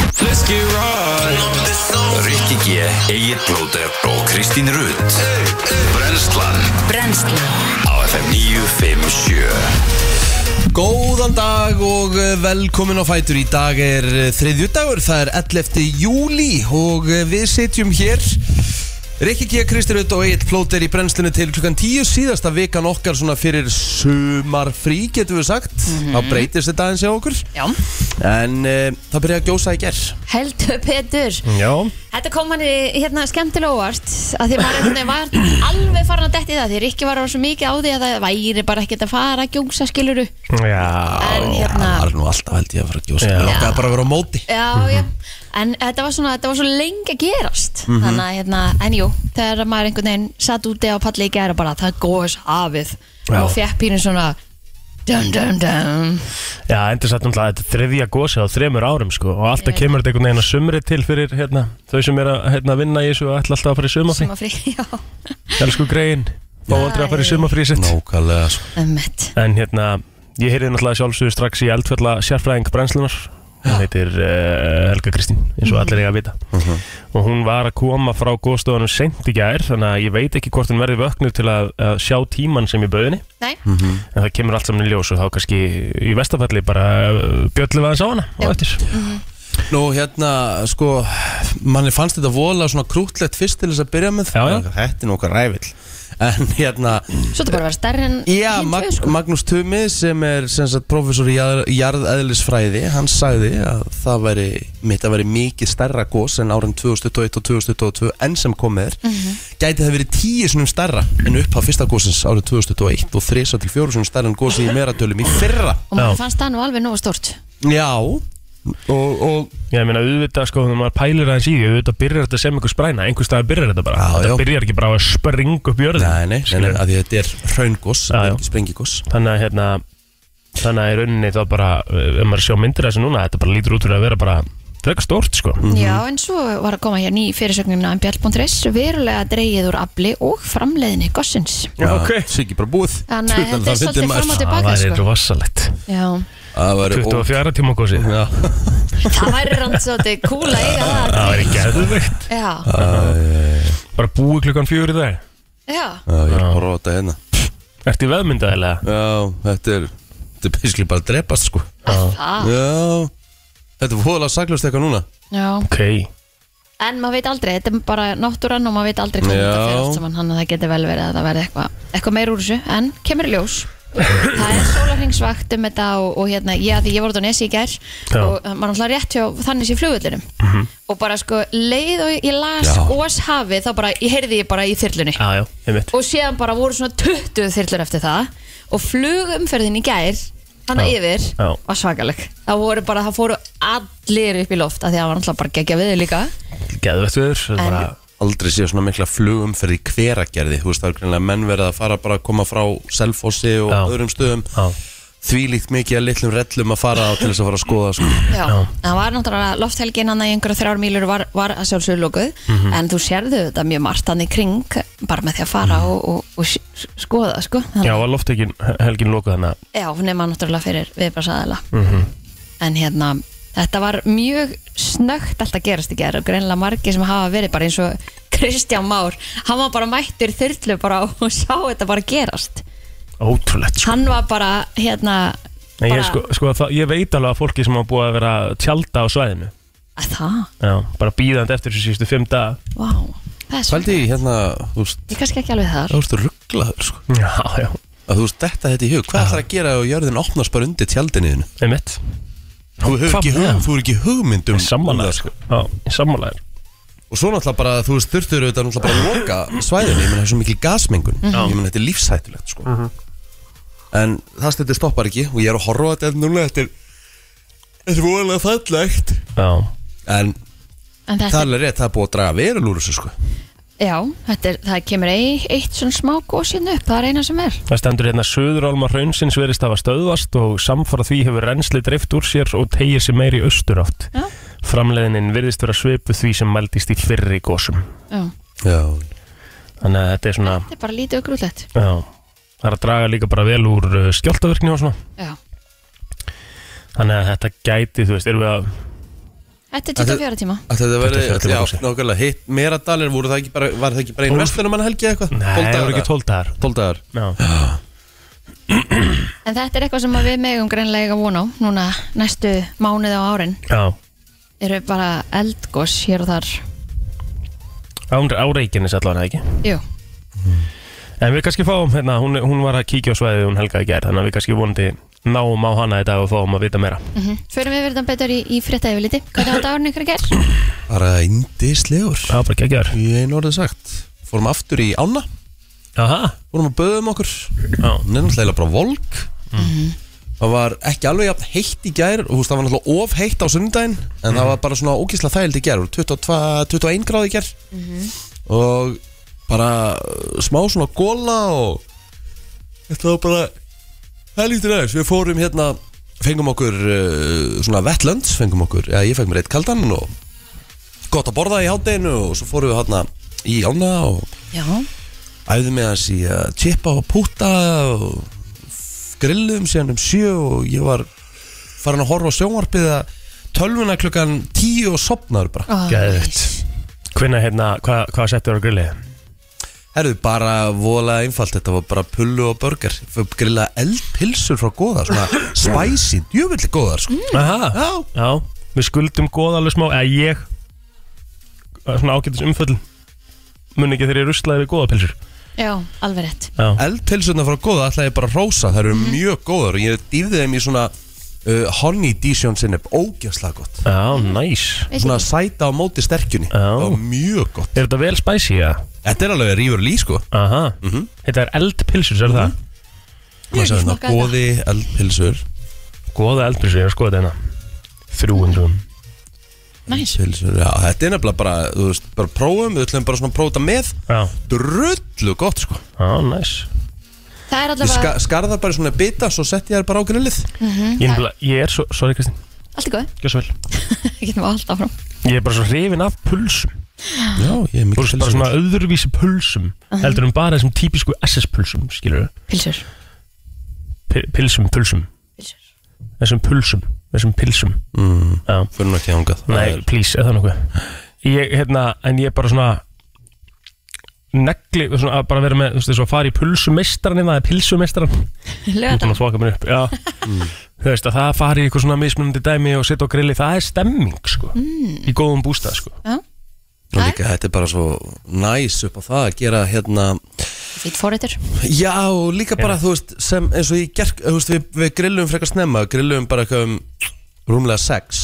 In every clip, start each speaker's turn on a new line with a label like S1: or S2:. S1: Rikki Ræ Rikki G, Egil Blóter og Kristín Rutt Brenslan
S2: Brennslan
S1: á FM 957
S3: Góðan dag og eh, velkomin á Fætur Í dag er eh, þriðjudagur, það er 11. júli og eh, við sitjum hér Rikki G. Kristirut og Egil Plóter í brennslinu til klukkan 10 síðasta vikan okkar svona fyrir sumarfrí getum við sagt þá breytist þetta aðeins hjá okkur
S2: Já,
S3: en uh, það byrjaði að gjósa í gerð
S2: heldur betur
S3: Já
S2: Þetta kom hann hérna skemmtilega óvart að því maður einhvern veginn var alveg farin að detti það því Rikki var á svo mikið á því að það væri bara ekkert að fara að gjóngsa skiluru
S4: Já
S2: en hérna,
S3: Það er nú alltaf held ég að fara að gjósa Ég Lókaði bara að vera á móti
S2: já, já
S3: Mhm.
S2: en þetta var svona, þetta var svo lengi að gerast þannig að hérna, en jú þegar maður einhvern veginn satt úti á palli í gæra bara það góðs hafið
S4: Já.
S2: og fekk pínu svona dum dum dum
S4: Já, endur satt náttúrulega þetta er þriðja gósið á þremur árum sko og alltaf kemur þetta einhvern veginn að sumri til fyrir hérna, þau sem er að hérna, vinna í þessu og ætla alltaf að fara í sumafrí
S2: sem að frí, já,
S4: Elsku greiðin, fá aldrei að fara í sumafrí sitt
S3: Nókalega sko
S2: emmitt
S4: En hérna, ég heyrði náttúrulega sjálfsögur strax í eldfjalla sérfræðing brennslunar hún heitir uh, Helga Kristín eins og allir eiga að vita og hún var að koma frá góðstofunum seint í gær þannig að ég veit ekki hvort hún verði vöknu til að, að sjá tíman sem í bauðinni
S2: Nei,
S3: Mhm.
S4: en það kemur allt saman í ljós og þá kannski í vestafalli bara eh, bjöllum við aðeins á hana og eftir
S3: Nú hérna, sko, manni fannst þetta vola svona krútlegt fyrst til þess að byrja með
S4: Já, já.
S3: Þetta er nokkar rævill En hérna,
S2: svo þetta bara að vera stærri en
S3: já,
S2: hin tvö,
S3: Mag
S2: sko.
S3: Magnús Tumi sem er sem sagt professor í jarð- jarðeðlisfræði Hann sagði að það væri, mitt að væri mikið stærra gos en árin 2021 og 2022 enn sem komið er Gæti það verið tíu sinum stærra en upp á fyrsta gósins árið 2021 og þrisa til fjóru sinum stærra en gósi í meratölum í fyrra
S2: og maður
S4: Já.
S2: fannst það nú alveg nógu stort
S3: Já, og, og
S4: Ég meina, auðvitað sko, þegar maður pælir aðeins í því auðvitað byrjar þetta sem einhver spræna, einhver stað byrjar þetta bara
S3: Já, já.
S4: þetta byrjar ekki bara á að springa upp jörðin
S3: Nei, nei, nei, nei, að því að þetta er hraungos,
S4: Já,
S3: þetta
S4: já.
S3: er ekki sprengigos
S4: þannig að hérna þannig að í rauninni þá bara eh, ef maður sjá myndir af þessu núna, þetta bara lítur út fyrir að vera bara frekar stórt sko
S3: Mm.
S2: Já, en svo var að koma hér ný fyrirsögnina um bjall.res verulega dreigið úr afli og framleiðinni gossins
S4: Já, ok.
S3: Svo ekki bara búið
S2: Þannig að
S3: Tjóðan,
S2: þetta er
S3: það fyndi
S2: svolítið fram og
S3: maður.
S2: tilbaka
S4: það væri
S2: sko.
S4: rosalegt
S2: Já,
S3: Það væri ó-
S4: 24 tíma gósi
S3: Já.
S2: það væri rann svolítið cool að eiga það
S4: það væri geðveikt
S2: Já,
S4: bara búi klukkan fjögur í dag
S2: já,
S3: Já, ég er að horfa á þetta hérna
S4: Ertu í veðmyndaðilega?
S3: Já, þetta er Þetta er basically bara að drepast sko
S2: það
S3: Já Þetta er fóðalega saklust eitthvað núna
S2: Já,
S4: Ok,
S2: en maður veit aldrei, þetta er bara náttúran og maður veit aldrei hvað
S3: Já.
S2: þetta fyrir allt saman hann að það geti vel verið að það verði eitthvað eitthvað meir úr þessu, en kemur í ljós það er sólarhengsvakt um þetta og, og hérna, já því ég voru á Nesi í gær
S4: Já. Mhm.
S2: og eh, maður alltaf rétt hjá þannig sér flugullinum og bara sko leið og ég las
S3: Já.
S2: óshafi þá bara, ég heyrði ég bara í þyrlunni
S4: aðjá, einmitt
S2: og síðan bara voru svona 20 þyrlur eftir það og flugumferðin í gær hann
S4: Já.
S2: yfir
S4: Já.
S2: var svakaleg það voru bara, það fóru allir upp í loft af því að það var alltaf bara geggja við líka
S4: Geðveikt viður, það er
S2: En-
S4: bara
S3: Aldrei séu svona mikla flugumferð í hveragerði Þú veist, það er greinlega menn verið að fara bara að koma frá Selfossi og
S4: Já.
S3: öðrum stöðum
S4: Já.
S3: Þvílíkt mikið að litlum rellum að fara á til þess að fara að skoða sko.
S2: Já, það var náttúrulega lofthelgin hann í einhverja þrjár mýlur var, var að sjálfsögur lókuð
S4: Mhm.
S2: en þú sérðu þetta mjög margt hann í kring bara með því að fara og, og, og s- skoða sko.
S4: Mhm. Já, var loftekin helgin lokuð þannig að
S2: Já, nema náttúrulega fyrir viðbrasaðila
S4: Mhm.
S2: en hérna þetta var mjög snögt allt að gerast í gerð og greinlega margir sem hafa verið bara eins og Kristján Már hann var bara mættur þyrlu bara og sá þetta bara gerast
S4: Ótrúlegt sko.
S2: hann var bara hérna
S4: Nei,
S2: bara,
S4: ég, sko, sko, það, ég veit alveg að fólki sem hafa búið að vera að tjálta á svæðinu
S2: að það,
S4: Já, bara býðandi eftir þessu síðustu fimm daga
S2: vá það er svo,
S3: Svaldi, hérna, þú veist
S2: ég er kannski ekki alveg þar
S3: Það vorstu rugglaður sko
S4: Já, já,
S3: að þú veist detta þetta í hug hvað ætlar að gera ef jörðin opnast bara undir tjaldinniðinu
S4: einmitt
S3: þú hefur
S4: Hvað
S3: ekki, hug,
S4: með?
S3: þú hefur ekki hugmynd um um
S4: Sammálaður
S3: það,
S4: sko. Já, sammálaður
S3: og svo náttúrulega bara þú veist þurftur auðvitað náttúrulega bara að loka svæðinu ég meina það er svo mikil gasmengun ég meina þetta er lífshættulegt sko en það stöður stoppar ekki og ég er að horfa á þetta en núna þetta er þetta er voðalega fallegt
S4: Já,
S3: en
S2: En þetta
S3: það er alveg rétt það er búið að draga verul úr þessu sko
S2: Já, þetta er, það kemur ei, eitt svona smá gósin upp, það er eina sem er.
S4: það stendur hérna Söðurálma hraunsins verist hafa stöðvast og samfara því hefur rensli dreift úr sér og tegir sér meir í austurátt
S2: Já.
S4: Framleiðinin virðist vera svipu því sem mældist í fyrri gósum
S2: Já,
S3: já
S4: Þannig að þetta er svona
S2: þetta er bara lítið og grúllett.
S4: já, Það er að draga líka bara vel úr uh, skjáltaverkni og svona
S2: Já.
S4: Þannig að þetta gæti, þú veist, erum við að
S2: Þetta er 24 tíma
S3: Að þetta verði,
S4: 24 tíma
S3: já,
S4: húsi.
S3: nákvæmlega, hitt Meradalir, voru það ekki bara, var það ekki bara einu
S4: Tólf.
S3: vestlunum mann helgi eitthvað?
S4: Nei, það voru ekki 12 dagar
S3: 12 dagar
S4: Já,
S2: En þetta er eitthvað sem að við megum greinlega eiga von á Núna næstu mánuði á árin
S4: já
S2: Eru bara eldgós hér og þar
S4: Án, á reikinni allavega ekki
S2: Jú,
S4: En við kannski fáum, hérna, hún, hún var að kíkja á svæðið hún helga í gerð Þannig að við kannski vonandi náum á hana í dag og fáum að vita meira
S2: mhm Förum við verðum betur í, í frétta yfirliti Hvernig á dagurinn ykkur ger?
S3: Bara indislegur
S4: Það var bara ekki að gerð
S3: Í einu orðið sagt Fórum aftur í ána
S4: Aha,
S3: Fórum að böðum okkur
S4: já,
S3: Hún er náttúrulega bara volk Það var ekki alveg jafn heitt í gær og þú veist, Það var náttúrulega of heitt á sunnudaginn En það var bara svona ógisla þægild í gær Það voru 22, 21 gráð í gær Og bara uh, smá svona góla og Þetta var bara helvítur aðeins Við fórum hérna Fengum okkur uh, svona vetlönds Fengum okkur, já ég fekk mér eitt kaldan og Gott að borða í hátdeinu Og svo fórum við hérna í ána og
S2: Já,
S3: æfði með hans í að tippa og púta og f- grilluðum síðan um sjö og ég var farin að horfa á sjónvarpið að tölvuna klukkan tíu og sopnaður bara.
S2: oh,
S4: Geðveikt. hvenna, hérna, hvað hva settur á grillið?
S3: Herðu bara vola einfalt, þetta var bara pullu og burger. Fyrir grilla eldpilsur frá góða, svona spicy, djúvillig góðar sko.
S4: Aha,
S3: Já,
S4: já, við skuldum góð alveg smá, eða ég eh, Svona ágætis umföll Mun ekki þegar ég ruslaði við góðapilsur
S2: Já, alveg rétt
S4: Já,
S3: eldpilsurna frá góða ætla ég bara að rósa, það eru mjög góðar og ég dýfði þeim í svona uh, honey Dijon sinnepp, ógjörslega gott.
S4: já, næs
S3: Svona sæta á móti sterkjunni,
S4: Já.
S3: það var mjög gott.
S4: Er þetta vel spæsi, já?
S3: Þetta er alveg rífur lí sko.
S4: Aha, þetta er eldpilsur, sér það?
S3: maður sagði hérna
S2: smakkað
S3: goði eldpilsur
S4: Góða eldpilsur, ég er að skoða þetta hérna 300
S2: Næs
S3: pilsur, já, þetta er nefnilega bara, þú veist, bara prófum, við ætlum bara svona að prófa þetta með
S4: Já,
S3: drullu gott, sko
S4: já, næs
S2: Það er
S3: ég
S2: allavega
S3: ska, skarða bara í svona bita, svo sett ég þær bara á grillið
S4: Ég, nefnilega- ég er svo, sorry Kristín,
S2: Allt í góð,
S4: gjör svo vel
S2: við getum allt áfram
S4: Ég er bara svo hrifin af pulsum
S3: já, ég er
S4: Bara
S3: mikið
S4: bara svona öðruvísi pulsum Heldur en bara þessum típisku SS-pulsum, skilur
S2: Pilsur,
S4: við Pilsum, pulsum,
S2: pilsur
S4: þessum pulsum, þessum pilsum
S3: mm,
S4: Já,
S3: fyrir nú ekki þangað
S4: nei, please, eða nokkuð Ég, hérna, en ég er bara svona negli, svona að bara vera með, þú veist, þess að fara í pulsumeistaran eða pilsumeistaran Ég er Mm. búin
S2: Lögðan
S4: að þoka mér upp, já Þú veist að það fari í eitthvað svona mismunandi dæmi og setja á grilli, það er stemming sko Í góðum bústað sko
S3: og líka þetta er bara svo næs upp á það að gera hérna
S2: Fýtt fóritur
S3: já, og líka bara, þú veist, sem eins og ég gerk, þú veist, við, við grillum frekar snemma grillum bara eitthvað um rúmlega sex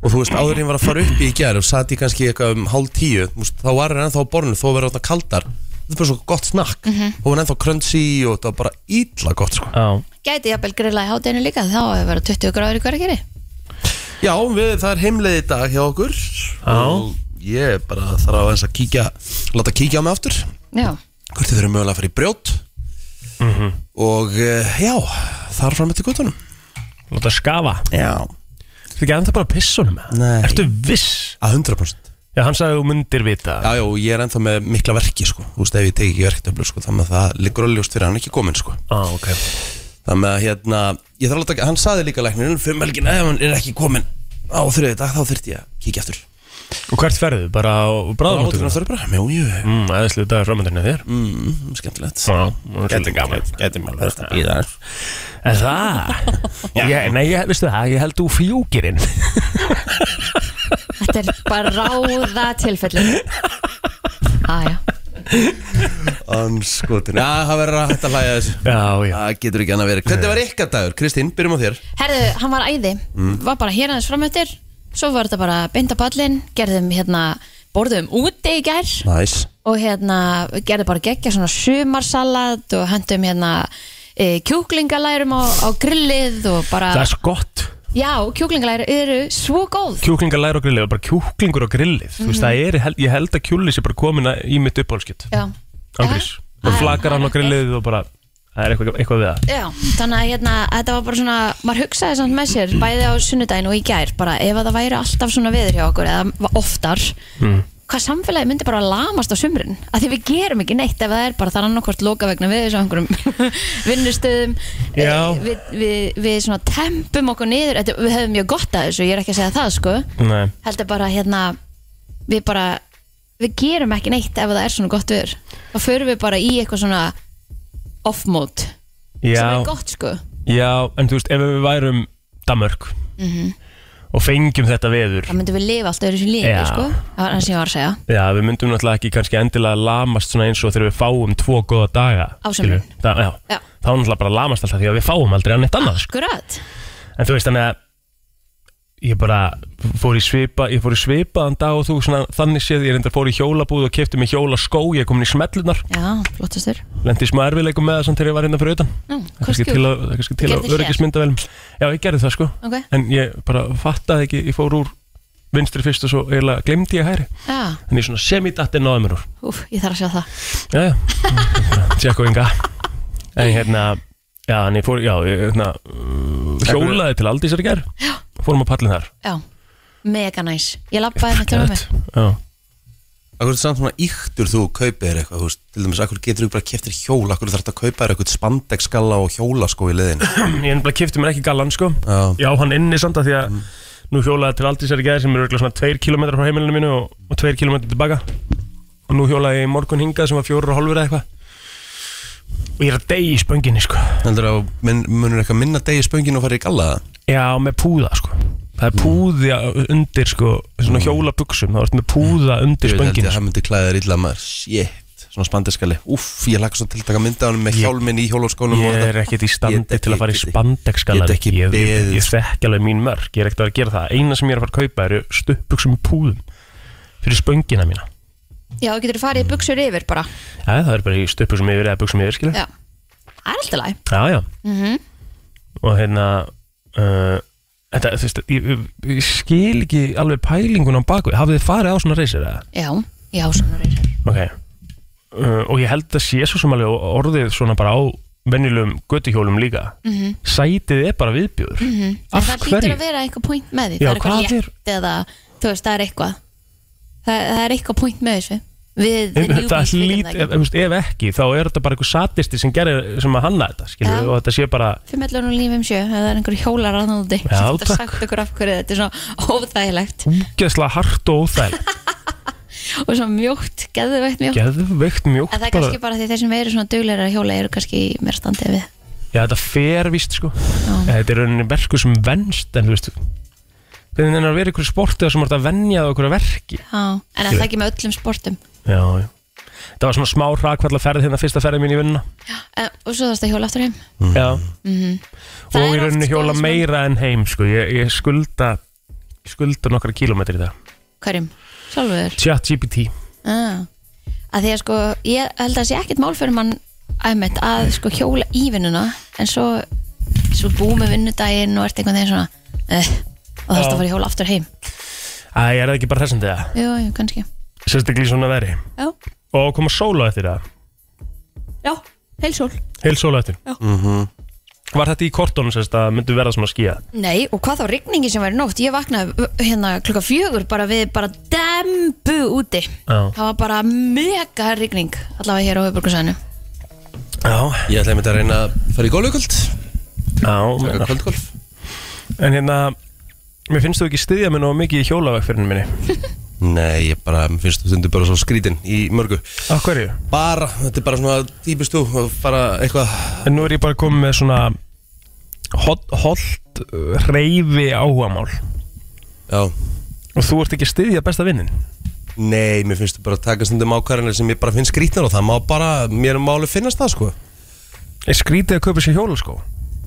S3: og þú veist, áður en ég var að fara upp í gær og sat ég kannski eitthvað um hálf tíu þú veist, þá var hann ennþá á borðinu, þó verður þetta kaldar þetta er bara svo gott snakk mm -hmm. og hann ennþá crunchy og þetta var bara ítla gott sko.
S4: Já,
S2: Gæti jafnvel grilla í hátinu líka þá hefur verið 20 gráður í hverja geri
S3: já, við, það er heimleið í dag hjá okkur og ég bara þarf aðeins að kíkja láta kíkja á mig aftur
S2: Já,
S3: hvort þið verður mögulega að fara í brjót og eh, já þar fram eftir guttunum
S4: láta skafa
S3: já,
S4: Þú ekki ennþá bara að pissa honum eða?
S3: Nei.
S4: Ertu viss?
S3: að 100%
S4: Já, hann sagði að þú myndir vita
S3: Já, já, og ég er ennþá með mikla verki, sko Þú veist, ef ég teki ekki verktöflu, sko Þannig að það liggur alveg ljóst fyrir að hann er ekki komin, sko
S4: Á, Ah, ok
S3: Þannig að, hérna, ég þarf að taka Hann saði líka læknirinn, fyrir melgin Ef hann er ekki komin á þriðið dag, þá þyrfti ég að kíkja aftur
S4: Og hvert ferðu?
S3: Það var
S4: Bara á
S3: ótrúin
S4: bráðamóttunum?
S3: að þurfa bara, mjó, jú,
S4: Mm, æðislega dagar framöndinu þér mm.
S3: mm, skemmtilegt
S4: Já, ótrúlega gaman
S3: Gæti mér verðst að býða
S4: Er það? Ég, nei, ég, veistu það, ég held þú fjúkirinn
S2: þetta er bara ráða Ah, tilfellin Æja,
S3: Anskotin, já, það verður að hætta að hlæja þessu
S4: Já, já
S3: Það getur ekki annað verið Hvernig var ykkar dagur? Kristín, byrjum á þér
S2: herðu, hann var æði
S4: Mm.
S2: Var bara hér aðeins framöftir Svo var þetta bara beinta pallin Gerðum hérna, borðum úti í gær
S3: Næs
S2: Og hérna, gerðum bara geggja svona sumarsalat Og hendum hérna e, kjúklingalærum á, á grillið Og bara,
S4: Það er sko- svo gott
S2: já, kjúklingalæru eru svo góð
S4: kjúklingar læra á grillið og bara kjúklingur á grillið þú veist það er, ég held- ég held að kjúli sé bara komin að- í mitt uppáhalskjöt
S2: Mhm. Já,
S4: ángrís,
S2: Já,
S4: og
S2: já,
S4: flakar
S2: það
S4: hann á
S2: er-
S4: grillið og bara, það er eitthvað, eitthvað við það
S2: Já, þannig að hérna, þetta var bara svona maður hugsaði samt með sér, bæði á sunnudaginn og í gær bara ef að það væri alltaf svona veður hjá okkur eða oftar hvað samfélagi myndi bara lamast á sumrin að því við gerum ekki neitt ef það er bara þannig hvort loka vegna við þessu einhverjum vinnustöðum
S4: Já.
S2: Eh, við, við, við svona tempum okkur niður Þetta, við höfum mjög gott að þessu, ég er ekki að segja það sko
S4: Nei.
S2: heldur bara hérna við bara, við gerum ekki neitt ef það er svona gott viður þá förum við bara í eitthvað svona off-mode sem
S4: Já,
S2: er gott sko
S4: já, en þú veist, ef við værum Damörk
S2: Mhm.
S4: og fengjum þetta veður
S2: þá myndum við lifa alltaf þessu lífi
S4: Já.
S2: sko það var það sem ég var að segja
S4: Já, við myndum náttúrulega ekki kannski endilega lamast svona eins og þegar við fáum tvo góða daga
S2: Á
S4: skilurðu.
S2: sumrin.
S4: Þa, já,
S2: Já.
S4: Þá náttúrulega bara lamast alltaf því að við fáum aldrei að neitt annað sko.
S2: akkurat
S4: En þú veist þannig að ég bara fór í svipa ég fór í svipaðan dag og þú svona, þannig séð ég reyndar fór í hjólabúð og kefti mig hjóla skó ég er komin í smellunar,
S2: já, flottastur
S4: lendi í smá erfileikum með það samt þegar ég var hérna fyrir utan
S2: Nú,
S4: Það er kannski til að, það er kannski til
S2: Gerðu
S4: að
S2: hlé.
S4: öryggismyndavelum Já, ég gerði það sko
S2: Ok.
S4: En ég bara fattaði ekki, ég fór úr vinstri fyrst og svo eiginlega glemdi ég hæri
S2: Já,
S4: en ég svona semidatt er náði mér úr
S2: úf, ég þarf að sjá það
S4: Já, já, tjekk og ynga En hérna, já, en ég fór, já, ég, hérna, uh, hjólaði til Aldísar í gær Fórum á pallin þar
S2: Já, mega næs Ég labbaði með tölum mér
S4: Já,
S3: Akkur er þetta samt svona íktur þú kaupir þér eitthvað, þú veist, til dæmis, akkur getur þú bara keftir hjól, akkur þarf þetta að kaupa þér eitthvað spandekskalla og hjóla sko í liðinu.
S4: ég ennbla kipti mér ekki gallan, sko
S3: Já. Mm.
S4: Já, hann inni samt að því að Nú hjólaði til Aldísar í gær sem eru örugglega svona tveir kilometrar frá heimilinu mínu og, og tveir kilometrar tilbaka Og nú hjólaði ég í morgun hingað sem var fjórar og hálfur eða eitthvað Og ég er að deyja í spönginni, sko
S3: Heldur að mun, munur eitthvað minna degi spöngin og fara í galla það?
S4: Já, með púða sko Það er púði undir sko Svona hjólabuxum, það er með púða undir
S3: Mm. Ég veit held ég
S4: spöngin
S3: að
S4: sko.
S3: það myndi klæða þér illa maður, shit, svona spandekskali. Úff, ég laka svona til að taka mynda á hann með hjálminn í hjólaskónum
S4: Ég er ekkert í
S3: Ég
S4: standi
S3: get
S4: til að fara í
S3: ekki-
S4: spandekskalar
S3: get ekki
S4: Ég, ég,
S3: beðið. sko.
S4: ég þekki alveg mín mörg Ég er ekkert að vera að gera það Eina sem ég er að fara að kaupa eru stuppbuxum í púðum Fyrir spöngina mína
S2: Já, þú getur farið í buksur yfir bara
S4: Já, það er bara í stuppbuxum yfir eða buxum yfir skilur
S2: Já, það er alltaf læg
S4: Já, já
S2: Mhm.
S4: Og hérna uh, Þetta, þú veist, ég, ég, ég skil ekki alveg pælingun á baku Hafið þið farið á svona reisir eða?
S2: Já, já, svona reyður
S4: Ok uh, Og ég held að sé svo sem alveg orðið svona bara á venjulegum göttuhjólum líka -hmm. Sætið er bara viðbjóður -hmm. Af
S2: Mhm. Það
S4: hverju?
S2: býtur að vera eitthvað point með því
S4: Já,
S2: Það er
S4: hvað
S2: eitthvað létt eða Þú veist, það er eitthvað Það, það er eitthvað point með þessu Við við
S4: Em, Það
S2: newbies vitum
S4: hlýt,
S2: það
S4: ef,
S2: hérna, ekki.
S4: ef, ef ekki, þá er þetta bara einhver satisti sem gerir, sem að hanna þetta, skilur
S2: Já.
S4: og þetta sé bara,
S2: Fimm ellur og lífum sjö, ef það er einhver hjólar að núti
S4: Já,
S2: Þetta
S4: takk.
S2: sagt okkur af hverju þetta er svona óþægilegt
S4: úgeðslega hart og óþægilegt,
S2: Og svona mjótt, geðveitt mjótt
S4: geðveikt mjótt
S2: En það er
S4: bara,
S2: kannski bara því þeir sem eru svona dugleira að hjóla eru kannski mér standið við
S4: já þetta fer víst sko, þetta er rauninni verku sem venst, en þú veist hvernig er að vera ykkur sportið sem er að venja það okkur að verki
S2: Já, en er það ekki með öllum sportum
S4: já, já, þetta var svona smá rakvalla hérna fyrsta ferði mín í vinnuna
S2: en, Eh, Og svo þarfst að hjóla aftur heim
S4: Já
S2: Mhm. Það
S4: Og
S2: er
S4: í
S2: oft
S4: rauninni
S2: sko
S4: hjóla
S2: þess vegna-
S4: meira en heim sko. ég, ég skulda ég skulda nokkra kílómetri í dag
S2: Hverjum? Sjálfur
S4: Chat GPT
S2: ah. Að því að sko, ég held að það sé ekkert mál fyrir mann æmett að sko hjóla í vinnuna En svo, svo búum við vinnudaginn og ert einhvern veginn svona eh, Og þarfst
S4: Já.
S2: að fara í hjóla aftur heim
S4: Æ, er það ekki bara þessum þegar
S2: Jú, jú, kannski
S4: Sérstaklega í svona veri
S2: Já,
S4: Og koma sól á eftir það
S2: já, heilsól
S4: Heil sól á eftir mm -hmm. Var þetta í kortónum sérst að myndu verða svona skíða
S2: Nei, og hvað þá rigningi sem væri nótt Ég vaknaði uh, hérna klukka fjögur bara við bara dembu úti
S4: Já.
S2: Það var bara mega rigning allavega hér á höfburgarsæðinu
S4: Já,
S3: Ég ætlaði einmitt að reyna að fara í gólfugöld,
S4: já meinar.
S3: kvöldgólf.
S4: En hérna Mér finnst þú ekki styðja mér nóg mikið í hjólavegferðinu minni
S3: Nei, ég bara, mér finnst þú stundu bara svo skrítin í mörgu.
S4: Af hverju?
S3: Bara, þetta er bara svona típist þú, að fara eitthvað,
S4: En nú er ég bara komið með svona Holt, holt reyfi áhugamál
S3: já,
S4: Og þú ert ekki að styðja besta vinnin
S3: Nei, mér finnst þú bara að taka stundum ákvarðanir sem ég bara finn skrítnar og það má bara, mér má alveg finnast það sko
S4: Er skrítið að kaupa sér hjólaskó?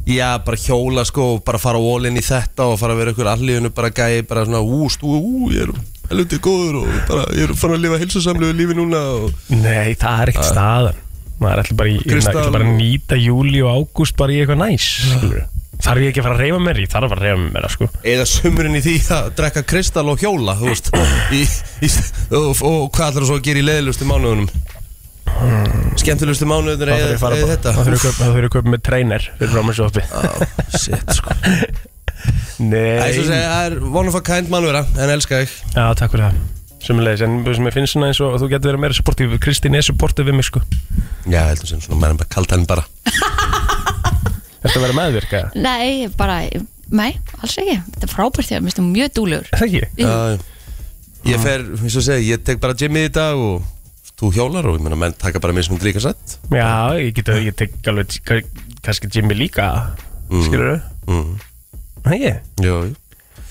S3: Já, bara hjóla sko og bara fara all in í þetta og fara að vera ykkur allíðinu bara gæi, bara svona ú, stú, ú, ég er helviti góður og bara, ég er fann að lifa heilsusamlegu lífi núna og
S4: Nei, það er ekkert staðan maður ætla bara, í,
S3: Kristal-
S4: ætla bara að nýta júli og ágúst bara í eitthvað næs skilurðu. þarf ég ekki að fara að reyfa mér, ég þarf að reyfa mér sko.
S3: eða sumurinn í því að drekka kristall og hjóla, þú veist í, í, og, og hvað ætlar þú svo að gera í leðilustu mánuðunum? Skemmtilegustu mánuðunum
S4: það þarf
S3: eða,
S4: ég að fara
S3: eða
S4: bara-
S3: þetta?
S4: það þarf ég að kaupa- það þarf ég að kaupa með trainer fyrir frá mér svo oppi
S3: Á, shit sko
S4: Nei,
S3: Það er svo að segja, það er one of a kind mannvera, en elska þig
S4: já, takk fyrir það Sumulegis, en þú veist, mér finnst svona eins og þú getur verið meira supportið Kristín er supportið við mig sko
S3: Já, heldur sem svona, maður er bara kalt hann bara
S4: Þetta verið meðvirka eða?
S2: Nei, bara, nei, alls ekki Þetta er frábært þér, mér finnst þú mjög dúlegur
S4: Er það ekki?
S3: Já, Ég fer, eins og segi, ég tek bara Jimmy í dag og þú hjólar og ég meina menn taka bara mér sem líka sett
S4: Já, ég get að ég tek alveg ka- kannski Jimmy líka mm. skilur þau
S3: Mm.
S4: Nei,
S3: Jó, jú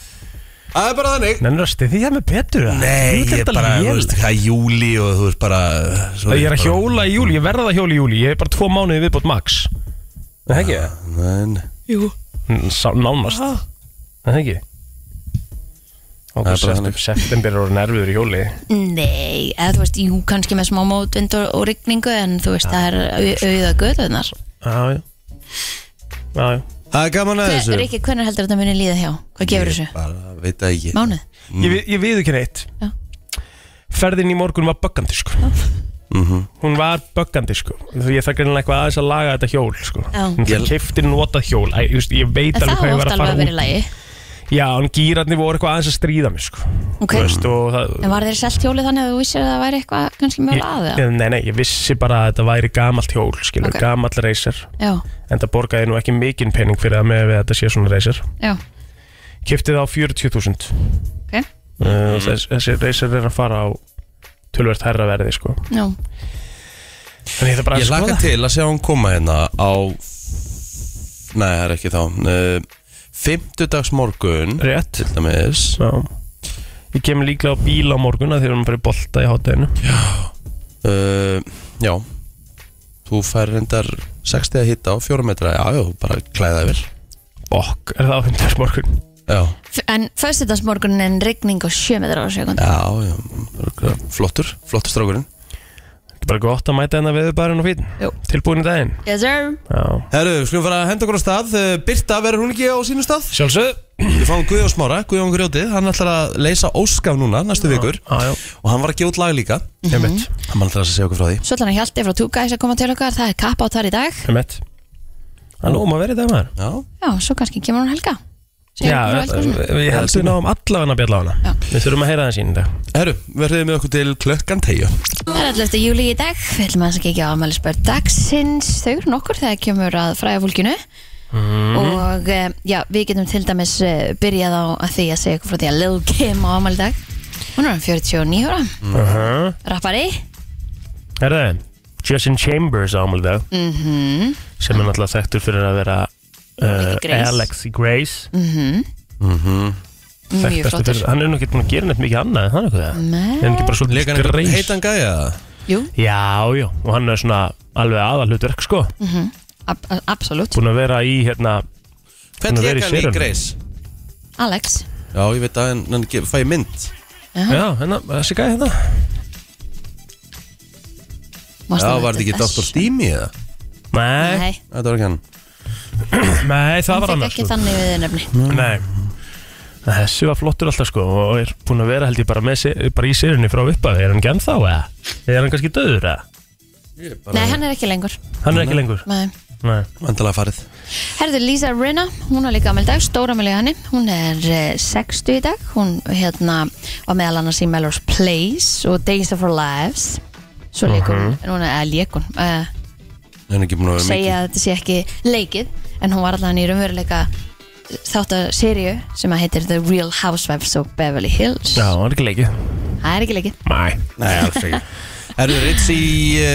S3: Það er bara þannig
S4: nennir að stiði ég með Petur eða?
S3: Nei,
S4: Jú,
S3: ég
S4: þetta
S3: bara, þú
S4: lélegt.
S3: veist, það er júli og þú veist bara Ah, svo
S4: Ég er að
S3: bara-
S4: hjóla í júli, ég verða að hjóla í júli Ég er bara tvo mánuði viðbót max Er Það ekki?
S3: Nei, nei,
S4: N- sá- Nánast Er Það ekki?
S3: Það er
S4: Ágúst,
S3: bara
S4: september-
S3: þannig.
S4: September er orðið nerviður í hjóli
S2: Nei, eða þú veist, jú, kannski með smá mótvind og, og rigningu En þú veist, það er au- auða göðunar
S4: Já, já Já, já
S3: það er gaman að þessu
S2: Rikki, hvernig heldur þetta muni líða hjá? Hvað gefur þessu?
S3: Bara, veit það ekki
S2: Mánuð?
S4: Ég, vi- ég viður ekki neitt
S2: Já.
S4: Ferðin í morgun var böggandi sko Hún var böggandi sko Þú ég þarf greinlega eitthvað aðeins að laga þetta hjól sko
S2: Já.
S4: Ég kefti notað hjól Æ, just, Ég veit
S2: En
S4: alveg
S2: það
S4: hvað ég var
S2: hótt
S4: að
S2: alveg
S4: fara
S2: að vera í
S4: út
S2: lagi
S4: Já, en gýrarnir voru eitthvað aðeins að stríða mig sko
S2: Ok,
S4: Þú veist, og það,
S2: en var þeir selt hjólið þannig að þú vissir að það væri eitthvað kannski mjög aðið?
S4: ég, Nei, nei, ég vissi bara að þetta væri gamalt hjól skilur,
S2: Ok.
S4: gamall reyser
S2: Já,
S4: En það borgaði nú ekki mikinn pening fyrir það með að þetta sé svona reyser
S2: já,
S4: Kifti það á 40.000
S2: ok,
S4: uh, þess, Þessi reyser er að fara á tölvert herra verði sko
S2: já,
S4: Þannig þetta er bara
S3: Ég
S4: að
S3: laka
S4: skoða
S3: til að sjá hann koma hérna á Nei, það er ekki þá Fymtudags morgun
S4: Rétt
S3: Til dæmis
S4: Já Ég kem líklega á bíl á morgun að því erum bara í bolta í hátæðinu
S3: uh, Já Þú fær reyndar 60 að hitta á fjóra metra Já, já, þú bara klæða yfir
S4: Bokk, er það á hundars morgun
S3: Já,
S2: F en föstudagsmorgunin en rigning og 7 metrar á sekund
S3: já, já örugglega. Flottur, flottur strákurinn
S4: Þetta er bara gott að mæta hennar við bara og fín
S2: Jú.
S4: Tilbúin í daginn
S2: Yes sir
S4: Já
S3: Herru, skulum fara að henda okkur á stað Eh, Birta, verður hún ekki á sínum stað?
S4: Sjálfsög
S3: Við fáum Guðjón Smára, Guðjón Grjótið Hann ætlar að leysa óskaf núna, næstu vikur
S4: Já, já
S3: Og hann var að gefa út lag líka
S2: Mhm.
S4: Ég mitt
S3: Hann ætlar að segja okkur frá því
S2: Svolítið Hjalti frá Two Guys að koma til okkar, það er kapp á þar í dag
S4: Ég mitt Það er nú um að vera í dag maður
S3: Já,
S2: Já, svo kannski kemur hún helga Segir hún frá
S4: Já,
S2: eldgosinu.
S4: við heldum náum allavega að bjalla á hana Við þurfum að heyra það sín í dag
S3: Herru, verðið með okkur til klökkan tegju
S2: Það er alltaf júli í dag, við ætlum að þess að kekja á afmælisbörn dagsins, þau eru nokkur þegar kemur að fræða fólkinu
S4: Mhm.
S2: og eh, já, við getum til dæmis eh, byrjað á að því að segja ykkur frá því að Lil Kim á afmæli í dag, hún er um 49 ára,
S4: uh -huh.
S2: rappari,
S4: Er það? Justin Chambers ámul dag mm
S2: Mhm.
S4: -hmm. sem er náttúrulega þekktur fyrir að vera uh,
S2: Alexi Grace. Mhm,
S4: Alexi Grace
S2: mjög
S4: Þekktastur
S2: flottur.
S4: fyrir- Hann er nú ekki búin að gera neitt mikið annað er það nokkuð það?
S2: Nei.
S4: Er hann ekki bara svolítið
S3: Lekan eitthvað
S4: Grace?
S3: heitan gæja
S2: Jú,
S4: Já, já, og hann er svona alveg aðal hlutverk sko
S2: Mhm. ab ab- absolutt,
S4: Búin að vera í hérna Hún
S3: Hvern
S4: er verið í
S3: lekan í
S4: serunum.
S3: Grace?
S2: Alex,
S3: Já, ég veit að hann, hann ge- fæ ég mynd
S4: Já, hérna, þessi gæði hérna
S2: mástu
S3: Já, var þetta ekki Dr. Steamy eða?
S4: Nei,
S2: Nei,
S3: Þetta var ekki hann
S4: nei,
S2: hann
S4: það var
S2: fekk
S4: annars
S2: ekki þannig við nefni.
S4: Nei Þessi var flottur alltaf sko og er búin að vera held ég bara, með, se- bara í sérunni frá uppaði Er hann genn þá eða? Er hann kannski döður eða?
S2: Nei, hann er ekki lengur.
S4: Hann er ekki lengur
S2: Nei.
S4: Nei.
S3: Vandalega farið
S2: Herðu, Lisa Rinna, hún var líka ammæli í dag, stóra ammæli henni, hún er eh, 60 í dag, hún hérna var meðal annars í Melrose Place og Days of Our Lives, svo leikur hún, núna, eða leikun, uh,
S3: Hann er ekki búin að vera
S2: segja
S3: mikið
S2: að þetta sé ekki leikið, en hún var allan í raunveruleika þáttaserju sem að heitir The Real Housewives of Beverly Hills.
S4: Já, hann er ekki leikið
S2: Það er ekki leikið.
S4: Nei
S3: Nei, alls ekki Herru, Richie,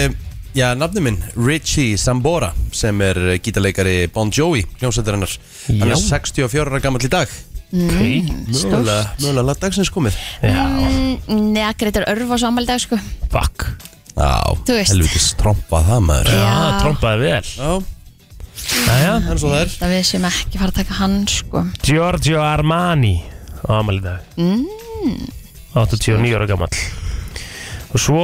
S3: eh, já, nafni minn Richie Sambora Sem er eh, gítarleikari Bon Jovi, hljómsveitar hennar Hann
S4: Já.
S3: er 64 ára gammal í dag
S4: mm.
S3: Mögulega, mögulega ladd dagsins komið
S4: Já,
S2: Nei, Greitar Örf var svo ammæli í dag, sko.
S4: fuck
S2: Þú
S3: Já,
S2: veist.
S3: helviti strompa það maður
S2: Já.
S4: Já, trompaði vel
S3: Já,
S4: Jæja
S3: hann svo það er
S2: Það við séum ekki fara að taka hann, sko.
S4: Giorgio Armani Ámali dag mm. 89 ára gamall Og svo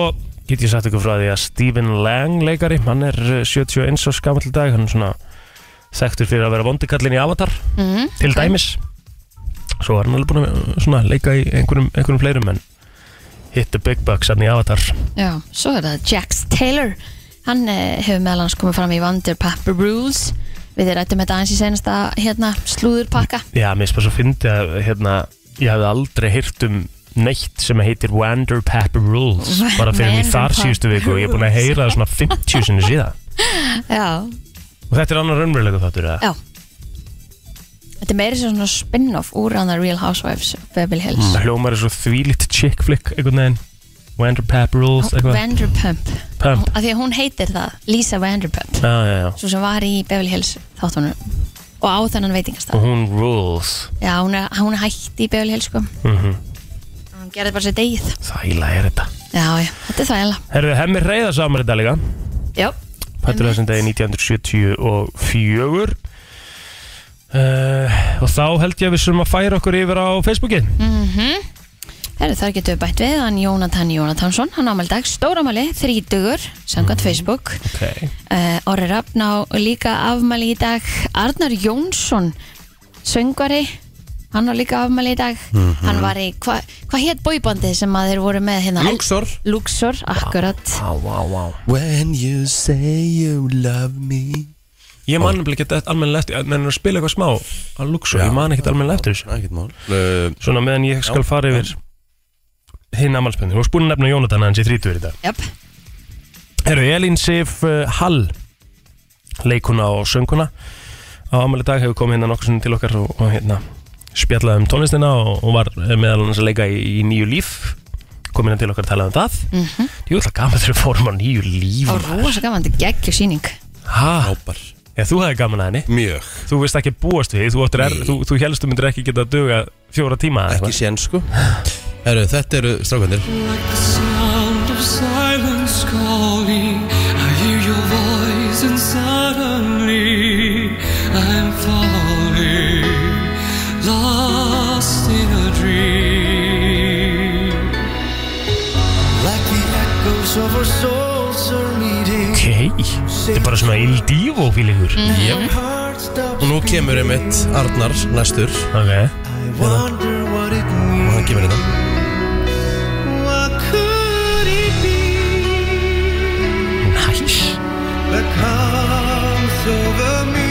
S4: get ég sagt ykkur frá því að Stephen Lang leikari Hann er eh, 71 árs gamall í dag Hann er svona þekktur fyrir að vera vondikallin í Avatar
S2: Mm,
S4: Til dæmis Svo var hann alveg búin að eh, svona, leika í einhverjum, einhverjum fleirum En hit the big bucks hann í Avatar
S2: Já, svo er það Jax Taylor Hann eh, hefur meðal hans komið fram í Vanderpapper Rules Við rættum þetta aðeins í senasta hérna, slúðurpakka
S4: Já, mér spes að fyndi að hérna, ég hafði aldrei heyrt um neitt sem heitir Wander Pep Rules bara fyrir
S2: Wander
S4: mig þar
S2: Pep
S4: síðustu viku og ég er búin að heyra það svona 50 sinni síðan
S2: Já,
S4: og þetta er annar raunverulega þáttur eða?
S2: já Þetta er meira sem svona spin-off úr hann að Real Housewives of Beverly Hills
S4: það Mm, hljómar er svo þvílitt chick flick einhvern veginn Wander Pep Rules eitthvað
S2: Vanderpump
S4: Pump
S2: Af því að hún heitir það, Lisa Vanderpump
S4: já, já, já.
S2: Svo sem var í Beverly Hills þáttunum Og á þennan
S4: og
S2: veitingastað
S4: hún rules
S2: Já, hún er, hún er hætt í Beverly Hills sko
S4: mm
S2: Hún gerði bara sér degið
S4: þæla er þetta
S2: Já, já, þetta er þvægilega
S4: Herðu, hemmi reyða samar þetta líka
S2: Já,
S4: Fættur þessum degi 1974 uh, Og þá held ég að við sem að færa okkur yfir á Facebooki
S2: Heru, þar getum við bætt við hann Jónatan Jónatansson, hann ámæli dag, stóramæli, þrítugur, samkvæmt Facebook.
S4: Ok
S2: Uh, Orri Rafn á líka afmæli í dag, Arnar Jónsson, söngvari, hann á líka afmæli í dag. Hann var í, hva- hvað hétt bóibandið sem að þeir voru með hérna?
S3: Luxor.
S2: Luxor, akkurat.
S4: Á, á, á
S3: When you say you love me
S4: Ég man nefnilega ekki almennilega eftir Menn að spila eitthvað smá á Luxor Ég man ekkert almennilega eftir þessu
S3: Það er ekkert mál uh,
S4: Svona meðan ég skal fara yfir Hinn amalspendin Þú varst búin að nefna Jónatan hans í 30 í dag
S2: Jöp,
S4: Herru, Elín Sif uh, Hall leikuna og sönguna á ammali dag hefur komið hérna nokkur sinni til okkar og, og hérna spjallaði um tónlistina og, og var eh, meðal hans að leika í, í nýju líf komið hérna til okkar að tala um það mm -hmm. Jú, það gaman þegar við fórum á nýju líf
S2: og rosa gaman, þetta er geggju síning.
S4: Hæ?
S3: Ábar
S4: Já, þú hafði gaman að henni
S3: Mjög
S4: Þú veist ekki búast við, þú, áttir er, þú, þú helst þú myndir ekki geta að duga fjóra tíma eða
S3: Ekki
S4: eitthvað.
S3: sén sko Heru, Þetta eru strákandir
S5: sound of silence calling. I hear your voice, and suddenly I'm falling, lost in a dream. Like the echoes of our souls are meeting.
S4: Ok, þetta er bara svona Il Divo fílingur
S3: yep.
S5: Hearts stop
S3: Og nú kemur einmitt Arnar næstur
S4: Ok,
S5: wonder what it
S3: Og
S5: means.
S3: hann kemur þetta
S5: What could it be?
S4: næs
S5: that comes over me.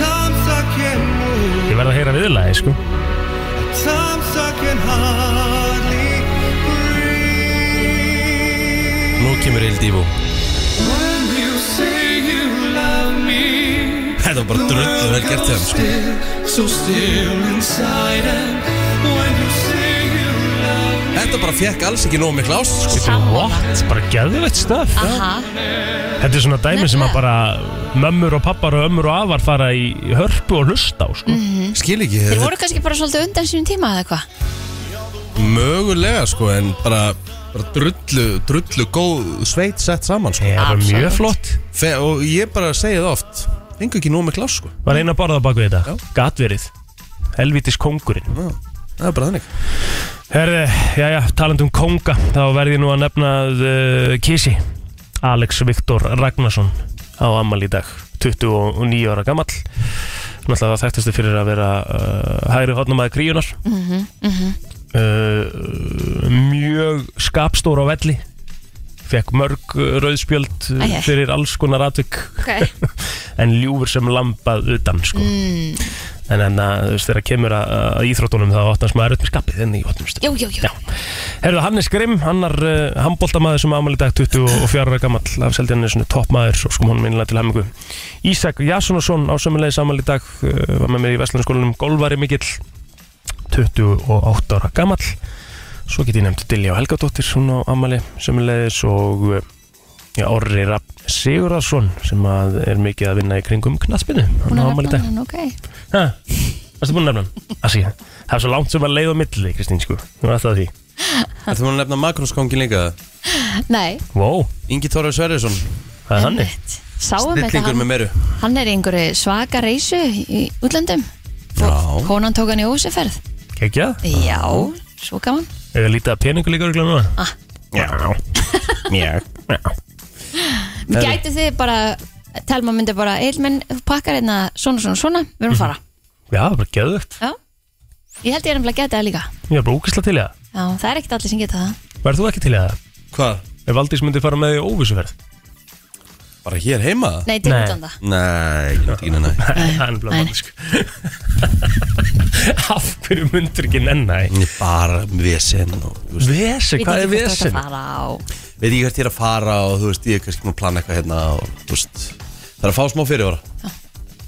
S5: Times I can't move,
S4: Ég verð að heyra viðlaði, sko
S5: times I can hardly breathe.
S3: Nú kemur Il Divo
S5: When you say you love me,
S3: Þetta var bara drullu vel gert til hann sko
S5: still, so still inside. And when you say you love me,
S3: Þetta bara fekk alls ekki nóg mikla ást sko
S2: Sammála.
S4: What? Bara geðveitt stöf
S2: Aha,
S4: Þetta er svona dæmi sem að
S2: Nefnilega.
S4: bara mömmur og pappar og ömmur og afar fara í hörpu og hlusta á sko.
S2: Mm,
S3: Skil ekki
S2: þeir
S3: þetta
S2: voru kannski bara svolítið undan sínum tíma eða eitthvað.
S3: er Mögulega sko En bara, bara drullu, drullu góð sveit sett saman sko
S4: Það var
S2: Absolutt.
S4: mjög flott
S3: Fe, Og ég bara segi það oft Engu ekki nóg mikla ást sko
S4: Var eina borða á baku þetta
S3: Já.
S4: Gatverið Helvítis kóngurinn
S3: Það er bara þannig
S4: Herði, jæja, talandi um kónga Þá verð ég nú að nefna uh, Kissi Alex Viktor Ragnarsson Á ammal í dag 29 ára gamall Náttúrulega það þekktastu fyrir að vera uh, Hægri hotnamaði kríunar
S2: Mhm,
S4: uh, mjög skapstór á velli fekk mörg uh, rauðspjöld uh,
S2: Æ, æ.
S4: fyrir alls konar atvik
S2: Ok.
S4: en ljúfur sem lambað utan sko.
S2: Mm.
S4: en en að, þú veist, þegar kemur að, að íþróttunum þá áttan maður upp með skapið enn í sko. hotnum stund
S2: Jú, jú, jú.
S4: Já. Herðu, Hannes Grimm, hann er uh, handbóltamaður sem ámæli dag 24 ára gammal af seldjarnisinu toppmaður og sko hún minnilega til hemingu Ísak Jassunasson á sömulegi sammæli dag uh, var með mér í Vestlandskólanum golvari mikill 28 ára gammal svo get ég nefnt Dilja og Helgadóttir hún á ammali sömulegis og uh, já, Orri Rapp Sigurðarsson sem að er mikið að vinna í kringum knaspinu
S2: Hún
S4: hann á
S2: er
S4: ammali dag
S2: rafnan, ok.
S4: Hæ? Varstu búin að nefna hann? Asi, það er svo langt sem að leið á milli, Kristín, sko. Nú er alltaf því.
S3: Þetta var að nefna makróskongin líka
S2: Nei,
S4: Vó, wow,
S3: Ingi Tóra Sverjesson
S4: það er hannig.
S2: einmitt. Sáum þetta,
S3: Snillingur
S2: hann,
S3: með meru
S2: hann er í einhverju svaka reysu í útlöndum.
S3: Já.
S2: Konan tók hann í óseferð.
S4: Kekjað?
S2: Já, svo gaman.
S4: Eða lítið að peningu líka örgulega núna? Ah. Já. Já. Já.
S2: Gætu þið bara, Telma myndi bara, Eilmenn pakkar hérna svona, svona, svona, við erum að fara.
S4: Já, það er bara geðvögt.
S2: Já. Ég held ég er nefnilega getið það líka.
S4: Ég er bara úkisla til í það.
S2: Já, það er ekkert allir sem geta það.
S4: Verður þú ekki til í það?
S3: Hvað?
S4: Ef Valdís myndi fara með því óvísuferð?
S3: Bara hér heima?
S2: Nei, til
S4: Nei.
S2: útlanda
S3: Nei, ég veit ekki neina
S4: Það er bara
S2: nei.
S4: mann sko Af hverju myndur ekki nenni því?
S3: Ég er bara vesen og þú veist,
S4: Vesi,
S2: Veit
S4: hvað
S2: ekki
S4: er
S2: hvert þú ert að
S4: vesen?
S2: fara á.
S3: veit ekki hvert ég er að fara og þú veist, ég er kannski búin að plana eitthvað hérna og þú veist, það er að fá smá fyrirvara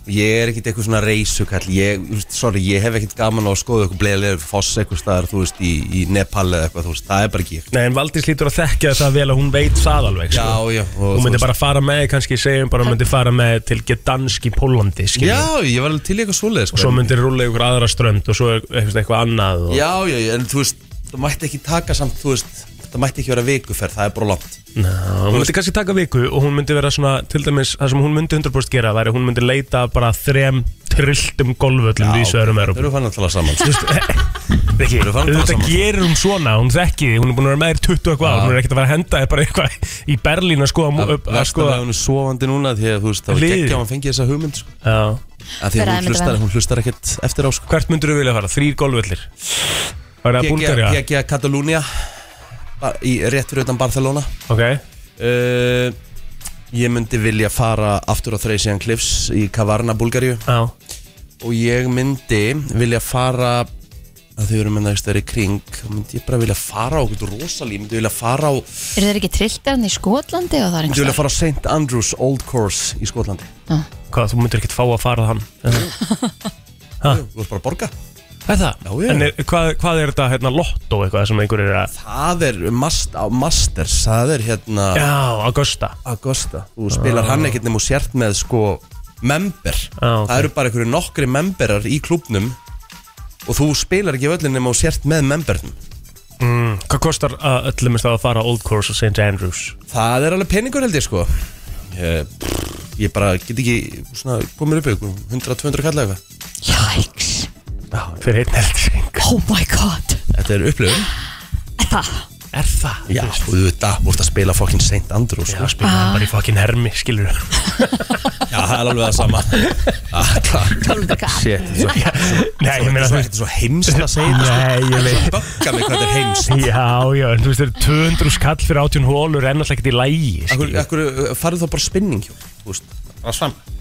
S3: Ég er ekkit eitthvað svona reisukall ég, þú veist, sorry, ég hef ekkit gaman á að skoða eitthvað bleiðlega foss eitthvað staðar, þú veist, í, í Nepal eða eitthvað, þú veist, það er bara ekki ég
S4: Nei, en Valdís lítur að þekka það vel að hún veit það alveg
S3: Já,
S4: sko.
S3: já, og
S4: Hún
S3: þú
S4: myndi
S3: veist-
S4: bara fara með, kannski segjum bara, hún myndi fara með til Gdansk í Pólandi skilur.
S3: Já, ég var alveg til í eitthvað svoleið,
S4: og
S3: sko
S4: svo myndir rúlega ykkur aðra strönd og svo eitthvað, eitthvað annað og...
S3: Já, já, já, en þú veist, það mætti ekki taka samt, þú veist, það mætti ekki vera vikuferð, það er bara langt
S4: Ná, hún myndi kannski taka viku og hún myndi vera svona til dæmis, það sem hún myndi 100% gera væri að hún myndi leita að bara þrem trilltum golföllum í Sörum
S3: Þau
S4: Európa
S3: eru fann að tala saman, sko
S4: Viki,
S3: Þau eru farin að tala
S4: þetta
S3: saman.
S4: gerir hún svona, hún þekki því, hún er búin að vera með þér 20 og eitthvað, ár, hún er ekkert að fara að henda þér bara eitthvað í Berlín að skoða, mú- upp- að
S3: Vestar
S4: skoða.
S3: að hún er sofandi núna því að þú veist, það var
S4: Liðið.
S3: geggja að hann fengi þessa hugmynd sko.
S4: Já.
S3: að því að
S2: Fyrir
S3: hún
S2: aðeins
S3: hlustar,
S2: vera.
S3: hún hlustar ekkert eftir á sko.
S4: Hvert myndur þú vilja fara? Þrýr golfvellir Var það Búlgaria?
S3: Geggja Katalúnia ba- í rétt fyrir utan Barcelona
S4: Ok
S3: uh, Ég myndi vilja fara aftur á Thracian Cliffs í Kavarna, Búlgaríu
S4: Já
S3: og ég myndi vilja fara að þau eru með nægst þeirri kring þá myndi ég bara vilja fara á okkur rosalí myndi vilja fara á, myndi
S2: Eru þeir ekki trilltarinn í Skotlandi og það er
S3: vilja
S2: einhvers
S3: fara á St. Andrews Old Course í Skotlandi
S4: Hvað, þú myndir ekkert fá að fara hann Ha?
S3: Þú ert bara að borga
S4: Er það?
S3: Já, já.
S4: En er, hvað, hvað er þetta, hérna, lotto eitthvað sem einhver er að
S3: Það er mast, á Masters, það er hérna
S4: Já, Augusta
S3: Augusta Þú spilar hann ekkert nefnum og sért með sko member
S4: Já, Ah. ok.
S3: Það eru bara einhverju nokkri memberar í klubnum og þú spilar ekki völlin nefnum og sért með membernum
S4: mm, Hvað kostar að öllum að fara á Old Course og St. Andrews?
S3: Það er alveg peningur held ég sko Ég, ég bara get ekki svona komið upp ykkur 100-200 kalla eitthvað
S2: Jæks
S4: Fyrir einn held
S2: Oh my god
S3: Þetta er upplöfun
S2: Það
S4: Er það?
S3: Já, og þú veit að, þú ert að spila fokkin St. Andrews
S4: Já,
S3: sko.
S4: spila hann bara í fokkin hermi, skilur
S3: Já, það er alveg það sama Shit, þetta er svo-
S4: Nei, ég meina
S3: þetta er svo heimst að segja þetta sko.
S4: Nei, ég veit
S3: Bögga mig hvað þetta er heimst
S4: Já, já, en þú veist, þetta er 200 skall fyrir 18 hólur en alltaf ekkert í lægi,
S3: Akkur,
S4: skilur
S3: akkur farið eh, þá bara spinning hjá Þú veist, bara sam Það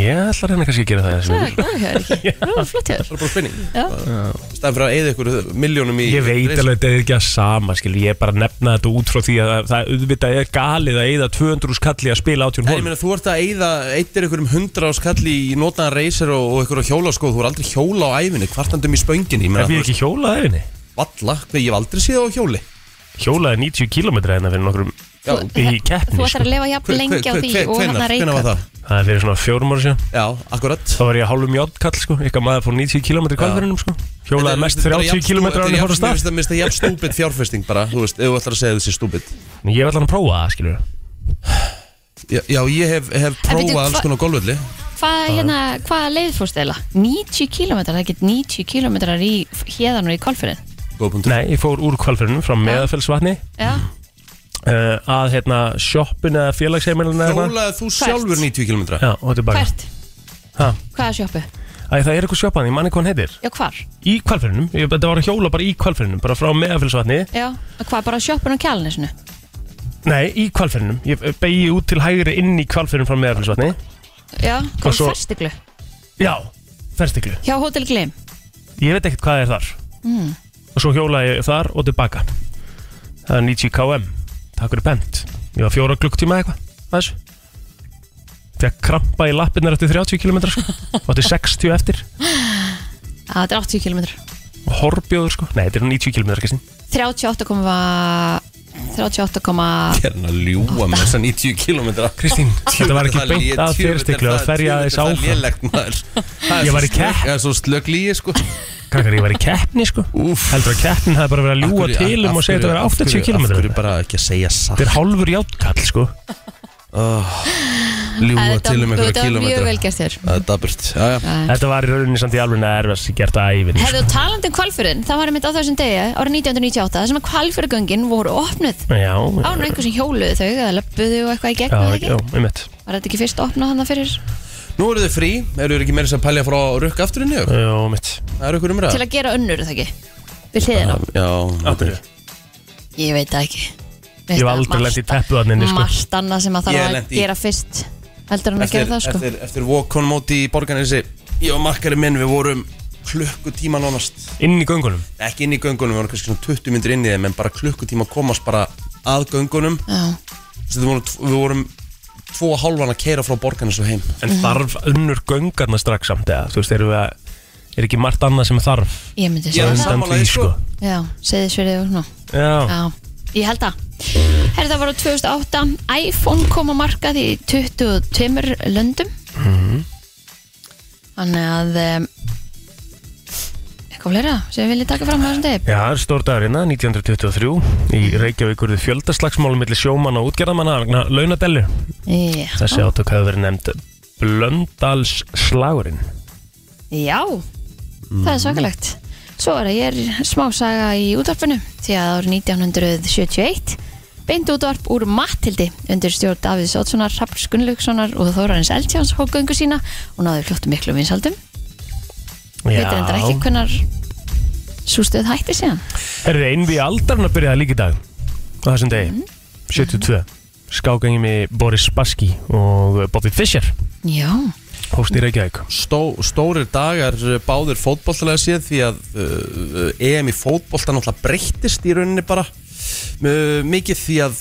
S4: Ég ætla að reyna kannski að gera það þessi
S2: Það
S4: viku.
S2: er góð hjá þér ekki Það er flott hjá þér
S3: er bara spinning
S2: Já.
S3: Í staðan fyrir að eyða ykkur miljónum í
S4: Ég veit alveg að þetta er ekki að sama skil, ég er bara að nefna þetta út frá því að það- það auðvitað er galið að eyða 200 skalli að spila átjón
S3: Nei, ég
S4: hól
S3: meina, þú ert að eyða eittir ykkur um hundra á skalli í notaðan reysir og, og ykkur á hjólaskóð, þú er aldrei hjóla á æfinni, kvartandum í spönginni, ég meina,
S4: Ef ég ekki hjólaði þenni
S3: valla, hvað ég hef aldrei séð á hjóli.
S4: Hjólaði 90 km hérna fyrir nokkrum
S3: Já,
S4: í keppni
S2: Þú ættir
S4: sko.
S2: að lifa jafn lengi á því og hérna hann að
S3: hvenær var
S2: reyka
S3: það?
S4: Það er fyrir svona fjórum ára síðan
S3: Já, akkurat.
S4: Þá var ég hálfum játtkall sko, ykkar maður fór 90 km í kvalferinum sko Hjólaði mest 30 km á hann fór að
S3: Mér
S4: stað
S3: finnst það- mér finnst það jafn stúbid fjárfesting bara, þú veist, ef þú ætlar að segja þessi stúbid.
S4: En Ég ætla hann að prófa það skilur
S3: Já, já, ég hef, hef
S2: En bíddu,
S3: prófað alls
S2: hva-
S3: konar golfölli.
S2: Hvað hérna, hvaða leið fórst eila? 90 km, það er ekki 90 km í hérðan og í kolfyrin
S3: Góðbundur.
S4: Nei, ég fór úr kvalferinum frá meðafellsvatni
S2: Já,
S4: uh, að hérna sjoppin eða félagsheimilin eða eitthvað.
S3: Hjólaði þú sjálfur 90 km?
S4: Já, og þetta er bara
S2: hvert?
S4: Ha?
S2: Hvaða sjoppu?
S4: Æ, það er eitthvað sjoppaðan, ég manni hvað hann heitir
S2: Já, hvar?
S4: í kvalferinum, ég, þetta var að hjóla bara í kvalferinum bara frá meðafélsvatni,
S2: Já, hvað bara sjoppun á kjálnisinu?
S4: nei í kvalferinum ég begi út til hægri inn í kvalferinum frá meðafélsvatni,
S2: Já, kom
S4: svo-
S2: fyrstiglu
S4: já ferstiklu,
S2: Hjá Hotel Glim
S4: ég veit ekkert hvað er þar og svo hjóla ég þar og tilbaka það er 90 km takk fyrir pent, ég var fjóra klukktíma eða eitthvað að þessu fekk krampa í lappirnar eftir 30 km sko. og þetta 60 eftir
S2: Já, þetta er 80 km
S4: og horbjóður sko, nei þetta er 90 km ekki
S2: 38, 38,
S3: er hann að ljúa með þessa 90 km
S4: Kristín, þetta var ekki beint að fyrstiklu að ferja þess
S3: Það er
S4: áfram
S3: lélegt maður Það er
S4: Ég
S3: svo
S4: var í
S3: slök-
S4: kepp.
S3: Það er svo slök líi sko
S4: Krakkar, ég var í keppni sko
S3: Úff.
S4: Heldur að keppnin hafi bara verið að ljúa
S3: Af hverju-
S4: til um
S3: af
S4: og segja þetta
S3: hverju-
S4: verið
S3: af hverju-
S4: 80 km
S3: Af hverju bara ekki að segja
S4: Þetta
S3: satt
S4: er hálfur játtkall sko
S3: Ljúa
S2: Þetta
S3: til um einhverja
S2: þetta var mjög vel
S3: kilometra
S2: gert þér
S3: Það er daburt Já, já
S4: Þetta var í rauninni samt í alveg erfast gert að sko. æfin
S2: Hefðu talandi um kvalfyrinn, það var einmitt á þessum degi árið 1998, það sem að kvalfyrgöngin voru opnuð
S4: Já,
S2: án og einhver sem hjóluðu þau eða löpuðu og eitthvað í gegn
S4: já,
S2: eða
S4: já,
S2: ekki?
S4: einmitt
S2: Var þetta ekki fyrst opnað hann fyrir
S3: Nú eru þið frí Eru þið ekki meira sem að pælja frá rukk aftur inni eða?
S4: Já, einmitt
S3: Það eru ykkur
S2: til
S3: umræða
S2: að gera önnur er það ekki? Við hliðina?
S3: Já
S4: Af hverju?
S2: Ég veit það ekki
S4: Ég hef aldrei lent í teppuðaninni sko.
S2: Margt annað sem að
S3: Ég
S2: þarf
S3: lenti
S2: að
S3: í-
S2: gera fyrst Heldur hann að
S3: eftir,
S2: gera það sko
S3: eftir, eftir walk-on móti í borganessi ég og markari minn við vorum klukkutíma nánast
S4: Inn í göngunum
S3: ekki inn í göngunum, við vorum kannski svona 20 myndir inn í þeim en bara klukkutíma komast bara að göngunum
S2: Já,
S3: Þessi, við vorum, við vorum tvo og hálfan að keira frá borganessu heim
S4: En
S2: Mhm.
S4: þarf önnur göngarna strax samt eða Þú veist, erum við að Er ekki margt annað sem þarf
S2: ég myndi
S3: Já,
S2: segja það
S3: en
S4: Undan
S3: sammála
S4: því
S3: því,
S4: sko
S3: sko.
S2: Já, segði sverið og svona
S4: Já,
S2: Já, ég held það Herri, það var á 2008 iPhone kom á markað í 22 löndum
S4: Mhm.
S2: Þannig að um, eitthvað fleira sem við viljum taka fram á þessum degi
S4: Já, það er stór dagur hérna, 1923
S2: Mhm.
S4: Í Reykjavík urðu fjöldaslagsmál milli sjómanna og útgerðamanna vegna launadellu
S2: Já,
S4: Þessi átök hefur verið nefnd Blöndalsslagurinn
S2: Já, það er svakalegt Svo er að ég er smásaga í útvarpinu því að árið 1971 beint útvarp úr Mattildi undir stjórn Davids Oddssonar, Hrafns Gunnlaugssonar og Þórarins Eldjáns hókgöngu sína og náðu fljóttu miklu vinsaldum Við
S4: Já.
S2: reyndar ekki hvernar sústuð hætti síðan
S4: Er þið einvið aldarinn að byrja það líka í dag á þessum degi,
S2: Mhm.
S4: 72 Skágangi með Boris Spassky og Bobby Fischer
S2: Já,
S4: hóst í Reykjavík
S3: Stó, stórir dagar uh, báðir fótbolltalega séð því að uh, uh, EM í fótbollta náttúrulega breyttist í rauninni bara uh, mikið því að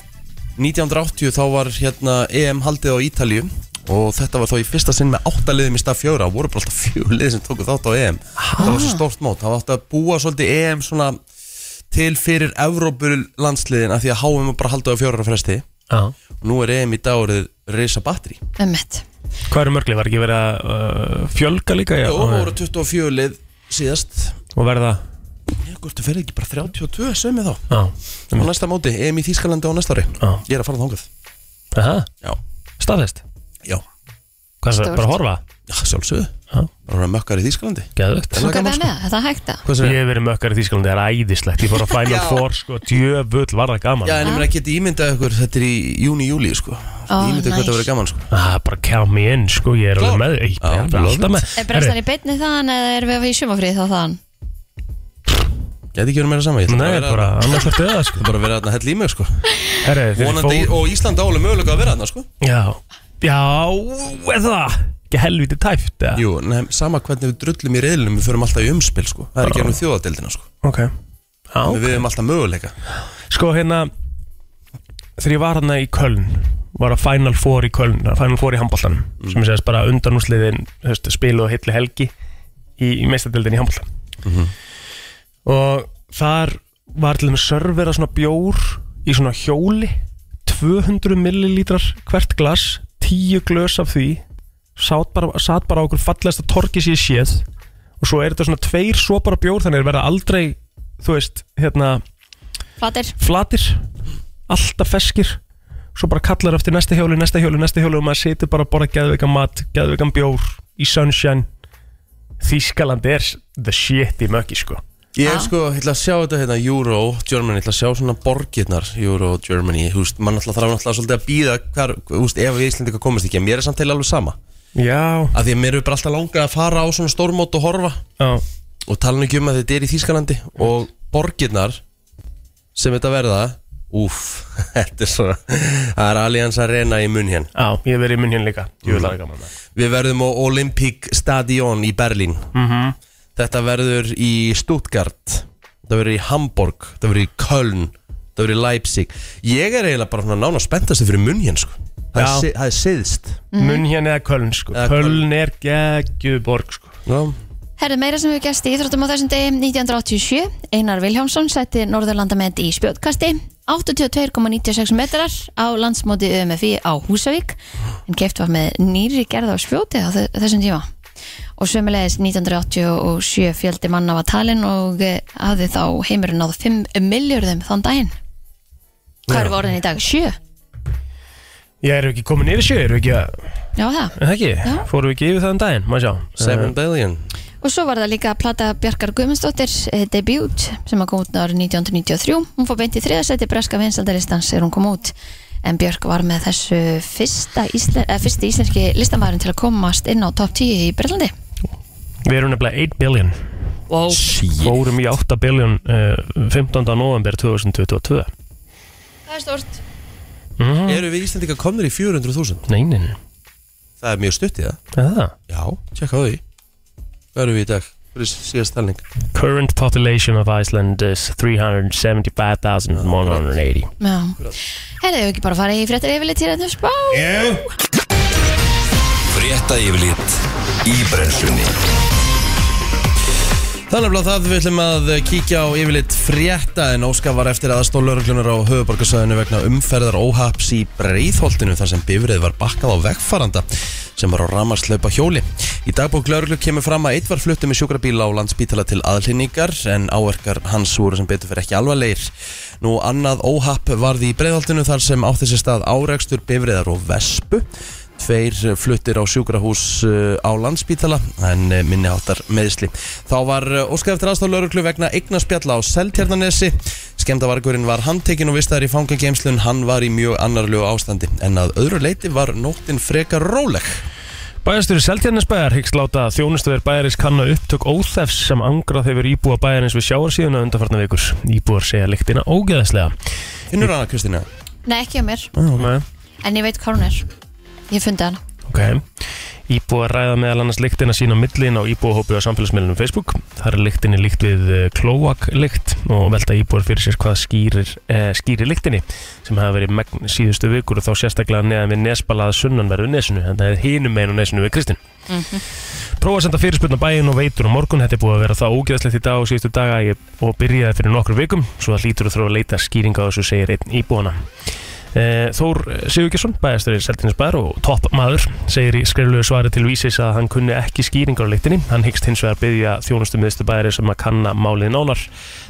S3: 1980 þá var hérna EM haldið á Ítalíu og þetta var þá í fyrsta sinn með áttaliðum í stað fjóra voru bara alltaf fjólið sem tóku þátt á EM það var svo stórt mót, það var alltaf að búa svolítið EM svona til fyrir Evrópul landsliðin af því að háum við bara haldið á fjóra fresti
S4: Já.
S3: og nú er EM í dag orðið reysa batteri
S2: ömmett
S4: Hvað eru mörglið? Var ekki verið að uh, fjölga líka? Já,
S3: og voru 24 lið síðast
S4: og verða
S3: Hvort þú ferði ekki bara 32 sömi þá
S4: Já,
S3: Á næsta móti, EM í Þýskalandi á næsta ári
S4: Já.
S3: Ég er að fara þangað
S4: Aha,
S3: Ah. Já,
S4: staðfest
S3: já,
S4: Hvað er það?
S2: Stórt.
S4: Bara horfa?
S3: já sjálfsögðu
S4: Já.
S3: Bara að vera mökkar í Þýskalandi
S4: Geðvögt
S3: Það er
S2: Svo gæmum
S3: gaman,
S2: við
S3: sko.
S2: með, það, það er hægt að
S3: Hvað
S4: Ég
S3: segir
S4: hef verið mökkar í Þýskalandi, það er æðislegt Ég fór á Final
S3: Já.
S4: Four, sko, djöfull var það gaman
S3: Já, en ég meina að geta ímyndað ykkur Þetta er í júni, júli, sko
S2: Ó,
S3: oh, Ímyndað nice. hvað það
S2: nice.
S3: verið gaman, sko
S4: ah, Bara kjá mig inn, sko, ég er alveg
S3: Klár.
S4: með Ég
S3: Já,
S4: er
S3: love
S4: alltaf
S3: it.
S4: með
S2: Er brennslan í beinni þaðan eða erum við í sumafrið þá þaðan?
S3: Gæti ekki verið meira saman Ég ætla
S4: Nei,
S3: bara að vera
S4: bara annars eftir það,
S3: Það
S4: sko
S3: er bara að vera þarna hell í mig, sko
S4: Herri, þeir
S3: Vonandi,
S4: fór
S3: og Ísland álega mögulega að vera þarna, sko
S4: Já, já, eða það Ekki helviti tæft, eða
S3: Jú, nefn, sama hvernig við drullum í reyðlunum Við förum alltaf í umspil, sko Það er ekki ennum þjóðadeildina, sko
S4: Ok Já,
S3: Við höfum alltaf möguleika
S4: Sko hérna Þegar ég var hérna í Köln Var að Final Four í Köln Final Four í handbóltanum Sem ég segist bara undanúsliðin höst, Spilu og hilli helgi Í, í meistardildin í handbóltan Og þar var til þeim servera svona bjór Í svona hjóli 200 millilítrar hvert glas 10 glös af því Sátt bara, satt bara á okkur fallegasta torki sér séð Og svo er þetta svona tveir sopar af bjór Þannig er verða aldrei Þú veist, hérna
S2: Flatir,
S4: flatir alltaf feskir svo bara kallar eftir næsta hjóli, næsta hjóli, næsta hjóli og maður situr bara að borða geðveikan mat geðveikan bjór í sunshine Þískaland er the shit í mökki sko
S3: Ég
S2: Já.
S3: er sko, ég ætla að sjá þetta hérna Euro, Germany, ég ætla að sjá svona borgirnar Euro, Germany, þú veist, mann alltaf þarf náttúrulega svolítið að býða hvar, þú veist, ef við Íslandi komast ekki, en mér er samt til alveg sama
S4: Já,
S3: af því að mér er bara alltaf langað að fara á svona stórmót og horfa
S4: já,
S3: og tala nú ekki um að þetta er í Þýskalandi og borgirnar sem þetta verða Úff, þetta er svona Það er Allianz Arena í mun hér
S4: já ég hef verið í munn hérna líka Júlar gaman maður.
S3: Við verðum á Olympic Stadion í Berlín
S4: Mhm.
S3: Þetta verður í Stuttgart Þetta verður í Hamburg Þetta verður í Köln Þetta verður í Leipzig Ég er eiginlega bara svona nána spenntast fyrir munn hérna sko Það er
S4: Já.
S3: si- Það er siðst
S4: Munn hérna eða Köln sko
S3: Eða
S4: Köln er geggjuborg sko
S3: Já.
S2: Herðu meira sem hefur gæst í Íþróttum á þessum degi 1987, Einar Vilhjámsson setti Norðurlandamet í spjótkasti 82,96 metrar á landsmóti UMFI á Húsavík en keft var með nýri gerð á spjóti á þe- þessum tíma og sömulegis 1987 fjöldi manna var talin og eh, hafði þá heimurinn áð 5 miljörðum þann daginn Hvað eru orðin í dag? 7?
S4: Ég er ekki komin yfir sjö, erum við ekki að
S2: Já það
S4: Er það ekki? Fórum við ekki yfir það um daginn, maður sjá
S3: Seven billion
S2: Og svo var það líka að plata Bjarkar Guðmundsdóttir eh, debut sem að kom út árið 1993. Hún fór beint í þriðasæti breska vinsaldalistans er hún kom út. En Björk var með þessu fyrsta íslen, eh, fyrsti íslenski listamæðurinn til að komast inn á top 10 í Breitlandi.
S4: Eh, Við erum nefnilega 1 billion
S2: Wow.
S4: eh, Fórum í 8 billion uh, 15. november 2022
S2: Það er stort
S3: Eru við Íslandika komnir í 400.000?
S4: Nei, nei, nei
S3: Það er mjög stutt í það
S4: Er það?
S3: Já, tjekka á því Hvað erum við í dag? Hver er síðast talning?
S4: Current population of Iceland is 375,180
S2: Já Herðu, hefur ekki bara farið í fréttar yfirleitt hér eftir hérna? spá?
S4: Eh.
S6: Frétta yfirlit í brennslunni
S3: Þannig að það við ætlum að kíkja á yfirleitt frétta en Óskar var eftir aðstóð lauruglunar á höfuborgarsæðinu vegna umferðar óhaps í Breiðholtinu þar sem bifrið var bakkað á vegfaranda sem var á ramarslaupa hjóli. Í dagbók lauruglu kemur fram að eitt var fluttu með sjúkrabíla á landsbítala til aðlýningar en áverkar hans voru sem betur fyrir ekki alvarlegir. Nú annað óhapp varði í Breiðholtinu þar sem átti sér stað árekstur bifriðar og vespu Tveir eh, fluttir á sjúkrahús uh, á landsbítala en uh, minni áttar meðsli. Þá var uh, óskað eftir aðstof lauruglu vegna eignaspjalla á Seltjarnanesi. Skemdavargurinn var handtekinn og vistaður í fangageimslun. Hann var í mjög annarlegu ástandi en að öðru leiti var nóttin frekar róleg.
S4: Bæjarstjóri Seltjarnasbæjar hyggst láta þjónustuver bæjarins kanna upptök óþefs sem angrað hefur íbúa bæjarins við sjáarsíðuna undarfarna vikur. Íbúar segja lyktina ógeðaslega.
S3: Finnur hana, Kristina?
S2: Nei, ekki á mér
S4: Okay.
S2: En ég veit hvað hún er Ég fundi hana
S4: ok. Íbúar ræða meðal annars lyktina sína á millin á íbúahópi á samfélagsmiðlunum Facebook. Þar er lyktinni líkt við eh, klóaklykt og velta íbúar fyrir sér hvað skýrir, eh, skýrir lyktinni sem hafa verið megn síðustu vikur og þá sérstaklega neðan við nesbalaða sunnanverðu nesinu. Þetta er hinum meginu nesinu við Kristinn. Prófa að senda fyrirspurn á bæinn og veitur á morgun Þetta er búið að vera það ógeðslegt í dag og síðustu daga ég- og byrjaði fyrir nokkru vikum svo það lítur að þurfa að leita skýringa á þessu segir einn íbúana Eh, Þór Sigurgesson, bæðastur í Seltinsbæðar og toppmaður, segir í skriflegu svari til vísis að hann kunni ekki skýringar á leiktinni. Hann hyggst hins vegar byggja þjónustu miðstu bæðari sem að kanna málið nánar.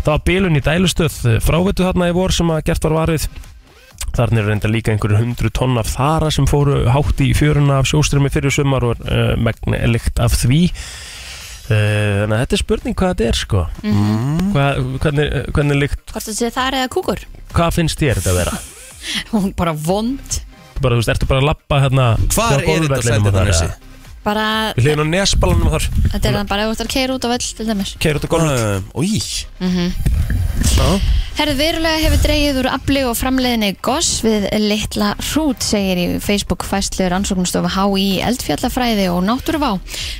S4: Það var bilun í dælustöð frávitu þarna í vor sem að gert var varið. Þarna eru reynda líka einhverju hundru tonn af þara sem fóru hátt í fjöruna af sjóströmi fyrir sumar og uh, megn lykt af því. Uh, þannig að þetta er spurning hvað þetta er sko. Hvað, hvernig, hvernig lykt,
S2: Mhm. Hvort þetta sé þar eða kúkur
S4: hvað finnst þér þetta að vera?
S2: Hún bara vond
S4: bara, þú veist, ertu bara að lappa hérna
S3: Hvar er
S4: hjá
S3: þetta
S4: golfvellinum og þar,
S3: Seltjarnanesi?
S4: eða?
S2: Bara,
S4: Við hliðin á nesbalanum þar
S2: þetta er hann bara ef þú ert að keira út á völl til dæmis
S4: Keir út á golfið
S3: Uh, Í,
S2: Herðu verulega hefur dreigið úr afli og framleiðinni goss við litla hrút segir í Facebook fæslu rannsóknstofu HÍ eldfjallafræði og náttúruvá.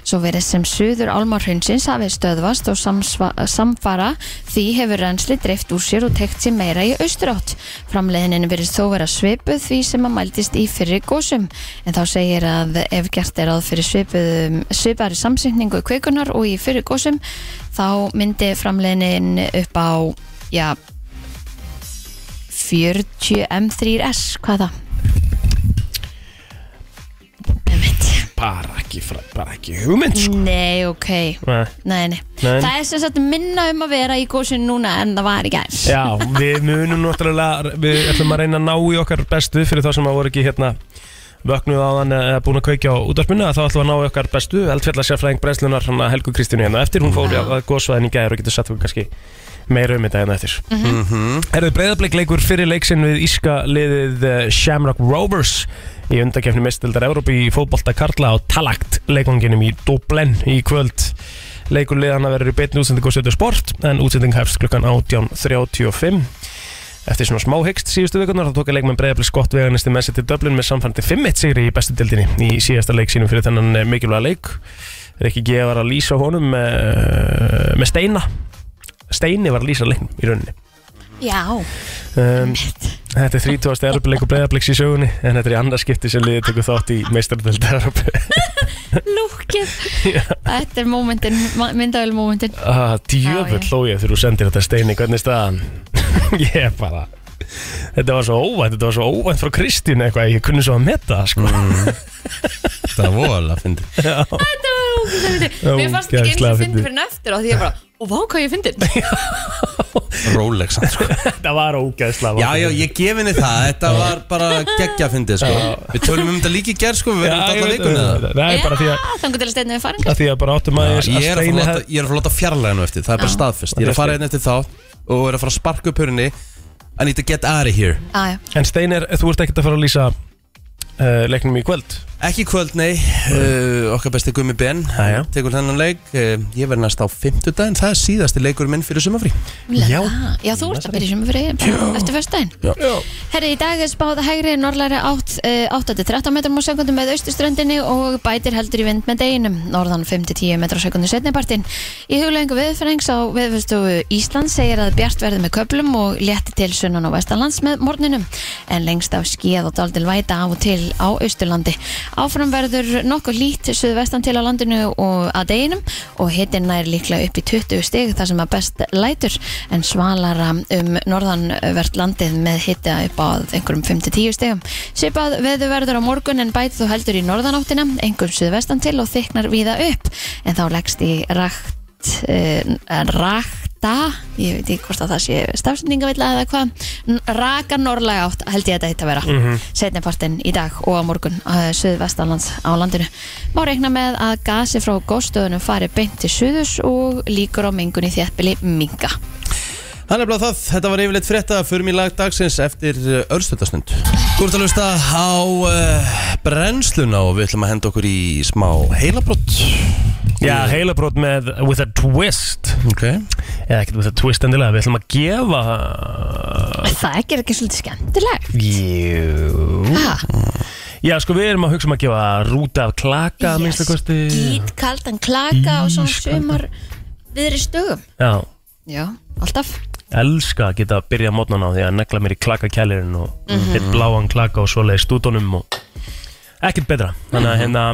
S2: Svo verið sem suður álmarhundsins hafi stöðvast og samsva, samfara því hefur reynsli dreift úr sér og tekt sér meira í austurátt. Framleiðinin verið þó vera svipuð því sem að mæltist í fyrri gósum. En þá segir að ef gert er að fyrir svipuðum, svipari samsynkningu kveikunar og í fyrri gósum þá myndi framleiðinin upp á já, 40 M3S, hvað það? Nei, veit ég.
S4: Bara ekki, fra- bara ekki hugmynd sko.
S2: Nei, ok
S4: Nei.
S2: nei, nei.
S4: Nei.
S2: Það er sem sagt minna um að vera í góðsinn núna en það var í gær
S4: Já, við munum náttúrulega Við ætlum að reyna að ná í okkar bestu Fyrir þá sem að voru ekki hérna Vöknuð á þann eh, eða búin að kveikja á útarpinu Þá ætlum við að ná í okkar bestu Eldfjalla sérfræðing brennslunar hann að Helgu Kristínu hérna á eftir Hún fór í að góðsvæðin í gæður og getur satt okkur kannski meira um þetta hérna eftir mm -hmm. Erðu breyðablik leikur fyrir leiksinn við Íska liðið eh, Shamrock Rovers í undakefni mestildar Evrópi í fótbolta Karla á Talagt leikonginum í Dublin í kvöld leikur liðana verður í beinni útsendingu á Stöðu Sport en útsending hefst klukkan 18.35 Eftir svona smá hyggst síðustu vikunar þá tók ég leikmenn breyðabli skott veganisti með sér til Dublin með samfærandi 5-1 sigri í bestu dildinni í síðasta leik sínum fyrir þennan eh, mikilvæga leik Rikki G var að lýsa honum eh, með, með steina Steini var að lýsa leiknum í rauninni
S2: Já,
S4: um, Þetta er 30. erupleiku breyðabliks í sögunni en þetta er í andarskipti sem liðið tekur þátt í meistardöld Erup
S2: lúkið Þetta er momentin, myndavel momentin
S4: ah,
S2: Já,
S4: Djöfull
S2: já.
S4: hló ég þegar þú sendir þetta Steini hvernig er staðan Ég er bara Þetta var svo óvænt, þetta var svo óvænt frá Kristín eitthvað, ég kunni svo að meta það sko
S3: það var voðalega að fyndi.
S2: Þetta var ógeðslega fyndið Mér fannst ekki eins
S4: Ógeðslega
S2: og fyndið
S4: fyndið.
S2: fyrir en eftir á því ég bara, og vá hvað ég fyndið
S3: Róleg samt, sko.
S4: Þetta var ógæðslega
S3: Já, já, ég gef henni það. Þetta var bara geggja að fyndi, sko. Við tölum um þetta líka í gerð, sko. Við verðum þetta allan vikunni það.
S4: það Nei, bara því að,
S2: Þangu til að steinna við faringar
S4: að því að bara áttum
S3: Já,
S4: aðeins að
S3: ég, er að fara
S4: Steini
S3: að láta,
S4: hef-
S3: ég er að fara að láta fjarlæga nú eftir Það er bara staðfest Ég er að fara einn eftir þá Og er að fara að sparka upp hörunni I need to get out of here
S2: ah,
S4: En Steini, er- þú ert ekkert að fara að lýsa uh, leiknum í kvöld
S3: Ekki í kvöld, nei uh, Okkar besti Gummi Ben
S4: Jæja.
S3: Tekur hennan leik uh, Ég verð næst á fimmtudaginn Það er síðasti leikur minn fyrir sumafrí
S2: Já, já þú ert að byrja sem fyrir eftir föstudaginn Herri, í dag er spáð hægri norðlæri átt, eh, 8-13 metrum á sekundum með austurströndinni og bætir heldur í vind með deginum, norðan 5-10 metrum á sekundum setnipartin. Í huglegingu viðfrængs á viðfyrstofu Ísland segir að bjart verði með köplum og létti til sunnan og vestanlands með morninum, en lengst af skíð og daldil væta af og til á austurlandi. Áfram verður nokkuð lít suðvestan til á landinu og að deginum og hitinn nær líklega upp í 20 stig þar sem að best lætur en svalara um norðanvert landið með hitta upp á einhverjum 5-10 stigum. Svipað veður verður á morgun en bæt þú heldur í norðanáttina, einhverjum suðvestan til og þyknar víða upp en þá leggst í rakt uh, rakta ég veit ekki hvort að það sé stafsendingavilla eða hvað, N- raka norðlega átt held ég að þetta hitt að vera mm setnipartin í dag og á morgun uh, suðvestanlands á landinu. Má reikna með að gasi frá góðstöðunum fari beint til suðus og líkur á mengun í þjættbili minga.
S3: Það er nefnilega það, þetta var yfirleitt frétta Förum í lag dagsins eftir örstutasnund Þú ert að lusta á uh, brennsluna og við ætlum að henda okkur í smá heilabrott
S4: Já, heilabrót með With a Twist
S3: Ok
S4: Eða ekkert With a Twist endilega Við ætlum að gefa
S2: Það ekki er ekki svolítið skemmtilegt.
S4: Jú
S2: Ha,
S4: Já, sko við erum að hugsa um að gefa rúta af klaka að minnsta kosti Mm, sko.
S2: skít, kaldan klaka og svona sumar viðri stugum.
S4: Já,
S2: Já, alltaf.
S4: elska að geta að byrja mótnan á því að negla mér í klakakælirinn og mm
S2: Mhm.
S4: hitt bláan klaka og svoleiði stúdónum og ekkert betra þannig
S2: Mhm.
S4: að hérna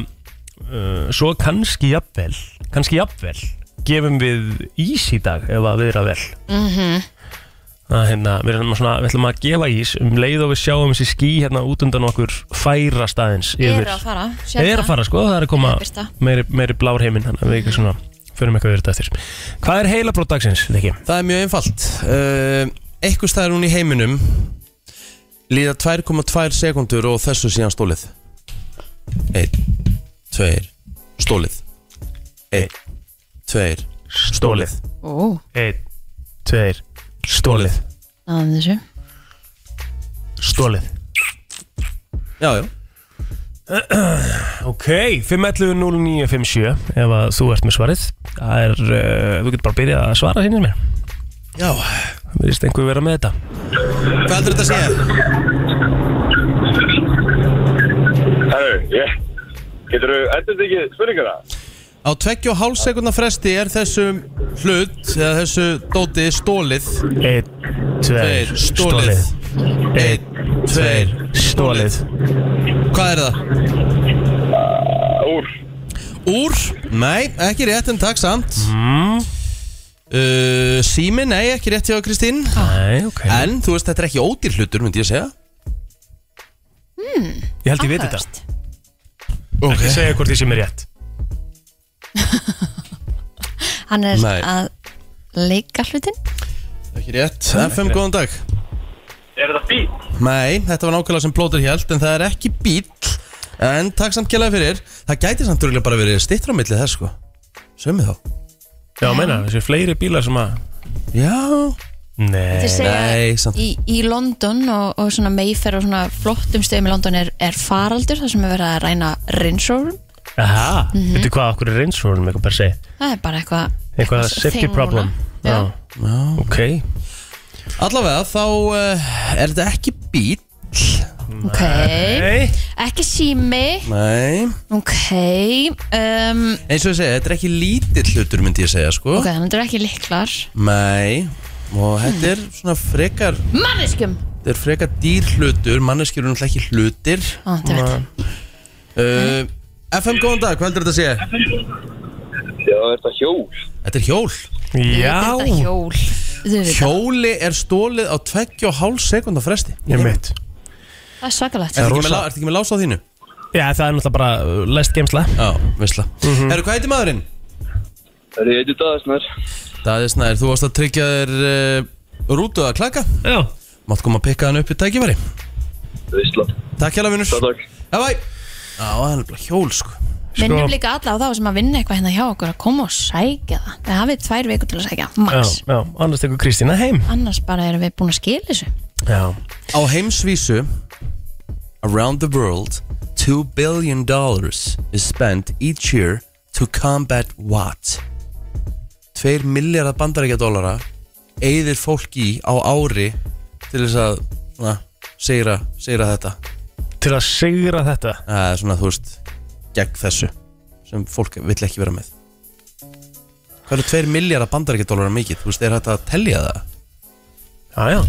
S4: uh, svo kannski jafnvel kannski jafnvel gefum við ís í dag ef að við erum að vel
S2: Mhm.
S4: að hérna við erum svona við ætlum að gefa ís um leið og við sjáum þessi skí hérna út undan okkur færa staðins
S2: Ég
S4: yfir
S2: er að fara. sérð
S4: er að
S2: það.
S4: fara sko, það er að koma
S2: Það er birta.
S4: meiri, meiri blár heiminn þannig að við ekki svona förum eitthvað yfir þetta eftir hvað er heila dagsins, Riki?
S3: Það er mjög einfalt uh, Eitthvað staðar hún í heiminum Líða 2,2 sekundur og þessu síðan stólið 1, 2, stólið 1, 2, stólið
S2: Ó,
S4: Einn, tveir, stólið
S2: náðum þessu.
S4: Stólið
S3: Já, já
S4: Ok, 511-0957 Ef að þú ert með svarið Það er, uh, þú getur bara að byrja að svara hérna mér
S3: Já,
S4: Það verðist einhver vera með þetta
S3: hvað heldur þetta að segja?
S7: Herru, ég... Getur þú endur ekki spurninguna?
S3: Á 2,5 sekundar fresti er þessum hlut eða þessu dóti stólið
S4: Einn, tveir,
S3: Tveir, stólið.
S4: Einn,
S3: tveir,
S4: stólið
S3: Hvað er það?
S7: Úr.
S3: Úr? Nei, ekki rétt en takk samt
S4: mm,
S3: uh, Sími, nei, ekki rétt hjá Kristín
S4: Nei, ok
S3: En þú veist, þetta er ekki ódýr hlutur, myndi ég segja
S4: Ég held ég veit þetta
S2: Áhugavert.
S4: Ekki segja hvort því sem er rétt
S2: Hann er
S3: Nei.
S2: að leika hlutin.
S3: Ekki rétt FM, góðan dag
S7: Er þetta bíl?
S3: Nei, þetta var nákvæmlega sem plótur hjælt En það er ekki bíl En takk samt kjærlega fyrir Það gæti samt rúglega bara verið stittra á milli þess sko Sumi þá
S4: Já, meina, þessi fleiri bílar sem að
S3: Já
S4: Nei
S2: Þeir segja
S3: nei, samt.
S2: í, í London og, og svona Mayfair og svona flottum stöðum í London er, er faraldur þar sem er verið að ræna rinsórum
S4: Aha, veitu hvað okkur er reynsfórunum eitthvað bara að segja
S2: það er bara eitthvað
S4: Eitthvað safety
S2: thing
S4: problem
S2: núna. Já.
S4: Ok,
S3: Allavega þá uh, er þetta ekki bíl
S2: ok,
S4: Nei.
S2: ekki sími
S3: Nei
S2: ok um,
S3: Eins og ég segja, þetta er ekki lítill hlutur myndi ég segja sko
S2: ok, þannig þetta er ekki liklar
S3: Nei Og þetta er svona frekar
S2: manneskum,
S3: Þetta er frekar dýr hlutur Manneskjur eru náttúrulega ekki hlutir
S2: Á, þetta er rétt.
S3: uh, FM, góðan dag, hvað heldur þetta að segja?
S7: Já, er þetta hjól?
S3: Þetta er hjól
S4: já
S2: þetta er hjól Þú veit það.
S3: Hjóli er stólið á 2,5 sekundar fresti
S4: Ég mitt
S2: það er svakalegt
S3: Ertu
S4: Það er
S3: ekki,
S4: rosa.
S3: með lá- ertu ekki með lása á þínu?
S4: Já, það er náttúrulega bara uh, lest geimsla
S3: Já, vissla mm Herru, hvað heitir maðurinn?
S7: Er þetta dagasnar?
S3: Daði Snær, þú varst að tryggja þér uh, rútu að klaka
S4: Já
S3: Mátt koma að pikka hann upp í tækifæri
S7: Vissla.
S3: Takk hérna, vinnur
S7: Takk.
S3: Já, bæ Já, það er bara hjól, sko
S2: minnum
S4: sko-
S2: líka alla á þá sem að vinna eitthvað hérna hjá okkur að koma og sækja það það hafið tvær vikur til að sækja,
S4: Já,
S2: max
S4: já, annars tekur Kristína heim
S2: annars bara erum við búin að skila þessu
S4: Já
S3: Á heimsvísu Around the world 2 2 billion dollars is spent each year to combat what? 2 miljardar bandarækja dólara eigðir fólk í á ári til þess að svona, segra, segra þetta
S4: Til að sigra þetta
S3: Það er svona, þú veist, gegn þessu sem fólk vill ekki vera með Hvað eru 2 miljardar bandarækja dólara mikið? Þú veist, er þetta að telja það?
S4: Já, já,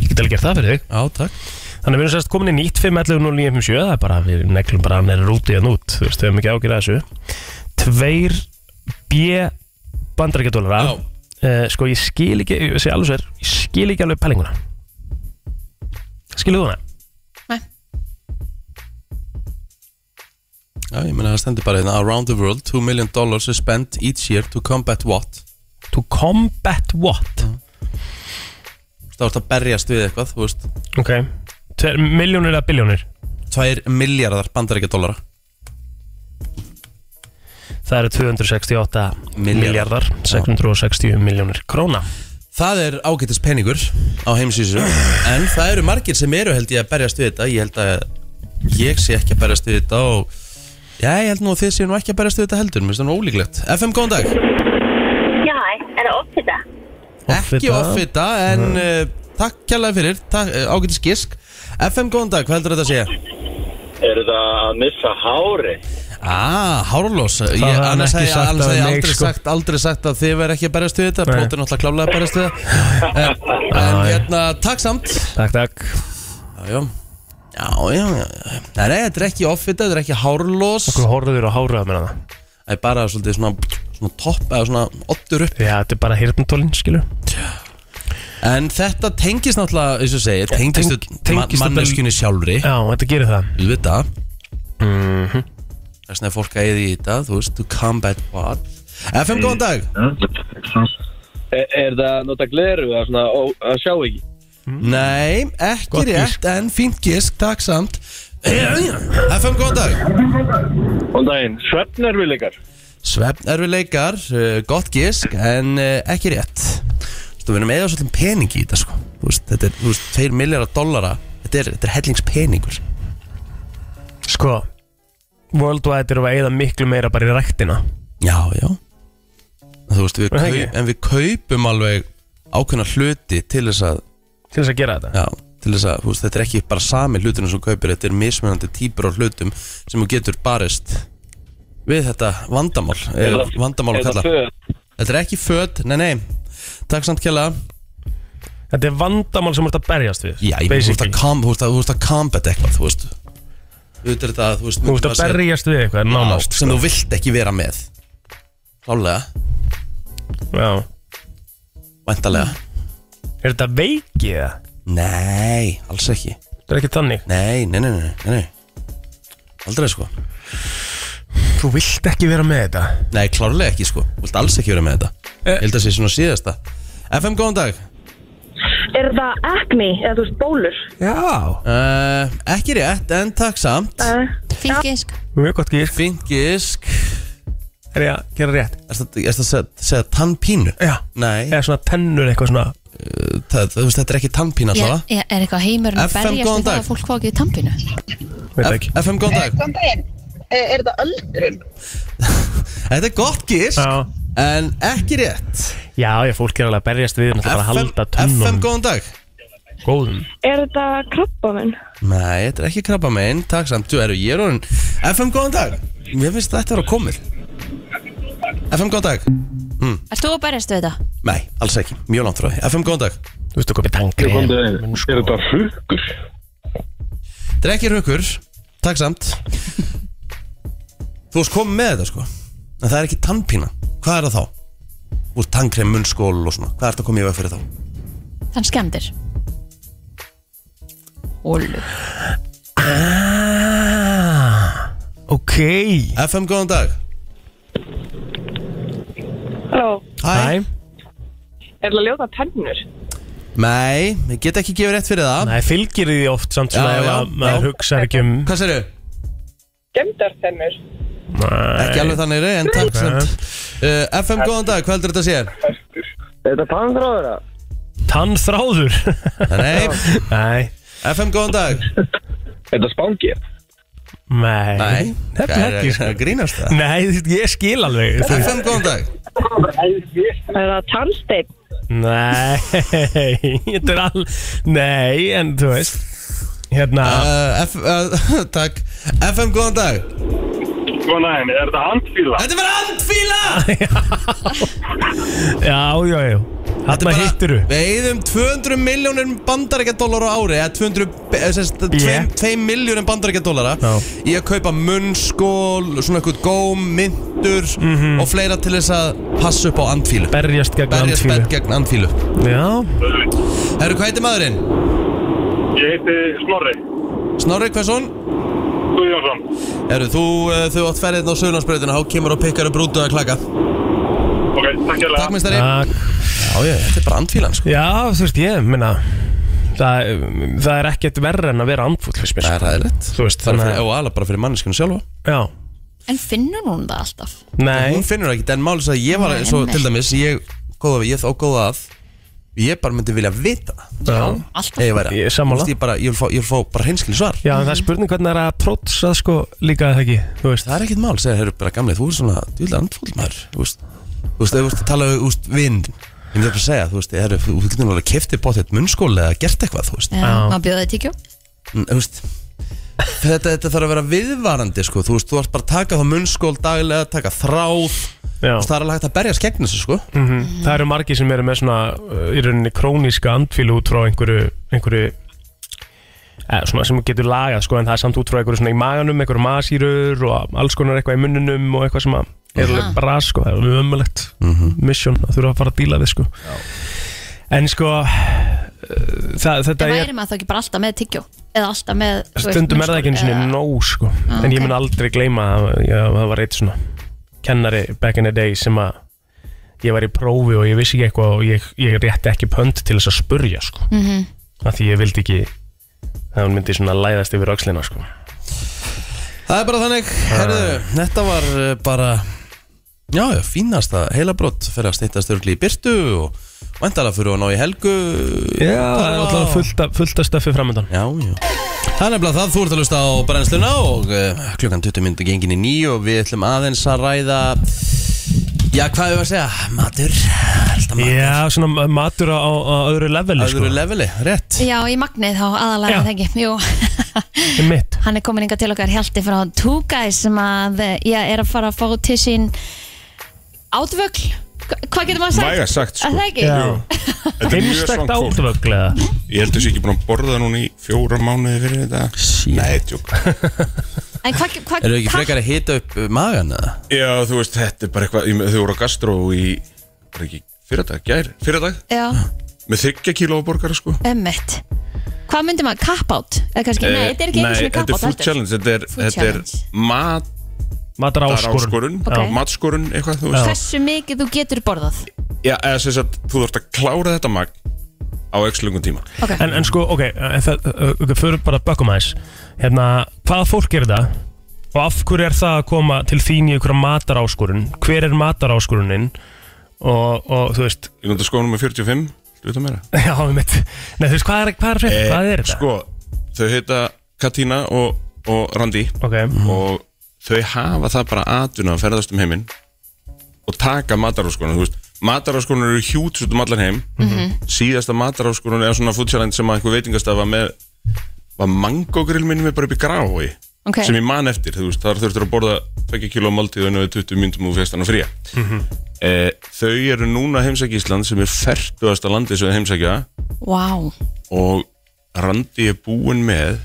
S4: ég get alveg gert það fyrir þig
S3: Já, takk
S4: Þannig að við erum sérst komin í 9511957 Það er bara, við neglum bara hann er rútið hann út Þú veist, við hefum ekki ágjörð að þessu Tveir B bandarækjadólara
S3: Já.
S4: uh, Sko, ég skil ekki, ég sé alveg sér Ég skil ekki alveg pælinguna Skilu þú hana?
S2: Nei.
S3: Já, ég meina það stendur bara hérna Around the world, 2 million dollars is spent each year to combat what?
S4: To combat what?
S3: Þú veist, Það vart að berjast við eitthvað, þú veist
S4: Ok Tveir miljónir eða biljónir
S3: 2 miljardar bandaríkja dólara
S4: Það eru 268
S3: Milljarðar.
S4: miljardar 660 miljónir króna
S3: Það er ágættis peningur á heimsísu En það eru margir sem eru held ég að berjast við þetta Ég held að ég sé ekki að berjast við þetta og Já, ég held nú að þið séu nú ekki að berjast við þetta heldur Mér finnst það nú ólíklegt FM, góðan dag
S8: Já, hæ, er það offita?
S3: Ekki offita, en uh, takk kjærlega fyrir takk, uh, Ágættis gisk FM, góðan dag, hvað heldur þetta að sé?
S7: Er það að missa hári?
S3: Ah, hárlós Ég-
S4: hafði hann
S3: Annars
S4: ekki
S3: hefði
S4: sagt
S3: annars
S4: að
S3: hefði ég
S4: mig,
S3: aldrei
S4: sko.
S3: sagt Aldrei sagt að þið verð ekki að berjast við þetta
S4: Nei.
S3: Plótur náttúrulega klálega að berjast við það En- En
S4: já.
S3: hérna, takk samt
S4: Takk, takk
S3: Já, já Já, já, já já. Nei, nei, þetta er ekki offita, þetta er ekki hárlós
S4: Hvað horfður Sko, á háraða með hana?
S3: Það er bara svolítið svona Svona topp eða svona oddur upp
S4: Já, þetta er bara hirtintólin, skilu
S3: En þetta tengist náttúrulega, eins og ég segi Tengist,
S4: teng-
S3: tengist man,
S4: tengist þetta-
S3: manneskjunni sjálfri
S4: Já, þetta gerir það
S3: Við veit það
S7: Mhm.
S3: Þess vegna er fólk að eða í þetta, þú veist To combat what FM, góðan dag
S7: Er, er það að nota gleru að, svona, ó, að sjá ekki?
S3: Mm. Nei, ekki
S4: Gott
S3: rétt, en fínt gisk, takk samt FM, góðan dag
S7: Góðan daginn, svefnervileikar
S3: Svefn erfi leikar, uh, gott gisk, en uh, ekki rétt Þú verðum eða svolítið pening í þetta sko Þú veist, Þetta er, þú veist, 2 miljardar dollara Þetta er, þetta er hellingspeningur
S4: Sko Worldwide eru að eða miklu meira bara í ræktina
S3: Já, já Þú veist, við
S4: Er það
S3: kaup,
S4: ekki?
S3: En við kaupum alveg ákveðna hluti til þess að
S4: Til þess að gera þetta
S3: Já, til þess að, þú veist, þetta er ekki bara sami hluturinn sem þú kaupir, þetta er mismunandi típur á hlutum sem þú getur barist við þetta vandamál er, vandamál að kalla Þetta er ekki föt, nei nei Takk samt kjalla
S4: Þetta er vandamál sem þú ert að berjast við
S3: Já, ég meina, þú veist
S4: basically.
S3: að kam- þú veist að- þú veist að combat eitthvað, þú veist Þú veist þetta, þú veist
S4: Þú
S3: myndum
S4: ert að
S3: segja-
S4: berjast við eitthvað,
S3: Já,
S4: nánast
S3: sem þú vilt ekki vera með Klálega,
S4: Já
S3: væntalega
S4: Er þetta veikið eða?
S3: Nei, alls ekki
S4: Þetta er ekki þannig
S3: Nei, nei, nei, nei, nei, nei. Aldrei sko
S4: Þú vilt ekki vera með þetta
S3: Nei, klárlega ekki sko, þú vilt alls ekki vera með þetta
S4: Eh.
S3: Ég held að sé svona síðasta FM, góðan dag
S8: Er það acme, eða þú veist bólur?
S4: Já
S3: uh, Ekki rétt, en takk samt
S4: Eh.
S2: Fín gísk
S4: Mjög gott gísk
S3: Fínt gisk
S4: Er ég að gera rétt?
S3: Erst að, erst að segja, segja tannpínu?
S4: Já
S3: Nei,
S4: Eða svona tennur eitthvað svona
S3: það, þú veist, þetta er ekki tannpín
S2: ég,
S3: alltaf
S2: ég er eitthvað heimurinn að
S3: FM,
S2: berjast
S3: góðan
S2: við það
S3: dag.
S2: að fólk fá ekki í tampinu
S4: Veit ekki
S3: FM, góðan
S8: Eh,
S3: dag
S8: Er það öldrun?
S3: Þetta er gott gisk,
S4: Já
S3: en ekki rétt
S4: Já, ég fólk er alveg að berjast við Það er að
S3: FM,
S4: halda
S3: FM,
S4: tunnum
S3: góðan dag
S4: góðum
S8: Er það krabbaminn?
S3: Nei, þetta er ekki krabba megin, takk samt Þú eru, ég er orðin FM, góðan dag Mér finnst þetta að vera komið FM, góðan dag
S2: Ert þú að berjast við þetta?
S3: Nei, alls ekki, mjög langt frá því FM, góðan dag
S4: Þú hérna. veistu hvað við tangri
S7: Er þetta hruggur?
S3: Þetta er ekki rökkur, takk samt Þú varst komið með þetta sko En það er ekki tannpína Hvað er það þá? Úr tannkrem, munnskól og svona Hvað er þetta komið í veg fyrir þá?
S2: Þann skemmdir Ólu
S4: Ok
S3: FM, góðan dag
S8: Halló,
S3: Hæ?
S8: er það ljóta tennur?
S3: Nei, ég get ekki gefið rétt fyrir það
S4: Nei, fylgir því oft samt
S3: Já,
S4: svona ef
S3: já,
S4: að
S3: já.
S4: maður hugsa ekki um
S3: Hvað serðu?
S8: Gemdar tennur?
S3: Ekki alveg þannig rey, en takk
S4: Ok.
S3: samt uh, FM, góðan dag, hvað heldur þetta að sé?
S7: Er þetta tannþráður að?
S4: Tannþráður
S3: Nei,
S4: Nei,
S3: FM, góðan dag
S7: Er þetta spangir?
S4: Nei,
S3: Nei,
S4: nefnilega
S3: hvað er-
S4: ekki sko.
S3: er að grínast það?
S4: Nei, þú veist, ég skil alveg þú veist.
S3: FM, góðan dag
S8: Er það tannsteinn?
S4: Nei, þetta er all Nei, en þú veist Hérna,
S3: uh, F, uh, Takk FM, góðan dag
S7: Sko næðin, er þetta handfíla?
S3: Þetta var andfíla
S4: já, já, já Þarna hittiru
S3: Við eigðum 200 miljónir bandarækja dólar á ári eða 200, eh, sem sagt, 2
S4: Yeah.
S3: yeah. miljónir bandarækja dólara
S4: Já.
S3: í að kaupa munnskól, svona eitthvað góm, myndur og fleira til þess að passa upp á Mhm. andfílu
S4: Berjast gegn
S3: Berjast
S4: andfílu
S3: berg gegn andfílu
S4: Já,
S3: Herru, hvað heitir maðurinn?
S7: Ég heiti Snorri
S3: Snorri, hversson?
S7: Guðjónsson
S3: Herru, þú, uh, þau átt ferðin á Söðlandsbreytina þá kemur og pikkar upp rútu að klaka
S7: Ok, takk hérlega
S4: Ah.
S3: Takk, mistari
S4: takk
S3: Já, ég, þetta er bara andfílan, sko
S4: Já, þú veist, ég minna það, það er ekkert verra en að vera andfúll fyrst mér
S3: Það er ræðilegt
S4: Þú veist,
S3: Bara
S4: þannig
S3: fyrir,
S4: að
S3: og alveg bara fyrir manneskinu sjálfa
S4: Já,
S2: En finnur hún það alltaf?
S4: nei
S3: Hún finnur ekki, en málið er að ég var
S2: Nei,
S3: svo
S2: nei.
S3: til dæmis Ég, góða, ég þá góða að Ég bara myndi vilja vita
S4: Já,
S2: Alltaf?
S3: Ef ég væri
S4: Ég er sammála.
S3: Þú veist, Ég, bara, ég, vil fá, ég vil fá bara hinskili svar
S4: Já, en það er spurning hvernig það er að prótsa sko líka eða ekki, þú veist
S3: Það er ekkit mál, segir herru bara gamli Þú er svona djúlega andfól maður Þú veist, þú veist, ef þú veist að tala um úst, vind Ég myndi bara að segja, þú veist, herru, þú þú getur alveg kiftið bótt eitt munnskóli eða gert eitthvað, þú veist
S2: Já, maður bjóði það í tíkjó
S3: En, þú veist Þetta, þetta þarf að vera viðvarandi sko Þú veist, þú ert bara að taka þá munnskól daglega Taka þráð, Þú
S4: Já,
S3: veist, það er alveg hægt að berja skegn þessu sko
S4: mhm. það eru margir sem eru með svona uh, í rauninni króníska andfílu út frá einhverju, einhverju eh, svona sem getur lagað sko en það er samt út frá einhverju svona í maganum, einhverju masýrur og alls konar eitthvað í munninum og eitthvað sem að er alveg bra sko, það er alveg ömulegt mission að þurfa að fara að díla við sko en sko uh, það, þetta
S2: En
S4: er
S2: væri maður þá ekki bara alltaf með tíkjó? Eða alltaf með þú veist,
S4: stundum er það ekki einu
S2: munnskóli eða-
S4: sinni nóg sko
S2: Ah,
S4: en ég
S2: ok.
S4: mun aldrei gleyma að já, það var eitt svona kennari back in the day sem að ég var í prófi og ég vissi ekki eitthvað og ég, ég rétti ekki pönd til þess að spurja sko mm
S2: Mhm.
S4: af því ég vildi ekki að hún myndi svona læðast yfir öxlina sko
S3: Það er bara þannig, herðu, þetta var uh, bara, já, já, fínasta heilabrótt fyrir að snýttast örgli í byrtu og vendala fyrir að ná í helgu.
S4: það er alltaf fullt, af- fullt að stöffi framöndan
S3: Já, já. Það er nefnilega það, þú ert að lusta á brennsluna og uh, klukkan 20 myndu gengin í nýju og við ætlum aðeins að ræða, já, hvað hefur að segja, matur, alltaf matur,
S4: já, svona matur á, á öðru leveli
S3: öðru
S4: sko
S3: leveli, rétt.
S2: Já, í magnið þá aðalega
S4: Já.
S2: það ekki Jú,
S4: er mitt
S2: hann er komin inga til okkar Hjalti frá Two Guys sem að ég er að fara að fá til sín átvögl Hva- Hvað getur maður sagt?
S9: Vægast sagt, sko.
S2: Er það ekki?
S4: Já.
S9: Þetta er mjög
S4: heimstækt
S9: svang fólk
S4: átvöglega
S9: Ég held þessi ekki búin að borða núna í fjóra mánuði fyrir þetta Nei, tjók
S2: En hvað, hvað
S3: Eru ekki frekar að hita upp uh, magan eða?
S9: Já, þú veist, þetta er bara eitthvað ég- Þau voru á gastró í Var ekki fyrradag, gær, fyrradag
S2: Já,
S9: Með þryggja kíló borgara, sko
S2: ömmett Hvað myndi maður? Kapp átt? Eða kannski, nei, þetta er ekki einu
S9: Eh, Nei,
S2: sinni kapp
S9: þetta er
S2: átt
S9: food challenge Þetta er,
S2: Food
S9: þetta er
S2: challenge.
S9: matar
S4: matur áskorun
S9: áskorun
S2: Ok.
S9: Matskorun, eitthvað, þú veist
S2: Hversu mikið þú getur borðað?
S9: Já, eða sem sagt, þú þurft að klára þetta magn Á x lungum tíma
S2: Ok,
S4: en, en sko, ok, en það, ok, förum bara að bökum aðeins hérna, hvaða fólk er það og af hverju er það að koma til þín í ykkur mataráskorun hver er mataráskoruninn og, og þú veist,
S9: Ég náttúrulega skoðum með 45 Þú veit að meira
S4: já, við mitt Nei, þú veist, hvað er, hvað er, frétt, hvað er þetta?
S9: Sko, þau heita Katína Ah, og, og Randi
S4: ok,
S9: og þau hafa það bara atuna að ferðast um heiminn og taka mataráskonur, þú veist mataráskonur eru hjút út um allan heim síðasta mataráskonur er svona fútsjálend sem að einhver veitingast að var með var mangogrill minni með bara upp í grái
S2: Ok.
S9: sem ég man eftir, þú veist, þar þurftur að borða 2 kg máltíð og við 20 myndum og festan og fría eh, þau eru núna heimsæki Ísland sem er ferduðasta landið sem þau heimsækja
S2: wow
S9: og Randi er búin með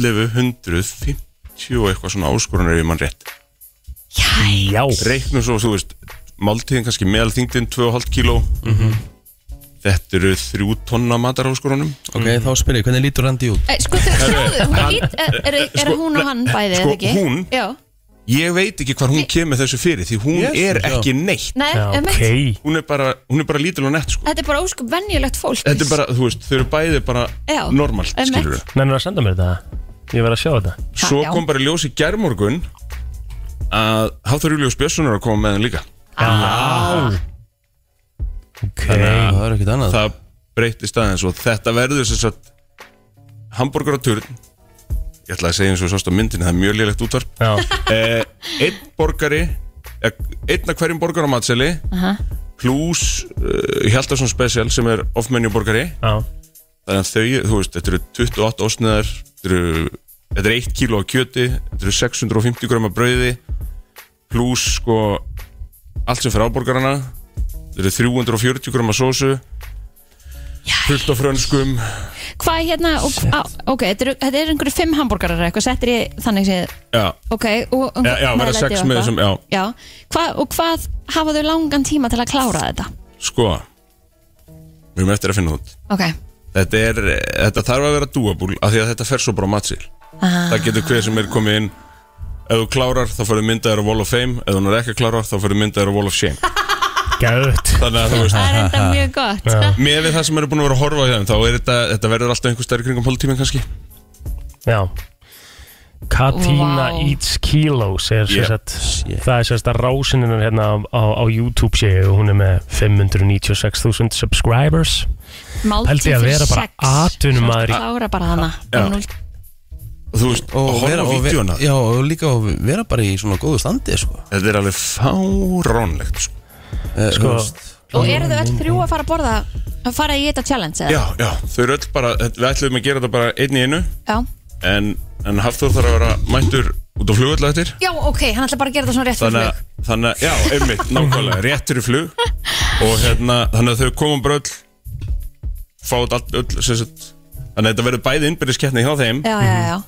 S9: 1150 og eitthvað svona áskorunar ef ég mann rétt
S4: já,
S9: reiknum svo, þú veist, máltíðin kannski meðal þingdin 2,5 kíló þetta eru 3 tonna mataráskorunum
S3: Ok, þá spyr ég, hvernig lítur Randi út?
S2: Eh, Sko þau sjáðu, hún er, ít, er, er, er
S9: Sko,
S2: hún og hann bæði
S9: sko,
S2: eða ekki?
S9: hún-
S2: Já,
S9: ég veit ekki hvar hún kemur þessu fyrir því hún
S3: Jesús,
S9: er
S3: já.
S9: ekki neitt
S2: nei,
S4: já,
S2: um
S4: ok
S9: hún er bara, hún er bara lítil og nett sko
S2: Þetta er bara óskup venjulegt fólk
S9: þetta er bara, þú veist, þau eru bæði bara
S2: Já,
S9: normalt,
S2: einmitt.
S9: skilur við
S4: Nennir að senda mér þetta? Ég verð að sjá þetta
S9: svo
S2: Ha, já.
S9: kom bara í ljós í gærmorgun að Háþur Július Björnsson er að koma með hann líka
S4: ok,
S9: Þannig
S3: Það er ekkert annað.
S9: það breytist aðeins og þetta verður sem sagt hambúrgaraturn ég ætla að segja eins og sást á myndinni, það er mjög lélegt útvarp
S4: Já,
S9: eh, einn borgari eh, einn af hverjum borgar á matseli plus uh, Hjaldarsson Special sem er off-menu borgari
S4: já,
S9: þannig að þau, þú veist, þetta eru 28 osniðar þetta eru, þetta eru 1 kíló af kjöti þetta eru 650 gröma brauði plus sko allt sem fer á borgarana þetta eru 340 gröma sósu fullt af frönskum
S2: Hvað hérna, og, á, ok, þetta eru- þetta eru einhverju fimm hambúrgarar eitthvað, settir ég þannig séð
S9: já,
S2: Ok, og
S9: Já, já, verða
S2: meðlæti
S9: sex
S2: og
S9: með
S2: eitthvað.
S9: þessum, já.
S2: Hvað- og hvað hafa þau langan tíma til að klára þetta?
S9: sko við erum eftir að finna það út
S2: Ok,
S9: þetta, er, þetta þarf að vera dúabúl af því að þetta fer svo bara á matsil það getur hver sem er komið inn ef þú klárar þá fyrir myndaður á Wall of Fame ef þú er ekki að klárar þá fyrir myndaður á Wall of Shame
S4: gæðut
S9: þannig að þú veist
S2: það er enda mjög gott
S9: Mér við það sem eru búin að vera að horfa á þeim þá er þetta, þetta verður alltaf einhver stærri kringum hálftíma kannski
S4: Já Katína
S2: Vá.
S4: Eats Kilos er
S9: Yep.
S4: yep. sett, það er sérst að rásininn er hérna á, á, á YouTube séu og hún er með 596.000 subscribers Held ég
S2: Máltíð
S4: að
S2: fyrir
S4: vera bara
S2: sex
S4: atvinnumaður í-
S2: Klára bara hana
S9: Já.
S2: Núll-
S9: og þú veist,
S3: og
S9: og horfa
S3: vera,
S9: á
S3: og vera,
S9: vídjóna
S3: já, og líka að vera bara í svona góðu standi sko.
S9: Þetta er alveg fáránlegt sko.
S3: Eh,
S4: Sko,
S3: þú veist,
S2: Og eru þau öll þrjú að fara að borða að fara í þetta challenge eða?
S9: Já, já, þau eru öll bara Við ætlum að gera þetta bara einn í einu
S2: Já
S9: en, en Hafþór þarf að vera mættur út á flugvöldu eftir
S2: Já, ok, hann ætla bara að gera þetta svona rétt fyrir
S9: þannig að,
S2: flug
S9: þannig að, já, einmitt, nákvæmlega rétt fyrir flug og hérna, þannig að þau komum bara öll fá þetta allt, öll, sem sagt þannig að þetta verður bæði innbyrðiskeppni hjá þeim
S2: Já, já, já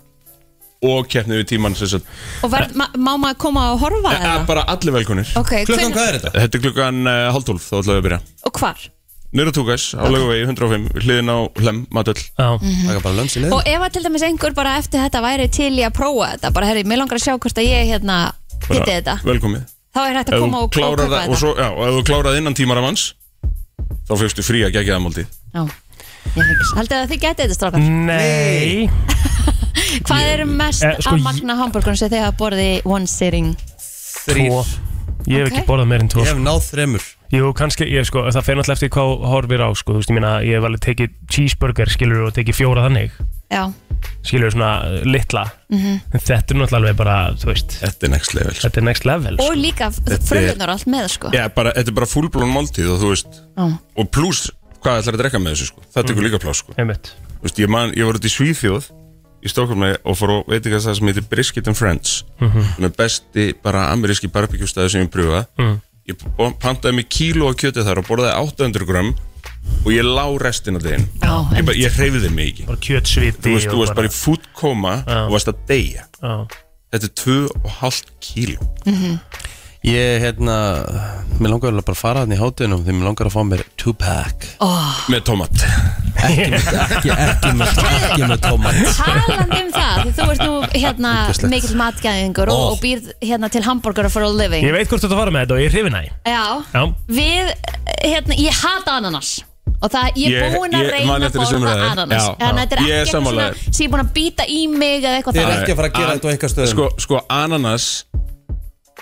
S9: og keppni við tímann, sem sagt
S2: Og verð, ma má maður koma og horfa
S9: e,
S2: eða?
S9: bara allir velkunir
S2: Ok,
S3: klukkan
S2: hvenær-
S3: hvað er þetta?
S9: Þetta er klukkan uh, hálftólf, þá ætlaðu að byrja
S2: Og hvar?
S9: Nýra Túkæs á laugavegi 105, hliðin á Hlem, Matöll
S4: já,
S2: Mhm.
S3: það er bara lönns í
S2: Og ef að til dæmis einhver bara eftir þetta væri til í að prófa þetta Bara, herri, mér langar að sjá hvort að ég hérna geti þetta
S9: Velkomið
S2: Þá er hægt að
S9: Ef þú
S2: koma hérna. og, og
S9: klárar
S2: kaupa
S9: það- og
S2: þetta
S9: svo- já, og ef þú klárar það innan tímaramanns þá fyrstu frí að gegja það máltíð
S2: Já Ég hugsa- Haldið að þið getið þetta strákar
S4: Nei
S2: Hvað eru mest
S4: Eh, sko,
S2: af
S4: Mm, ég-
S2: magna hambúrgunum sem þið hafa borðið í one sitting?
S4: Tvo Ég hef
S2: Ok.
S4: ekki borðað meir en tvo
S3: ég hef náð þremur
S4: Jú, kannski, ég sko, það fer náttúrulega eftir hvað þú horfir á, sko, þú veist, ég meina, ég hef alveg tekið cheeseburger, skilur, og tekið fjóra þannig,
S2: Já,
S4: skilur, svona uh, litla,
S2: Mhm.
S4: en þetta er náttúrulega alveg bara, þú veist,
S9: Þetta er next level sko.
S4: þetta er next level,
S2: og
S4: sko.
S2: líka fröðunar allt með sko
S9: Já, bara, Þetta er bara fullblón máltíð og þú veist
S2: Já. Mm.
S9: og pluss hvað ætlar að drekka með þessu sko. það tekur líka plás sko.
S4: einmitt,
S9: Þú veist, ég, man, ég var út í Svíþjóð í Stokkvamni og fór og veit ekki að það sem heitir Brisket and Friends sem er besti bara ameríski barbecue-stæði sem ég pröfa mm. ég bo- pantaði mig kíló af kjöti þar og borðaði 800 gram og ég lá restin af þeim
S2: Já,
S9: ég, bara- ég hreyfði mig ekki
S4: bara kjötsviti
S9: þú veist, þú
S4: og
S9: varst bara í food coma og varst að deyja
S4: Já.
S9: þetta er 2,5 kíló
S3: ég, hérna, mér langar alveg bara að fara hann í hátunum því mér langar að fá mér two-pack
S9: með tomat
S3: ekki, ekki með, ekki með tómat
S2: Talandi um það, því þú ert nú hérna mikill matgæðingur og, og býrð hérna til hamburger for a living
S4: Ég veit hvort þú ert að fara með þetta og ég er hrifin að því.
S2: Já,
S4: Já,
S2: við hérna, ég hata ananas og það, ég er
S9: Ég-
S2: búin að
S9: ég
S2: reyna
S9: man
S2: að
S9: eftir þessum
S2: borða
S9: umræðum.
S2: ananas
S9: Já,
S2: þannig að þetta er
S9: ég er
S2: ekki eitthvað
S9: sammála
S2: svona sem ég er búin að býta í mig eða eitthvað
S3: Þið eru
S2: það
S3: ekki að fara að gera þetta á eitthvað stöðum
S9: sko, sko ananas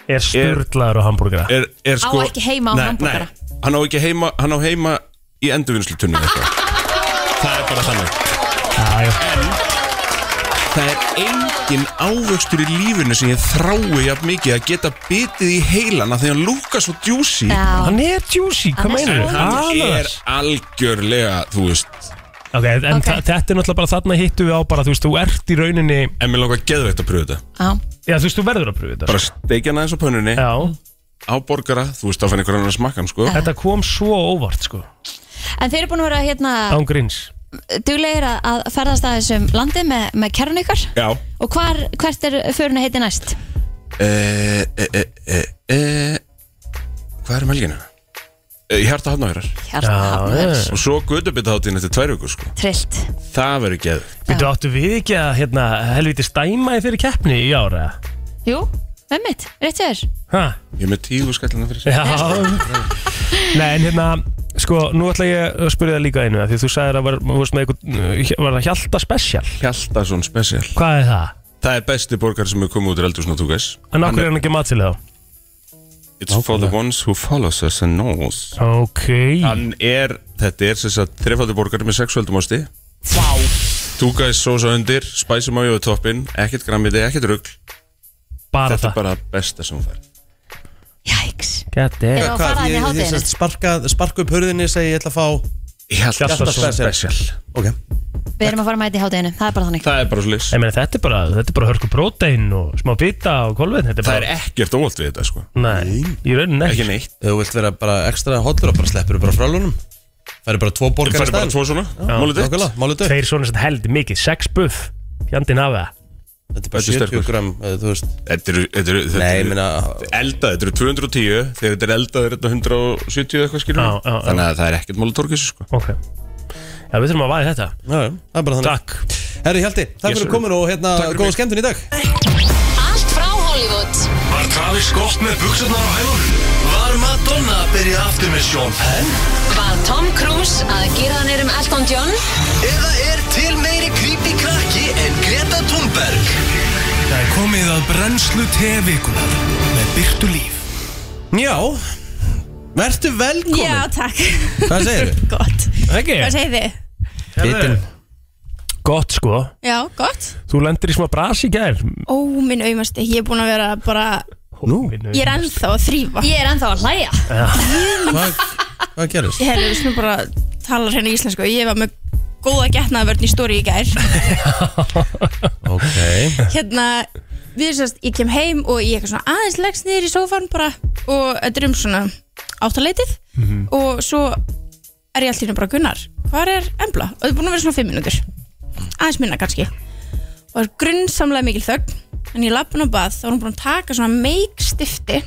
S4: er störlaður á hambúrgara.
S9: er, er sko
S2: ekki heima á
S9: Nei,
S2: hamborgara.
S9: nei, hann á ekki heima hann á heima í endurvinnslutunni það er bara þannig
S4: Já, já,
S9: það er engin ávöxtur í lífinu sem ég þrái jafn mikið að geta bitið í heilana þegar hann lúka svo djúsi
S2: Já,
S4: hann er juicy, hvað
S2: Hann er
S4: meinar
S2: svo-
S9: hann er
S4: Ananas.
S9: algjörlega þú veist,
S4: Ok, en
S2: Ok.
S4: þa- þetta er náttúrulega bara þarna hittu við á bara, þú veist, þú ert í rauninni,
S9: en mér langar geðveitt að pröfa þetta
S2: já,
S4: já, þú veist, þú verður að pröfa þetta.
S9: bara steikja hann aðeins á pönnunni
S4: Já,
S9: á borgara, þú veist, þá fann einhver annar smakkan sko.
S4: þetta kom svo óvart, sko,
S2: en þeir eru búin að vera hérna
S4: án grins.
S2: duglegir að, að ferðast að þessum landi með, með kerun ykkar
S9: já
S2: og hvar, hvert er föruna heiti næst?
S9: e, e, e, e, e, hvað er um helgina? E, hjarta hann á hérar
S2: Hjarta hafnverðs
S9: og svo gödubitaðáttin eftir tvær vikur sko.
S2: Trillt
S9: það verður geðveitt
S4: Býttu áttu við ekki að hérna, helviti stæma í fyrir keppni í ára?
S2: Jú, ömmit, rétt hjá þér
S4: Hæ?
S9: Ég er með tíu skallina fyrir sig
S4: Já. Nei, en hérna, sko, nú ætla ég að spyrja það líka einu af því þú sagðir að var, þú veist, með eitthvað, var það Hjalta Special?
S9: Hjaltason Special
S4: Hvað er það?
S9: Það er besti borgar sem er komið út úr eldursna þú guys
S4: En okkur er hann ekki mat til þá?
S9: It's for the ones who follows us and knows
S4: Ok.
S9: Hann er, þetta er sem sagt þrefaldur borgar með sexualdum ásti Two guys sósa undir, spæsum á jóðu toppin Ekkert grammiti, ekkert rugl
S4: Bara
S9: Þetta er
S4: það
S9: bara besta sem hún fær
S2: Jæks
S4: God damn.
S2: Erum við að fara hann í
S3: ég, ég
S2: hátæðinu?
S3: sest, sparka, sparka upp hörðinni segi ég ætla að fá
S9: Hjaltason special
S3: okay.
S2: Við erum að fara að mæta í hátæðinu, það er bara þannig
S9: Það er bara slis
S4: Ég meina, Þetta er bara, þetta er bara hörku prótein og smá bita og kolvetn Þetta er
S9: Það er
S4: bara,
S9: ekkert óvalt við þetta sko
S4: nei, í rauninni
S9: Ekki
S4: ekki
S9: neitt
S3: Ef þú vilt vera bara ekstra hollur og bara sleppur bara frálunum Færi bara tvo
S9: Það
S3: borgar
S9: færi bara tvo svona, málið þitt
S3: Nákvæmlega, málið dött
S4: Tveir svona sem held mikið, sex buff Fjandinn hafa það
S3: Þetta er bara
S9: Þetta er
S3: 70
S9: sterkur.
S3: gram, eh, þú veist
S9: Þetta eru, þetta eru, þetta
S3: Nei, ég
S9: eru
S3: meina
S9: Eldað, þetta eru 210 Þegar þetta er eldað er þetta 170 eitthvað skilur
S4: Já, já, já.
S9: Þannig að það er ekkert málið torkis sko
S4: Ok Já, við þurfum að vaði þetta
S3: Já, já, það er bara þannig
S4: Takk
S3: Herri Hjalti, takk
S9: Yes,
S3: fyrir
S9: sir.
S3: komin og hérna
S9: Takk fyrir
S3: góða
S9: mig.
S3: skemmtun í dag
S10: Allt frá Hollywood
S6: Var Travis Scott með buksunar á hælunum? Var Madonna að byrja aftur með Sean Penn?
S10: Var Tom Cruise að gera hann erum Elton John
S6: Eða er til meiri creepy krakki en Greta Thunberg?
S5: Það er komið að brennslu tevikunar með Byrtu Líf
S3: Já, vertu velkomin
S11: Já, takk
S3: Hvað segir þau?
S11: Gott
S4: Ekki
S11: Hvað segir þið?
S4: Hittin Gott sko
S11: Já, gott
S4: Þú lendir í smá bras í gær
S11: Ó, minn auðmasti Ég er búin að vera bara
S4: Nú
S11: Ég er ennþá að þrýfa
S2: Ég er ennþá að hlæja
S3: Hvað, hvað gerist?
S11: Ég hefði svona bara Talar hérna íslensku Ég var með góða getnaðvörn í stóri í gær
S3: Ok
S11: Hérna Við sérst, ég kem heim og ég eitthvað svona aðeins leggst niður í sófan bara og þetta er um svona áttaleitið
S4: Mhm.
S11: og svo er ég alltaf hérna bara Gunnar, hvar er Embla? Og þetta er búin að vera svona fimm mínútur aðeins minna kannski og það er grunnsamlega mikil þögn en ég lappa hún á bað þá er hún búin að taka svona meikstifti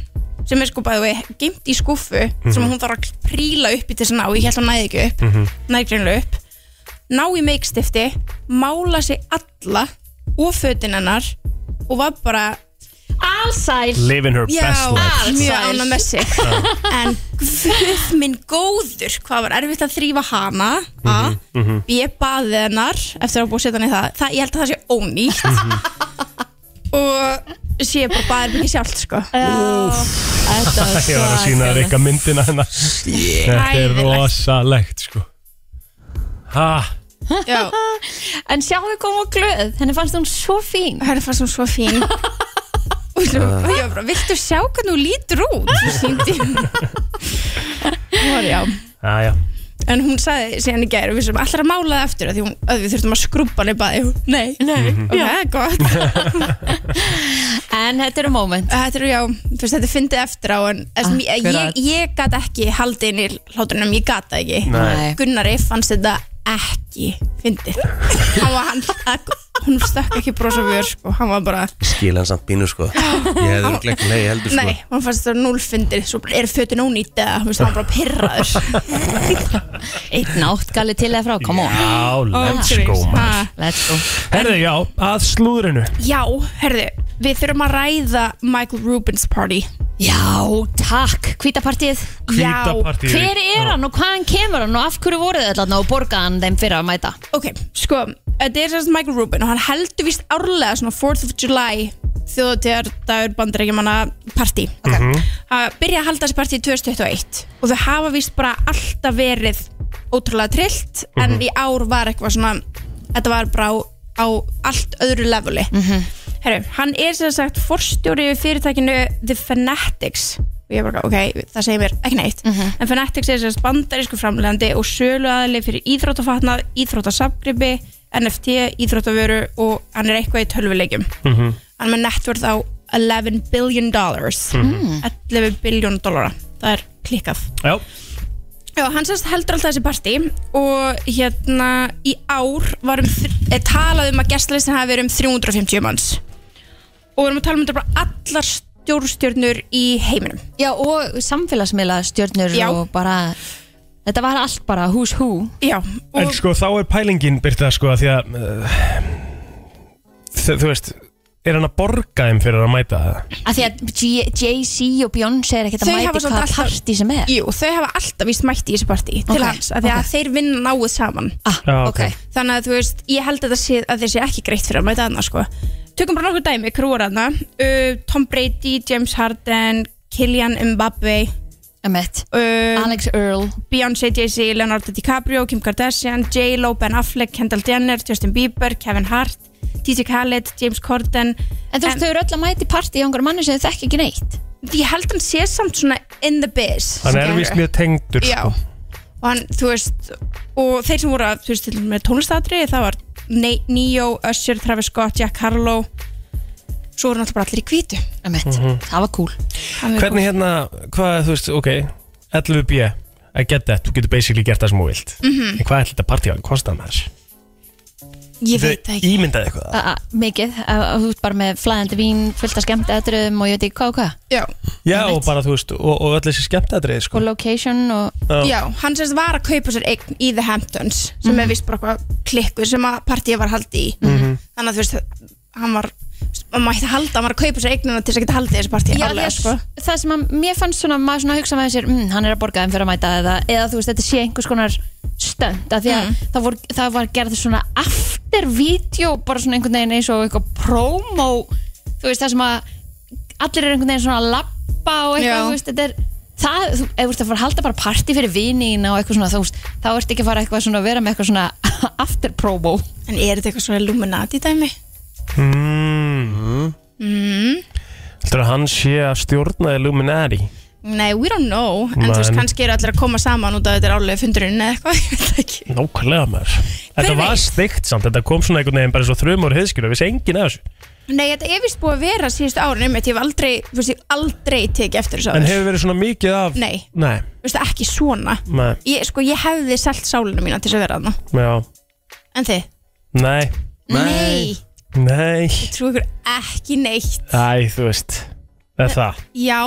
S11: sem er sko bæði geimt í skúfu
S4: Mhm.
S11: sem hún þarf að príla upp í til þess að ná ég held að hún næði ekki upp, mm -hmm. næði greinlega upp ná í meikstifti mála sig alla og fötin hennar og var bara
S2: Allsæl
S4: Living her
S11: já, ah,
S4: best life
S11: mjög
S2: Sæl.
S11: ána með sig en guð minn góður hvað var erfitt að þrýfa hana a, b, baðið hennar eftir að hafa búið að setja hann í það, það ég held að það sé ónýtt og sé bara baðið mikið sjálft sko
S2: Þetta var
S4: Ég var að sína þér eitthvað myndina hennar Þetta er
S11: Hræðilegt.
S4: rosalegt sko Ha,
S11: já,
S2: En sjáðu koma á glöð, henni fannst hún svo fín
S11: hérna fannst hún svo fín og svo, ég var bara, viltu sjá hvernig hún lítur út svo síndi hún já
S4: aðja
S11: En hún sagði síðan í gæri og við sem allar að mála það eftir af því hún, að við þurftum að skrúpa hann í baði Hún, Nei, nei, ok, gott
S2: En þetta eru moment
S11: Þetta eru já, fyrst þetta er fyndið eftir á en þessum, ég,
S2: Akkurat.
S11: ég, ég gat ekki haldið inn í hlátunum, ég gat það ekki
S2: Nei.
S11: Gunnari fannst þetta ekki fyndið Hann var hann, að, hún stökk ekki brosa vör sko, hann var bara
S3: Skil hann samt bínu sko Ég hefði örugglega ekki leiði heldur sko
S11: Nei, hann fannst þetta núl fyndið, svo bara, er fötin ónýtt eða, þú veist, hann var bara pirraður
S2: Eitt náttgali til eða frá, come on
S4: Á, let's go
S11: Ángríns.
S4: man
S11: Ha.
S2: Let's go
S4: Herðu, já, að slúðrinu
S11: Já, herðu, við þurfum að ræða Michael Rubin's party
S2: Já, takk, hvítapartíð
S11: Já,
S4: Hvítapartíð.
S2: Hver er hann og hvaðan kemur hann og af hverju voruð þið allan og borgaði hann þeim fyrir að mæta?
S11: Ok, sko, þetta er sérst Michael Rubin og hann heldur vist árlega svona 4th of July þjóðutegar dagur bandarækjumanna partí okay. að byrja að halda þessi partí í 2021 og þau hafa vist bara alltaf verið ótrúlega trillt en í ár var eitthvað svona þetta var bara á, á allt öðru leveli Herru, hann er sem sagt forstjóri við fyrirtækinu The Fanatics og ég bara, ok, það segir mér ekki neitt en Fanatics er sem sagt bandarísku framlegandi og söluaðli fyrir íþróttafatnað íþróttasafgripi, NFT íþróttavöru og hann er eitthvað í tölvuleikjum hann er með networth á 11 billion dollars 11 billion dollara það er klikkað
S4: Já,
S11: Já, hann sérst heldur alltaf þessi partí og hérna í ár var um, þr- eh, talað um að gestlistin hafi verið um 350 manns og við erum að tala um þetta bara allar stjórnstjörnur í heiminum
S2: Já, og samfélagsmiðla stjörnur
S11: Já.
S2: og bara Þetta var allt bara who's who
S11: Já, og
S4: en sko þá er pælingin Byrta sko að því að uh, þ- Þú veist Er hann að borga þeim fyrir að mæta það?
S2: Af því að G- Jay-Z og Beyoncé er ekkert að
S11: Þau hafa
S2: mæta í
S11: samt
S2: hvaða
S11: alltaf-
S2: partí sem er
S11: jú, þau hafa alltaf víst mætti í þessi partí til
S2: Ok,
S11: hans, af því að
S2: ok.
S11: þeir vinna náið saman
S2: Ah,
S4: Já,
S2: ok
S4: ok.
S11: þannig að þú veist, ég held að, það sé, að þeir sé ekki greitt fyrir að mæta hana sko. tökum bara nokkur dæmi, hver voru hana uh, Tom Brady, James Harden Kylian Mbappe
S2: Emmett
S11: Alex
S2: Earl
S11: Beyoncé, Jay-Z, Leonardo DiCaprio, Kim Kardashian J-Lo, Ben Affleck, Kendall Jenner Justin Bieber, Kevin Hart DJ Khaled, James Corden
S2: En þú veist, þau eru öll að mæti partí á einhverjum manni sem þau þekki ekki neitt
S11: Ég held hann sé samt svona in the biz
S4: Hann er vist mjög tengdur
S11: Já.
S4: sko.
S11: og hann, þú veist og þeir sem voru að, þú veist, til dæmis með tónlistatri það var Ne- Neo, Usher, Travis Scott Jack Harlow svo voru náttúrulega bara allir í hvítu
S4: Mhm.
S2: það var cool
S4: Hvernig hérna, hvað, þú veist, ok 11B, I get that Þú getur basically gert það sem þú vilt
S2: Mhm.
S4: En hvað er þetta partí á hann, kostar hann þess?
S2: Ég veit það ekki Ah,
S4: Ímyndaði eitthvað
S2: A- a- Mikið, að að þú ert bara með flæðandi vín fullt af skemmt aðdröðum og ég veit ekki hvað og hvað
S11: Já,
S4: Já, og bara, þú veist, og, og öll þessi skemmtadrið, sko
S2: og location og
S4: Já.
S11: Já, hann semst var að kaupa sér eign í The Hamptons sem er vist bara eitthvað klikku sem að partíið var haldið í
S4: Mhm.
S11: þannig að þú veist, hann var maður mætti halda, hann var að kaupa sér eignina til þess að geta haldið þessu partíi sko.
S2: Já,
S11: árlega,
S2: ég, það sem að mér fannst svona maður svona hugsa með sér, mm, hann er að borga þeim fyrir að mæta eða, eða þú veist, þetta sé einhvers konar stönd, af því að það, vor, það var gerð svona after-vídeó bara svona einhvern veginn eins og eitthvað promo, þú veist, það sem að allir eru einhvern veginn svona að lappa og
S11: Já.
S2: eitthvað, þú veist, þetta er það, þú, ef þú ert að fara að halda bara partí fyrir vinina og eitthvað svona, þú veist, þá ert ekki að fara eitthvað svona að vera með eitthvað svona after-promo
S11: En er þetta eitthvað svona Illuminati dæmi?
S4: mm.
S11: mm.
S2: Mhm.
S4: Heldur að hann sé að stjórna Illuminati
S11: Nei, we don't know en
S4: Nei,
S11: þú veist,
S4: nei.
S11: kannski eru allir að koma saman út af þetta er álega fundurinn eða eitthvað ég veit það ekki.
S4: Nákvæmlega maður Þetta var steikt samt, þetta kom svona einhvern veginn bara svo þrjumur heiðskil og vissi enginn af þessu
S11: Nei, þetta er vist búið að vera síðustu árin einmitt, ég hef aldrei, þú veist, ég hef aldrei tekið eftir þessu
S4: En
S11: áður.
S4: hefur verið svona mikið af
S11: Nei,
S4: Nei,
S11: þú veist, ekki svona
S4: nei,
S11: ég, Sko, ég hefði selt sálinu mína til þess að vera þarna
S4: já
S11: En þið?
S4: Nei,
S11: Nei,
S4: nei
S11: ég trú ykkur ekki neitt
S4: Æ, þú veist Það er það
S11: Já,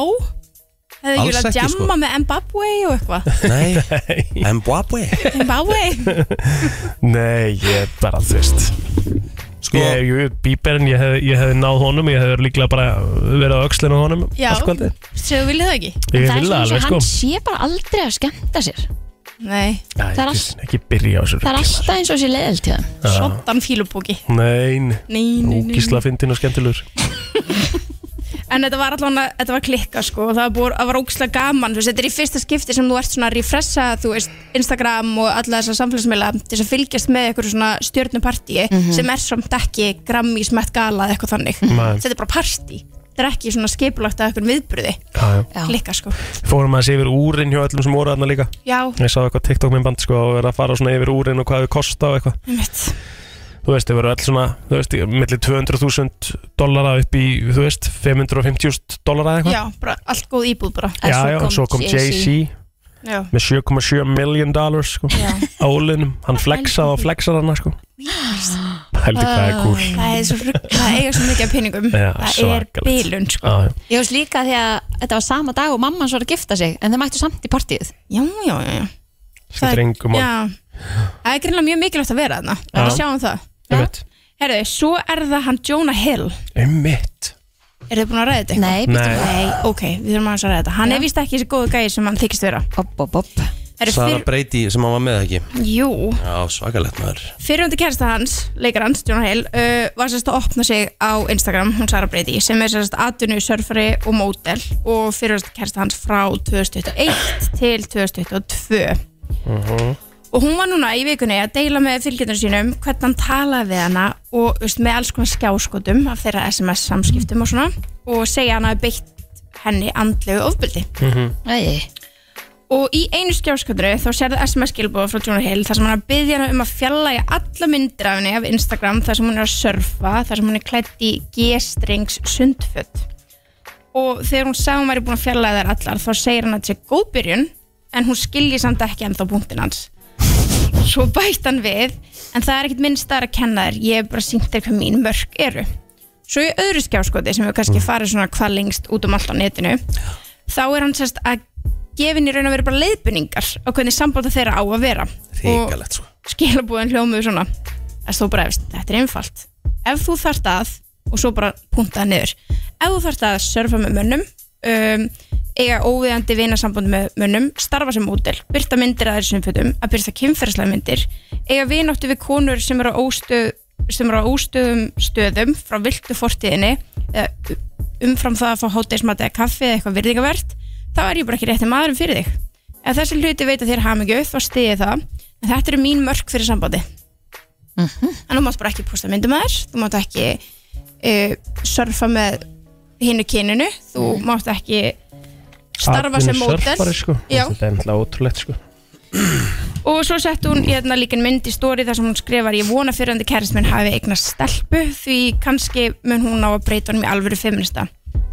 S11: hefði
S4: Alls
S11: ekki verið að
S4: ekki,
S11: jamma
S4: sko.
S11: með Mbappé og eitthvað
S4: Nei, Mbapwe
S11: Mbappé
S4: Nei, ég bara, þú veist Sko Ég, ég, bíberinn, ég hefði hef náð honum Ég hefði líklega bara verið á öxlinu á honum
S11: Já,
S4: allt kvöldið.
S11: svo þú viljið það ekki
S4: Ég vil það alveg, sko.
S2: hann sé bara aldrei að skemmta sér
S11: Nei,
S4: Æ,
S2: Það er
S4: Kristín, Ekki byrja á þessu
S2: Það er alltaf eins og sé leðilt til það
S4: Já.
S11: svoddan fílupóki
S4: Nein,
S11: Nei, nei, nei.
S4: ógísla fyndin og skemmtilegur
S11: En þetta var allan að, þetta var klikka sko og það var, það var ógislega gaman, þú veist, þetta er í fyrsta skipti sem þú ert svona að refressa, þú veist, Instagram og alla þessa samfélagsmiðla til þess að fylgjast með eitthvað svona stjörnupartíi
S2: Mhm.
S11: sem er samt ekki grammi smett gala eða eitthvað þannig.
S4: Nei.
S11: Þetta er bara partí, þetta er ekki svona skipulagt að eitthvað viðbröði,
S4: Já, já.
S11: klikka sko.
S4: Fórum að sé yfir úrin hjá öllum sem voru þarna líka
S11: Já.
S4: Ég sá eitthvað TikTok minn band sko og verið að fara svona yfir úrin og hvað þau kosta og eitthvað
S11: Einmitt.
S4: Þú veist, þau voru öll svona, þú veist, millir 200.000 dollara upp í, þú veist, 550.000 dollara eitthvað
S11: Já, bara allt góð íbúð bara.
S4: já, já, og svo kom Jay-Z
S11: Já.
S4: með 7,7 million dollars sko, á ólinum, hann flexaði og flexaði hann sko. Heldur hvað er cool.
S11: Það er svo rugg, það eiga svo mikið af peningum.
S4: Já,
S11: það er
S4: svakalegt.
S11: bilun sko.
S4: Ah, Já, já.
S2: Ég veist líka því að þetta var sama dag og mamma hans var að gifta sig en þau mættu samt í partíið
S11: Já, já, já, já.
S4: Skiptir engu máli.
S11: Já. Það er greinlega mjög mikilvægt að vera þarna
S4: Já.
S11: Við sjáum það
S4: Einmitt.
S11: Herðu, svo er það hann Jonah Hill
S4: Einmitt
S11: Er þið búin að ræða þetta? Nei,
S4: bíddu Nei. við.
S11: Nei, ok, við þurfum aðeins að ræða þetta Hann er vist ekki þessi góðu gæði sem hann þykist vera
S2: Bob, bob, bob
S11: Herðu,
S3: Sara
S11: fyrr,
S3: Brady sem hann var með ekki
S11: Jú,
S3: Já, svakalegt maður
S11: fyrrundi kærasta hans, leikar hans, Jonah Hill uh, Var sérst að opna sig á Instagram, hún Sara Brady Sem er sérst atvinnu, surfari og mótel Og fyrrundi kærasta hans frá 2021 til 2022 og hún var núna í vikunni að deila með fylgjöndur sínum hvernig hann talaði við hana og veist, með alls konar skjáskotum af þeirra SMS samskiptum og svona og segja hann að beitt henni andlegu ofbyldi
S2: Æi.
S11: og í einu skjáskotinu þá sérðu SMS skilbóða frá Jonah Hill þar sem hann er að byggja hana um að fjallaja alla myndir af henni af Instagram þar sem hún er að surfa þar sem hún er klætt í G-strings sundfött og þegar hún sagði hún væri búin að fjallaja þær allar þá segir hann að þetta sé góð byrjun en hún skilji samt ekki ennþá punktin hans svo bætt hann við en það er ekkit minnst að kenna þér ég hef bara sínt þér hvað mín mörk eru svo í öðru skjáskoti sem hefur kannski farið svona hvað lengst út um allt á netinu þá er hann sérst að gefin í raun að vera bara leiðbynningar á hvernig sambanda þeirra á að vera
S3: Ríkalegt sko
S11: og skilabúðin hljómuðu svona að stóð bara efst, þetta er einfalt ef þú þarft að og svo bara puntaði niður ef þú þarft að surfa með mönnum um, eiga óviðandi vinasamband með mönnum starfa sem mótel, byrta myndir að þeir sumfötum að byrta kynferðslega myndir eiga vináttu við konur sem eru á, óstöð, sem eru á óstöðum stöðum frá viltu fortíðinni eða umfram það að fá hátægismat eða kaffi eða eitthvað virðingavert þá er ég bara ekki rétti maðurinn fyrir þig ef þessi hluti veit að þér hamingju þá stiði það en þetta eru mín mörk fyrir sambandi en þú mátt bara ekki posta myndum að þér þú mátt ekki uh, surfa með hinnu kyninu þú mátt ekki starfa sem mótel
S4: Atvinnusurfari, sko.
S11: Já.
S4: Þetta er náttúrulega ótrúlegt sko.
S11: og svo sett hún hérna líka mynd í stóri þar sem hún skrifar ég vona fyrrandi kærist minn hafi eignast stelpu því kannski mun hún ná að breyta honum í alvöru feminista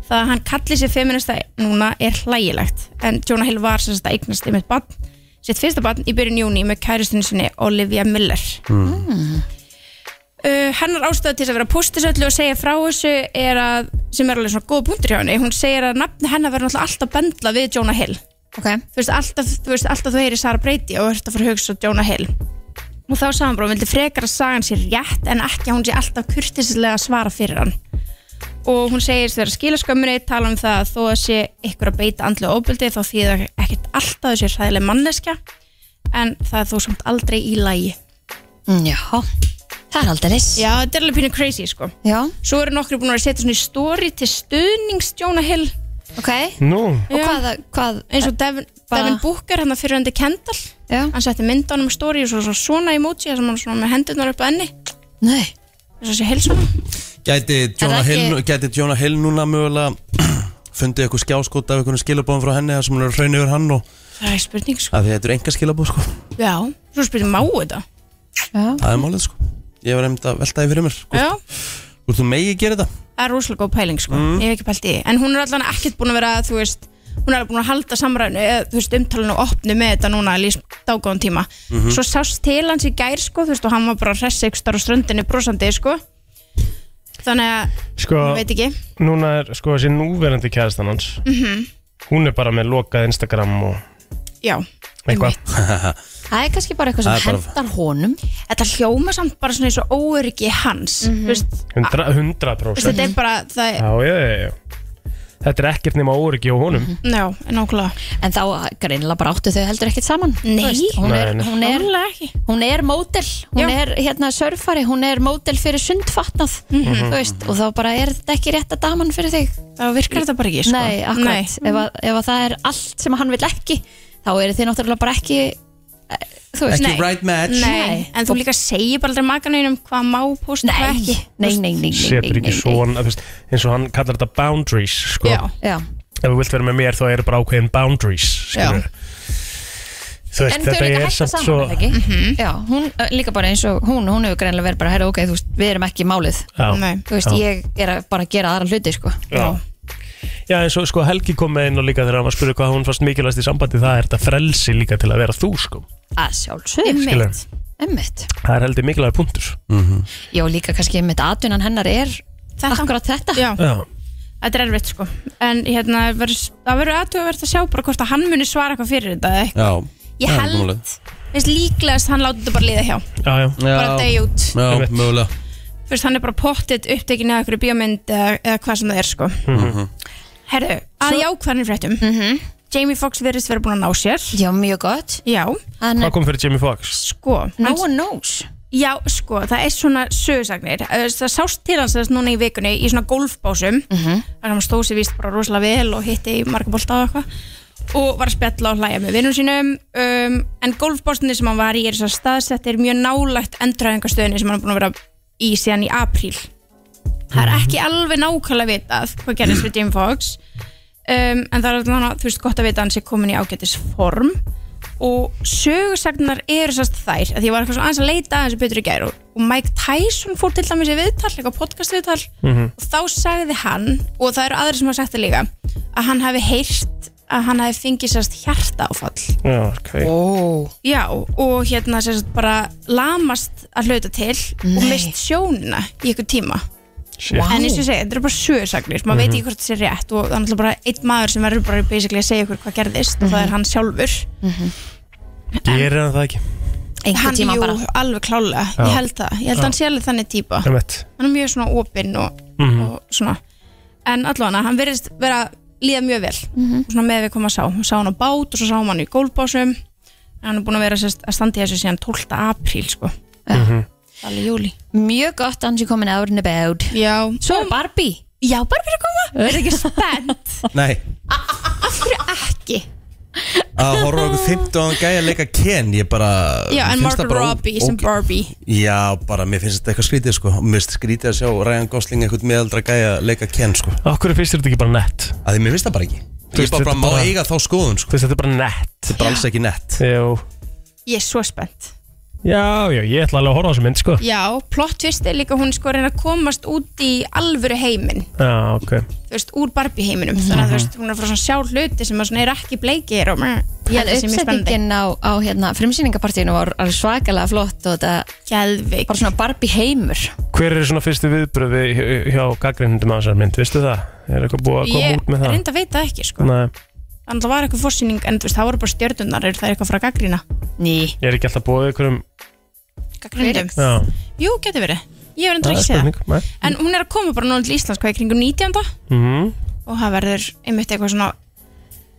S11: það að hann kalli sér feminista núna er hlægilegt en Jonah Hill var sem sagt að eignast einmitt barn, sitt fyrsta barn í byrjun júni með kæristinu sinni Olivia Miller uh, hennar ástæða til þess að vera pústisöllu og segja frá þessu er að, sem er alveg svona góð punktur hjá henni, hún segir að nafni hennar verður náttúrulega alltaf bendla við Jonah Hill
S2: okay.
S11: þú veist, alltaf þú, veist, alltaf þú heyri Sara Brady og ert að fara að hugsa um Jonah Hill og þá sagði hann bara, hún vildi frekar að sagan sér rétt en ekki að hún sé alltaf kurtislega að svara fyrir hann og hún segist vera skilaskömmunni, tala um það að þó að sé ykkur að beita andlu óbyldi þá þýðir það ekkert alltaf þessi hræðileg manneskja en það er þó samt aldrei í lagi
S2: Mm, Já, það er aldrei
S11: Já, þetta er alveg pínu crazy sko
S2: Já.
S11: Svo eru nokkri búin að vera að setja svona í story til stuðnings Jonah Hill
S2: Ok
S4: Nú
S2: Og hvað, hvað
S11: Eins og Devin,
S2: bara-
S11: Devin Booker hann fyrir hundi Kendall
S2: Já
S11: Hann setti mynd á hann um story og svo, svo svona emoji þar sem hann svona með hendurnar upp að enni
S2: Nei
S11: Þess að sé heilsum
S3: Gæti
S11: Er
S3: Jonah,
S11: það ekki-
S3: Hill, gæti Jonah Hill núna mögulega fundið eitthvað skjáskot af eitthvað skilabóðum frá henni þar sem hún er að hraun yfir hann og
S11: Það er spurning sko
S3: að því þetta eru enga skilabóð sko
S11: Já, svo spurning má þetta
S2: Já
S3: það er málið sko ég var einmitt að velta því fyrir mér
S11: Já,
S3: hvort þú megi gera þetta
S11: það er rosalega góð pæling sko
S3: Mm.
S11: Ég hef ekki pælt í því En hún er allan ekkert búin að vera, þú veist Hún er alveg búin að halda samræðinu, eða, þú veist, umtalinu og opnu með þetta núna líst dágóðan tíma
S1: Mhm.
S11: Svo sást til hans í gær sko, þú veist, og hann var bara að hressa ykkur starf á ströndinu brosandi sko Þannig að,
S4: Sko,
S11: ég veit ekki
S4: núna er sko þessi núverandi kæristan hans
S11: Mhm.
S4: Hún er bara með lokað Instagram og
S11: Já,
S4: eitthvað
S11: Það er kannski bara
S4: eitthvað sem Það er bara- hentar
S2: honum
S11: Þetta hljóma samt bara svona eins og óöryggi hans mm veist,
S4: Hundra- 100%
S11: veist, Þetta er bara
S4: Já,
S11: það,
S4: já, já, já Þetta er ekkert nema óryggi á honum
S11: Já, nákvæmlega
S2: En þá greinlega bara áttu þau heldur ekkert saman Nei Hún er,
S4: Nei, nei.
S2: hún er, hún er mótel Hún er hérna surfari, hún er mótel fyrir sundfatnað
S4: Mhm.
S2: Þú veist, og þá bara er þetta ekki rétt að daman fyrir þig
S11: Þá virkar þetta bara ekki, sko.
S2: Nei, Mm. akkurat,
S11: Nei.
S2: Ef, að, ef að það er allt sem hann vil ekki Þá eru þið náttúrulega bara ekki eh, Þú veist
S11: Nei. Nei, en þú líka segir bara aldrei makanauðinum hvað má posta og hvað ekki
S2: Nei, nei, nei, nei,
S4: Setur ekki svona, þú veist, eins og hann kallar þetta boundaries, sko
S11: Já.
S2: Já.
S4: Ef þú vilt vera með mér þá eru bara ákveðin boundaries, skilur Þú veist,
S2: en þau
S4: þetta
S2: líka
S4: er
S2: hætta
S4: samt
S2: saman
S4: svo
S2: svo... ekki? Já, hún eh, líka bara eins og hún, hún hefur greinlega verið bara, herra, ok, þú veist, við erum ekki málið
S4: Já. Nei.
S2: þú veist,
S4: Já.
S2: ég er að bara gera aðra hluti sko.
S4: Já. Já, eins og sko Helgi kom með inn og líka þegar hann var að spyrja hvað hún fannst mikilvægst í sambandi það er þetta frelsi líka til að vera þú, sko
S2: að sjálfsög
S4: Skilur.
S2: emmitt,
S4: Það er heldur mikilvægur punktur
S2: já, líka kannski emmitt atvinnan hennar er
S11: Þetta.
S2: akkurat þetta
S11: Já.
S4: Já,
S11: Þetta er erfitt sko En hérna, verður- það verður aðtöfuvert að sjá bara hvort að hann muni svara eitthvað fyrir þetta eða eitthvað. Ég
S3: Það er
S11: held-
S3: málið.
S11: Veist líklegast hann láti þetta bara liða hjá
S4: já, já.
S11: Bara dey út.
S3: já, mögulega
S11: Þú veist, hann er bara pottitt upptekinn eða eitthvað bíómynd eða, eða hvað sem það er sko
S3: Mhm.
S11: Herðu, að jákvæðanir fréttum
S2: Mhm.
S11: Jamie Foxx verðist verið búin að ná sér
S2: Já, mjög gott
S11: Já
S4: Hvað kom fyrir Jamie Foxx?
S11: Sko No
S2: one knows
S11: Já, sko, það er svona sögursagnir Eh, Það sást til hans þess núna í vikunni í svona golfbásum Þannig að hann stóð sér víst bara rosalega vel og hitti í marga bolta og eitthvað og var að spjalla og hlæja með vinnum sínum um, en golfbástinni sem hann var í er þess að staðsettir mjög nálægt endræðingastöðinni sem hann er búin að vera í síðan í apríl Það er ekki alveg nákvæmlega vitað hvað gerðist við Jamie Foxx um, en það er þannig, þú veist, gott að vita að hann sé komin í ágætis form og sögursagnar eru sérst þær að því ég var eitthvað svona aðeins að leita aðeins betur í gæru og Mike Tyson fór til dæmis í viðtal eitthvað podcast viðtal
S1: Mhm.
S11: og þá sagði hann og það eru aðri sem hafa sagt það líka að hann hafi heyrt að hann hafi fengið sérst hjarta áfall
S4: Já, ok
S2: oh.
S11: já og hérna sérst bara lamast að hluta til og
S1: Nei.
S11: mist sjónina í eitthvað tíma
S1: Shit.
S11: en
S1: Vá.
S11: eins og ég segi, þetta eru bara sögursagnir maður veit
S1: Mhm.
S11: ekki hvort þetta sé rétt og það er náttúrulega bara einn maður sem verður bara basically að segja ykkur hvað gerðist og það er hann sjálfur
S4: Gerir hann það ekki?
S11: hann,
S2: tímann
S11: jú,
S2: bara.
S11: alveg klálega,
S4: Já.
S11: ég held það ég held
S4: Já.
S11: að hann sé alveg þannig típa
S4: Ég veit
S11: hann er mjög svona opinn og, og svona en allavega hann verðist vera líða mjög vel og svona með við koma að sá hún sá hann á bát og svo sá hann í gólbásum en hann er búin að vera sérst, að standa í þessu síðan 12. apríl sko alveg júli
S2: mjög gott að hann sé komin out and about
S11: já,
S2: svo er Barbie
S11: já, Barbie er að koma, er ekki spennt
S3: nei
S11: af hverju ekki
S3: Að horfa á okkur 15 gæja að leika Ken Ég bara
S11: Já,
S3: mér
S11: en
S3: finnst það
S11: Margot
S3: bara ó-
S11: Robbie sem
S3: óge-
S11: Barbie
S3: Já, bara mér finnst þetta eitthvað skrítið sko Mér finnst skrítið að sjá Ryan Gosling eitthvað meðaldra gæja að leika Ken sko
S4: Okkur finnst þetta ekki bara nett
S3: Að því mér finnst það bara ekki
S4: Þú
S3: Ég
S4: veist,
S3: bara, bara
S4: þetta
S3: má
S4: bara-
S3: eiga þá skoðun sko
S4: Þú veist, þetta er bara nett
S3: Þetta er bara alls ekki nett
S4: Jú.
S11: Ég er svo spennt
S4: Já, já, ég ætla alveg að horfa á þessu mynd, sko
S11: Já, plot twist er líka hún er sko að reyna að komast út í alvöru heimin
S4: Já, ok
S11: þú veist, úr Barbie heiminum þannig að
S2: Mhm.
S11: þú veist, hún er frá svona sjálf hluti sem að svona er ekki bleikir og meh,
S2: Ég held uppsettingin á, á hérna, frumsýningapartíinu var alveg svakalega flott og þetta
S11: Gæðvik.
S2: bara svona Barbie heimur
S4: Hver eru svona fyrstu viðbröði hjá, hjá gaggrindum á þessar mynd, veistu það? Er eitthvað búið að koma
S11: ég
S4: út með það?
S11: reynda að veita ekki sko.
S4: Nei,
S11: þannig að það var eitthvað fórsýning en þú veist, það voru bara stjörnunar, er það eitthvað frá gaggrína
S2: Ný
S4: ég er ekki alltaf búið einhverjum
S11: gaggrínum,
S4: Já,
S11: jú, getur verið ég hef reynda
S4: það
S11: ekki
S4: er
S11: séð
S4: spurning
S11: það en hún er að koma bara núna til Íslands hvað í kringum 19.
S4: mm.
S11: og það verður einmitt eitthvað svona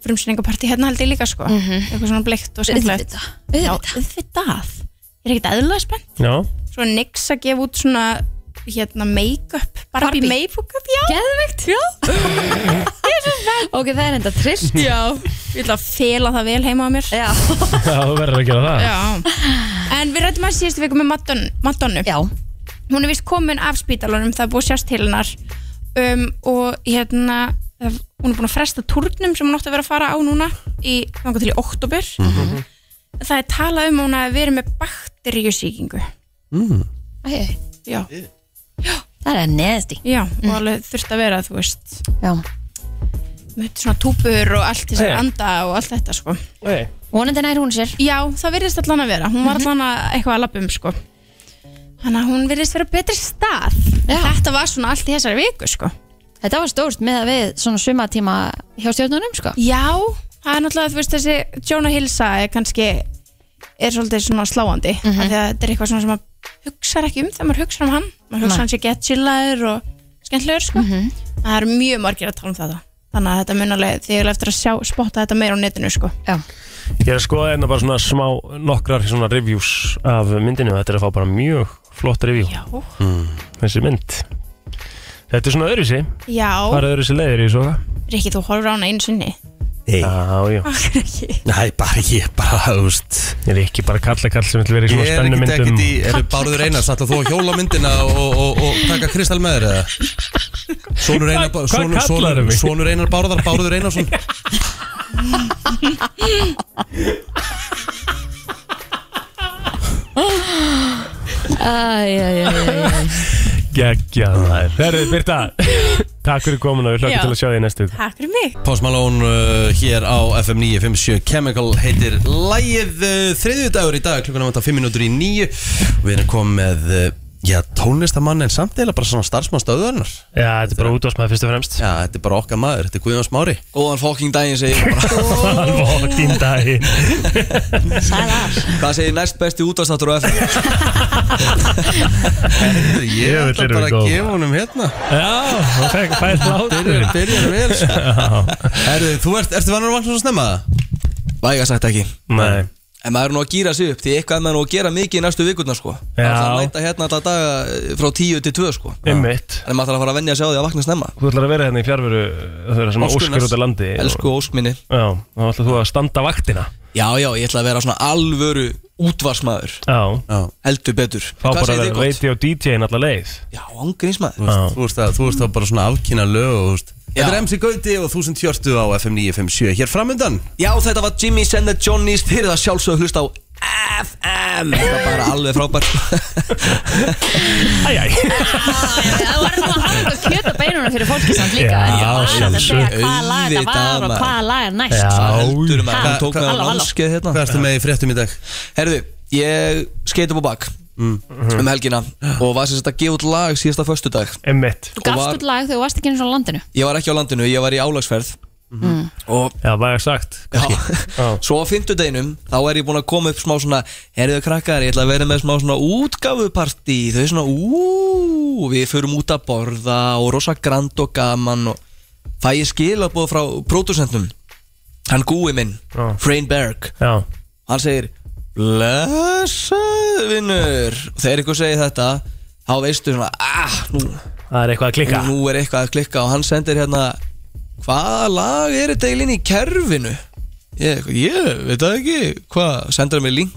S11: frumsýningapartí hérna held ég líka sko.
S2: Mhm.
S11: eitthvað svona bleikt og skemmtilegt Já, auðvitað. ég er ekkert eðlilega spennt
S4: Já,
S11: svo Nix að gefa út svona hérna make-up, Barbie,
S2: Barbie.
S11: make-up já,
S2: geðvegt
S11: já.
S2: ok, það er enda trillt
S11: já, ég ætla að fela það vel heima á mér
S2: já,
S4: Já, þú verður að gera það
S11: já. en við rættum að síðustu viku með Madon, Madonnu
S2: já.
S11: hún er vist komin af spítalunum það er búið að sjást til hennar um, og hérna það- hún er búin að fresta turnum sem hún átti að vera að fara á núna í, þangar til í oktober það er talað um að hún að vera með bakteríusíkingu
S2: Æ,
S11: já,
S2: það er neðsti
S11: já, og alveg þurft að vera þú veist
S2: já.
S11: með svona túpur og allt þess að
S4: Jæja.
S11: anda og allt þetta sko.
S4: Nei.
S2: vonandi nær hún sér
S11: Já, það virðist allan að vera, hún var allan að eitthvað að lappa um sko. Þannig að hún virðist vera á betri stað.
S2: Já.
S11: Þetta var svona allt í þessari viku sko.
S2: þetta var stórt með að við svona sumatíma hjá stjórnunum sko
S11: Já, það er náttúrulega þú veist þessi Jonah Hillsa er kannski er svolítið svona sláandi mm -hmm. því að þetta er eitthvað svona sem maður hugsar ekki um þegar maður hugsar um hann, maður
S2: Nei.
S11: hugsar hann sé gett chillaður og skemmtlegur sko. Það er mjög margir að tala um þetta. Þannig að þetta munalega því ég er eftir að sjá, spotta þetta meira á netinu sko.
S2: já,
S4: Ég er að skoða hérna bara svona smá nokkrar svona reviews af myndinu og Þetta er að fá bara mjög flott review
S11: Já,
S4: Þessi mynd Þetta er svona öðruvísi
S11: já.
S4: Hvað er öðruvísi leiðir í svo?
S11: Rikki, þú horfur á hana einu sinni
S3: Nei,
S4: Já, já
S11: Akkur ekki
S3: nei, bara ekki, bara, þú veist
S4: Ég er ekki bara kalla kall sem vil vera
S3: Ég
S4: í svona
S3: er
S4: spennu
S3: ekki
S4: myndum
S3: tekið í, er Bárður Einars Ætla þú að hjóla á myndina og, og, og taka Kristal með þér eða? Sónur Einar
S4: Hvað- hvað
S3: sonur-
S4: kallarðu
S3: sonur-
S4: mig?
S3: Sonur Einar Bárðar, Bárður Einarsson
S2: Æ, já, já, já, já.
S4: Gekkja maður Herðu, Birta Takk fyrir komin og við
S11: Já.
S4: hlökkum til að sjá þig í næstu viku.
S11: Takk fyrir mig
S3: Post Malone uh, hér á FM 957 Chemical heitir lægið uh, þriðju dagur í dag, klukkan vantar 5 minútur í 9 og við erum komið með uh, já, tónlistamann en samt eða bara svona starfsmann stöðurinnar
S4: Já, þetta er bara útvarsmaður fyrst og fremst
S3: Já, þetta er bara okkar maður, þetta er Guðjón Smári
S1: Góðan fokking daginn segir ég bara
S4: Fokkin daginn
S1: Hvað segir næst besti útastáttur á FM?
S3: Ég
S4: Jöfull
S3: ætla
S4: erum við
S3: bara að
S4: góð.
S3: gefa honum hérna
S4: Já, hún fæk fæl
S3: Byrjar,
S4: hlátur
S3: byrjar vel sko.
S4: Já,
S3: Herðu, þú ert, ertu vanur að vakna svona snemma?
S1: Væga sagt ekki
S4: nei
S1: En maður er nú að gýra sig upp Því eitthvað er maður nú að gera mikið í næstu vikurnar sko Já Það er að mæta hérna alltaf daga eh, frá 10 til 2 sko
S4: Einmitt
S1: En maður þarf að fara að venja sig á því að vakna snemma
S4: Þú ætlar að vera hérna í fjárveru Það er svona
S1: Óskunnars.
S4: óskur út af landi og-
S1: Elsku óskminni
S4: Já, þá ætlar þú að standa vaktina
S1: Já, já, ég ætla að vera svona alvöru útvarsmaður
S4: Já,
S1: Heldur betur
S4: fá
S1: Hvað
S4: bara
S1: segir þið
S4: að vera
S1: gott?
S4: veiti á DJ-in alla leið
S1: Já, ángrínsmaður
S4: Já.
S3: Þú veist að- þú veist þá bara svona afkynna lög og, þú veist.
S1: Já.
S3: Þetta er MC Gauti og 1040 á FM 957 Hér framundan
S1: Já, þetta var Jimmy and the Johnny's Þið er það sjálfsög hlust á FM Það er bara alveg frábært
S4: Æjæj
S2: það var nú að hafa eitthvað kjöt á beinunum fyrir fólki samt líka
S4: Já,
S2: en ég var aðeins að segja
S1: sjálfsögðu.
S2: hvaða lag þetta
S1: Auðvitað,
S2: var og
S1: maður.
S2: hvaða lag er næst sko.
S4: Já.
S1: heldur
S2: Ha,
S1: maður, hún tók
S2: halló,
S1: með
S2: halló.
S1: námskeið
S3: Hvað
S1: hérna
S3: ertu með í fréttum í dag? Mm.
S1: Herðu, ég skeit upp á bak um helgina og var sem sagt að gefa út lag síðasta föstudag
S4: Emmett
S2: þú gafst
S1: var-
S2: út lag þegar þú varst ekki eins og á landinu
S1: Ég var ekki á landinu, ég var í álagsferð
S3: Mm.
S1: og
S4: Já, væg sagt
S1: já,
S4: Já.
S1: svo á fimmtudeginum þá er ég búinn að koma upp smá svona herðu krakkar, ég ætla að vera með smá svona útgáfupartí, þau svona úúúú við förum út að borða og rosa grand og gaman og fæ ég skilabóð frá pródusentnum hann gúi minn,
S4: Já.
S1: Frein Berg
S4: Já,
S1: hann segir blessaður vinnur og þegar ykkur segir þetta þá veistu svona ah, nú,
S4: það er eitthvað að klikka
S1: nú er eitthvað að klikka og hann sendir hérna hvaða lag er þetta eiginlega í kerfinu
S3: Ég, ég veit það ekki Hvað, sendur mér link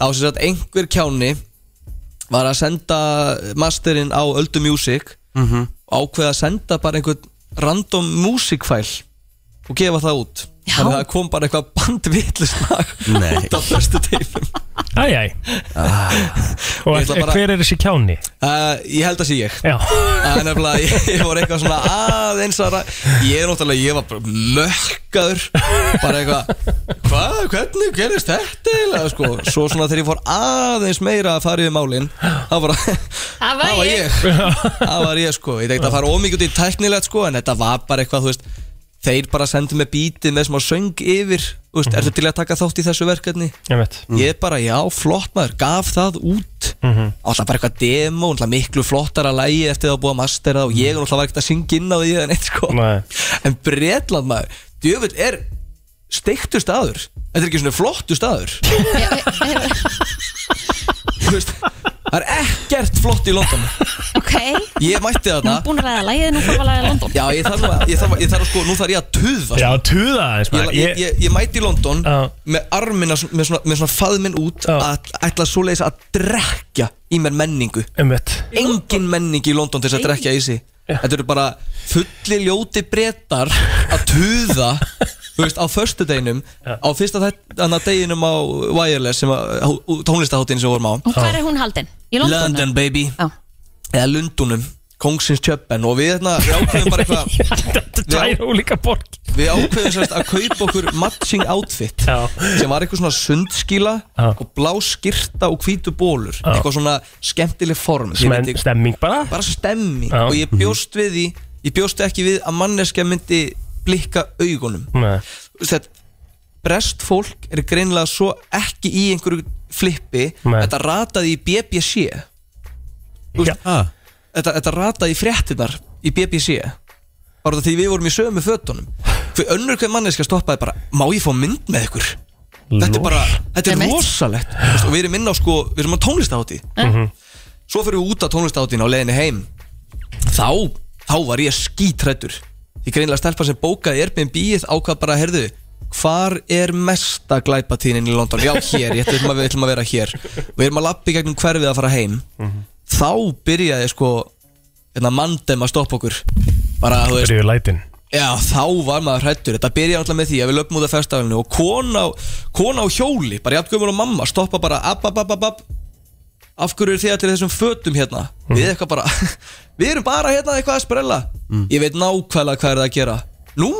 S3: Þá sem sagt einhver kjáni Var að senda masterinn á Öldu Music
S12: Mhm.
S3: og Ákveða að senda bara einhvern Random music file Og gefa það út Já. Þannig að það kom bara eitthvað bandvitlislag
S4: Nei.
S3: Út á fyrstu teipum
S4: Æjæj Ah. Og
S3: Ég ætla bara-
S4: hver er þessi kjáni?
S3: Uh, ég held að sé ég
S4: Já
S3: Það er nefnilega, ég, ég var eitthvað svona aðeins aðra Ég er náttúrulega, ég var bara mökkaður Bara eitthvað, hvað, hvernig gerist þetta eiginlega sko Svo svona þegar ég fór aðeins meira að fara yfir málin Það var,
S2: Það var ég
S3: það var ég sko Ég tenkti að fara ómikið út í tæknilegt sko En þetta var bara eitthvað, þú veist Þeir bara sendu mig bítið með smá söng yfir Þú veist, ertu til að taka þátt í þessu verkefni?
S4: Ég veit
S3: Ég bara, já, flott maður, gaf það út Alltaf bara eitthvað demo, alltaf miklu flottara lægi eftir það að búa að mastera það og ég er alltaf var ekkert að syngja inn á því eða neitt sko
S4: Nei.
S3: En Bretland maður, djöfull er steiktur staður Þetta er ekki svona flottu staður Þú veist, Það er ekkert flott í London
S2: Ok,
S3: Ég mætti þarna
S2: búin að ræða lægið, nú þarf að læra London
S3: Já, ég þarf, að- ég þarf, að- ég þarf að sko, nú þarf ég að tuða
S4: Já, tuða aðeins
S3: Ég,
S4: maður.
S3: ég, ég, ég mæti í London með armina, sv- með svona, með svona faðminn út að ætla svoleiðis að drekja í mér menningu
S4: Einmitt.
S3: Engin menning í London til þess að drekja í sig Þetta eru bara fulli ljóti brettar að tuða þú veist, á föstudeginum á fyrsta þætt- þarna deginum á Wireless sem að, tónlistaháttin sem við vorum á
S2: Og hvað er hún haldin? Í London?
S3: London baby
S2: Já.
S3: eða Lundunum Kongsins Tjöppen og við hérna við ákveðum bara eitthvað Þetta
S4: er ólíka borg
S3: Við ákveðum sérst að kaupa okkur matching outfit Já. sem var eitthvað svona sundskíla og blá skyrta og hvítu bólur eitthvað svona skemmtileg form Ég
S4: Smen-
S3: veit ekki-
S4: Stemming bara
S3: bara stemming og ég bjóst við því ég bjóst ekki við að manneskja myndi blikka augunum
S4: Nei.
S3: Þetta, brest fólk er greinlega svo ekki í einhverju flippi
S4: Nei.
S3: þetta rataði í BBC Þú veist, þetta, þetta rataði í fréttinar í BBC bara því við vorum í sömu fötunum hver önnur hver manneska stoppaði bara má ég fá mynd með ykkur þetta er bara, þetta er
S12: Einmitt.
S3: rosalegt Þú veist, og við erum inn á sko, við erum á tónlistáti
S12: Mhm.
S3: svo fyrir við út á tónlistátinu á leiðinni heim þá, þá var ég skítrættur því greinlega stelpa sem bókaði Airbnb-ið ákvað bara, heyrðu hvar er mesta glæpatínin í London já, hér, ég ætlum að, við ætlum að vera hér við erum að lappi gegnum hverfið að fara heim þá byrjaði sko hérna mandem að stoppa okkur bara, þú
S4: Byrjuðu lætin
S3: Já, þá var maður hrættur Þetta byrjaði alltaf með því að við löpum út af festafélinu og kona, á- kona á hjóli, bara jafnkjömmur og mamma stoppa bara, app, app, app, app, app af hverju eru þið allir í þessum fötum hérna við eitthvað bara, við erum bara hérna eitthvað að sprella, ég veit nákvæmlega hvað er það að gera, nú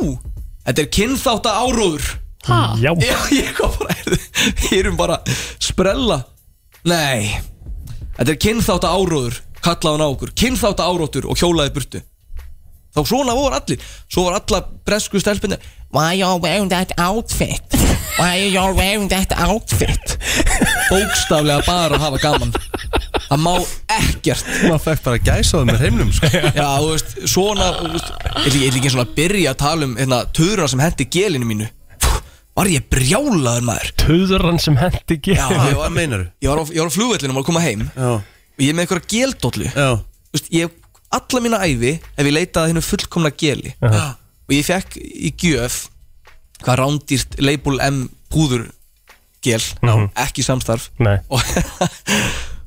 S3: þetta er kynþátta áróður
S4: Ha? Já.
S3: ég kom bara við erum bara að sprella nei, þetta er kynþátta áróður kallaði hann á okkur, kynþátta áróður og hjólaði burtu þá svona voru allir svo voru alla bresku stelpunni why are you wearing that outfit why are you wearing that outfit bókstaflega bara að hafa gaman það má ekkert maður fekk bara gæsaði með heimlum sko. já, þú veist, svona þú veist, ég vil ekki svona að byrja að tala um hérna, töðurna sem hendi gelinu mínu Fú, var ég brjálaður maður
S4: Töðurann sem hendi ekki
S3: Já, ég var, meinar Ég var á, ég var á flugvellinu og var að koma heim Já. Og ég er með einhverja geldóllu Vist, ég, Alla mína ævi hef ég leitað að hennu fullkomna geli
S4: Aha.
S3: Og ég fekk í gjöf Hvað rándýrt Label M púður gel
S4: Mhm.
S3: Ekki samstarf
S4: Nei.
S3: Og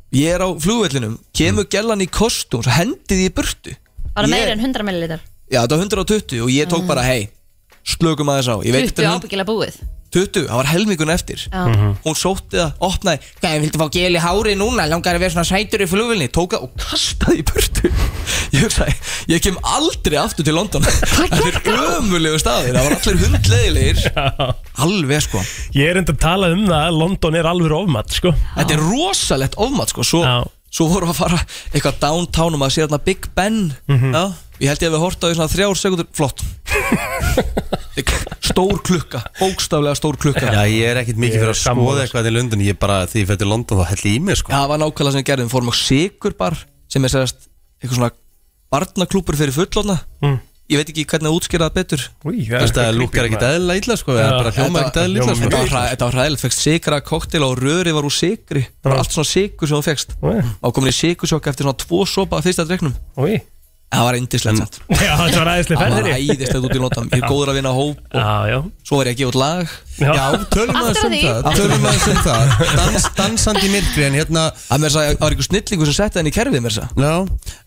S3: ég er á flugvellinum
S2: Mm.
S3: Kemur gellan í kostum Svo hendið ég í burtu
S2: Var það
S3: Ég-
S2: meira en 100 millilitar?
S3: Já, þetta var 120 og ég tók
S2: Mm.
S3: bara Hei, slökum aðeins á Ég veit
S2: 20
S3: þetta er
S2: ábyggilega búið
S3: 20, það var helmingun eftir
S2: Já. Mhm.
S3: Hún sótti það, opnaði Hvað, ég vildi fá gel í hári núna, langar að vera svona sætur í flugvilni Tók það og kastaði í burtu Ég hugsaði, ég kem aldrei aftur til London Þetta er ömulegu staðir, það var allir hundleðilegir Alveg sko
S4: Ég er enda að tala um það að London er alveg ofmat sko
S3: Þetta er rosalegt ofmat sko Svo, svo vorum við að fara eitthvað downtown og maður sér þarna Big Ben Já, Ég held ég að við horta á því svona þrjár sekundur Flott Stór klukka, bókstaflega stór klukka
S12: Já, ég er ekkit mikið fyrir að skoða
S3: sammála,
S12: eitthvað hérna í London Ég bara, því ég fætti London þá hell í mig sko
S3: Já, það var nákvæmlega sem við gerðum, við fórum á Sigurbar sem er sérst eitthvað svona barnaklúpur fyrir fullorna
S4: Mm.
S3: Ég veit ekki hvernig að útskýra það betur
S4: Új,
S12: er Veist, það eitthvað lúkkar creepy, ekkit maður. eðlilega illa, sko, eða bara hljómar ekkit eðlilega illa, sko.
S3: Þetta var hræ- þetta var hræðilegt, fegst sigra koktel og röri var úr sigri Það var allt svona sigur sem þú fegst
S4: Új.
S3: Og komin í sigursjokk eftir svona tvo sopa að fyrsta dreknum
S4: Új.
S3: Það var indislegt
S12: Mm.
S3: samt
S4: Já, þetta var æðisleg ferð,
S3: Það var
S4: þeirri.
S3: æðislegt út í London Ég er
S4: Já.
S3: góður að vinna hóp og
S4: já, já.
S3: Svo var ég að gefa út lag
S4: Já.
S1: tölum aðeins um það Tölum aðeins um það Dans, Dansandi í myrkri en hérna
S3: Það með þess að það var einhver snillingu sem setti henni í kerfið mér þess
S1: Já,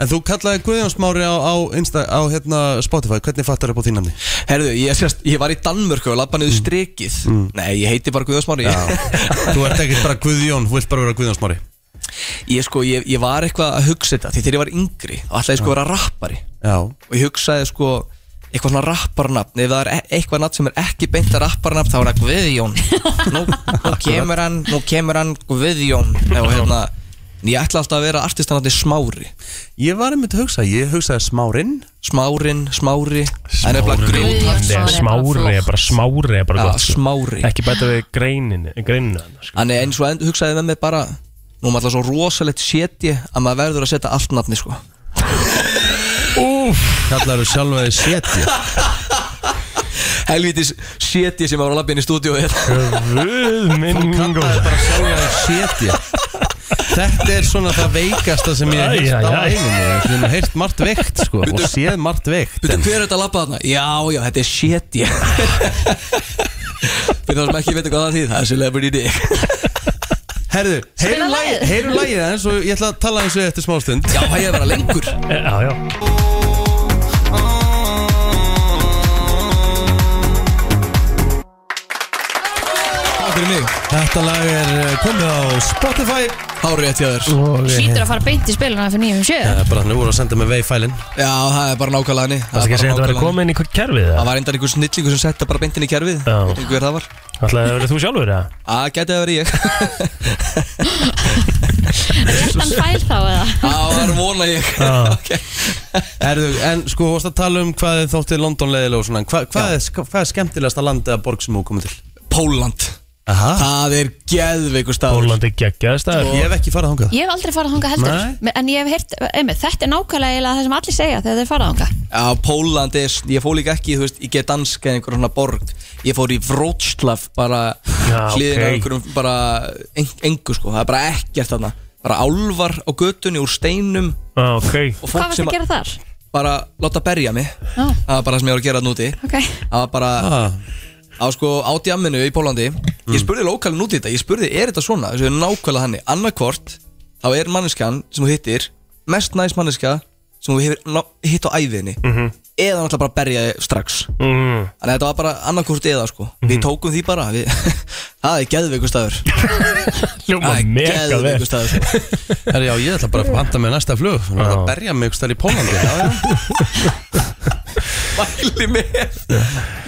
S1: en þú kallaði Guðjónsmári á, á, Insta, á hérna, Spotify Hvernig fattar upp á þínandi?
S3: Herðu, ég, sérst, ég var í Danmörku og lappa niður strikið Nei, ég heiti bara Guðjónsmári
S1: Mm. Þú ert ekkert bara Guðjón, þú vilt bara vera Guðjónsmári
S3: Ég sko, ég, ég var eitthvað að hugsa þetta Því þegar ég var yngri, þá ætlaði ég sko að vera rappari
S1: Já
S3: Og ég hugsaði sko eitthvað svona rapparnafn Ef það er e eitthvað nafn sem er ekki beint að rapparnafn Þá er það Guðjón Nú, nú kemur hann, nú kemur hann Guðjón Og hérna, en ég ætla alltaf að vera artistanandi Smári
S1: Ég var einmitt að hugsa, ég hugsaði Smárinn
S3: Smárinn, Smári Það er
S4: Smári,
S3: nefnilega grjótart
S4: Smári, Smári er bara smári er bara
S3: Já,
S4: gott sko.
S3: smári.
S4: Ekki bæta við greininu greininu annars.
S3: Þannig eins og end, hugsaði með mig bara Nú er maður alltaf svo rosalegt setji Að maður verður að setja allt nafni sko
S1: Úf Kallar þú sjálfa þig seti
S3: Helvitis setji sem var að labba inn í stúdíu
S4: Guð minn Þú
S3: kallaði
S1: bara sjálfa þig setji Þetta er svona það veikasta sem ég hef
S3: Æ,
S1: hýrt á
S3: æ, æ.
S1: æfinni Ég hef heyrt margt veikt sko og
S3: Bíddu.
S1: séð margt veikt
S3: Býttu, hver er þetta að labba þarna? Já, já, þetta er setji Fyrir þá sem ekki veitir hvað það þýð Það er celebrity dick
S1: Herðu,
S3: Spila
S1: heyrum
S3: lagið.
S1: lagið heyrum lagið aðeins og ég ætla að tala eins og eftir smástund
S3: Já, það er bara lengur
S4: Já, já
S3: Takk fyrir mig
S1: Þetta lag er eh, komið á Spotify
S3: Hárið eftir
S1: þér
S2: Sýtur að fara beint í spiluna fyrir nýjum sjö
S1: Það er bara hann voru að senda mig veifælin
S3: Já, það er bara nákvæmlega henni
S4: Það er ekki að segja að þetta verið komið inn í hvað kerfið
S3: Það var endar einhver snillingu sem setja bara beintin í kerfið Veit ekki hver það var
S4: Ætlaði að verið þú sjálfur eða?
S3: Að gæti að vera ég
S2: Réttan fæl þá eða
S3: Það var vona ég
S1: Erðu, en sko, þú varst að tala um hvað þið þótti London leiðilega og svona en Hva, hvað, er, sk- hvað er skemmtilegasta land eða borg sem þú komið til?
S3: Póland
S1: Aha.
S3: Það er geðveikur staður
S4: Póland er geggjaður staður
S1: Ég hef ekki farað þangað
S2: Ég hef aldrei farað þangað heldur
S3: Nei.
S2: Me- En ég hef heyrt, einmitt, þetta er nákvæmlega eiginlega það sem allir segja þegar þeir farað þangað
S3: Já, Póland er, ég fór líka ekki, þú veist, ég get danska en einhver svona borg Ég fór í Wroclaw bara
S4: Já,
S3: hliðin á
S4: ok.
S3: einhverjum bara en, engu sko, það er bara ekkert þarna Bara álvar á götunni úr steinum
S4: Já, Ah, ok
S3: og
S2: Hvað varst að gera þar?
S3: Bara láta berja mig,
S2: Já,
S3: það var bara það sem ég var að gera þarna úti
S2: ok
S3: Það var bara, á sko á djamminu í Pólandi
S4: Mm.
S3: Ég spurði lókalinn út í þetta, ég spurði er þetta svona, þessu er nákvæmlega hannig Annarkvort, þá er manneskjan sem þú hittir, mest næs manneska sem þú hefur ná- hitt á æfiðinni
S4: Mhm.
S3: eða náttúrulega bara berja þig strax
S4: Mm. Mhm.
S3: Þannig að þetta var bara annarkvort eða sko Við tókum því bara við, Það er geðveikur staður
S4: Ljóma mega vel.
S3: staður sko.
S1: Herðu, já, ég ætla bara að panta mig næsta flug Þannig að
S4: Já.
S1: berja mig ykkur stær í Pólandi já, já.
S3: Mæli með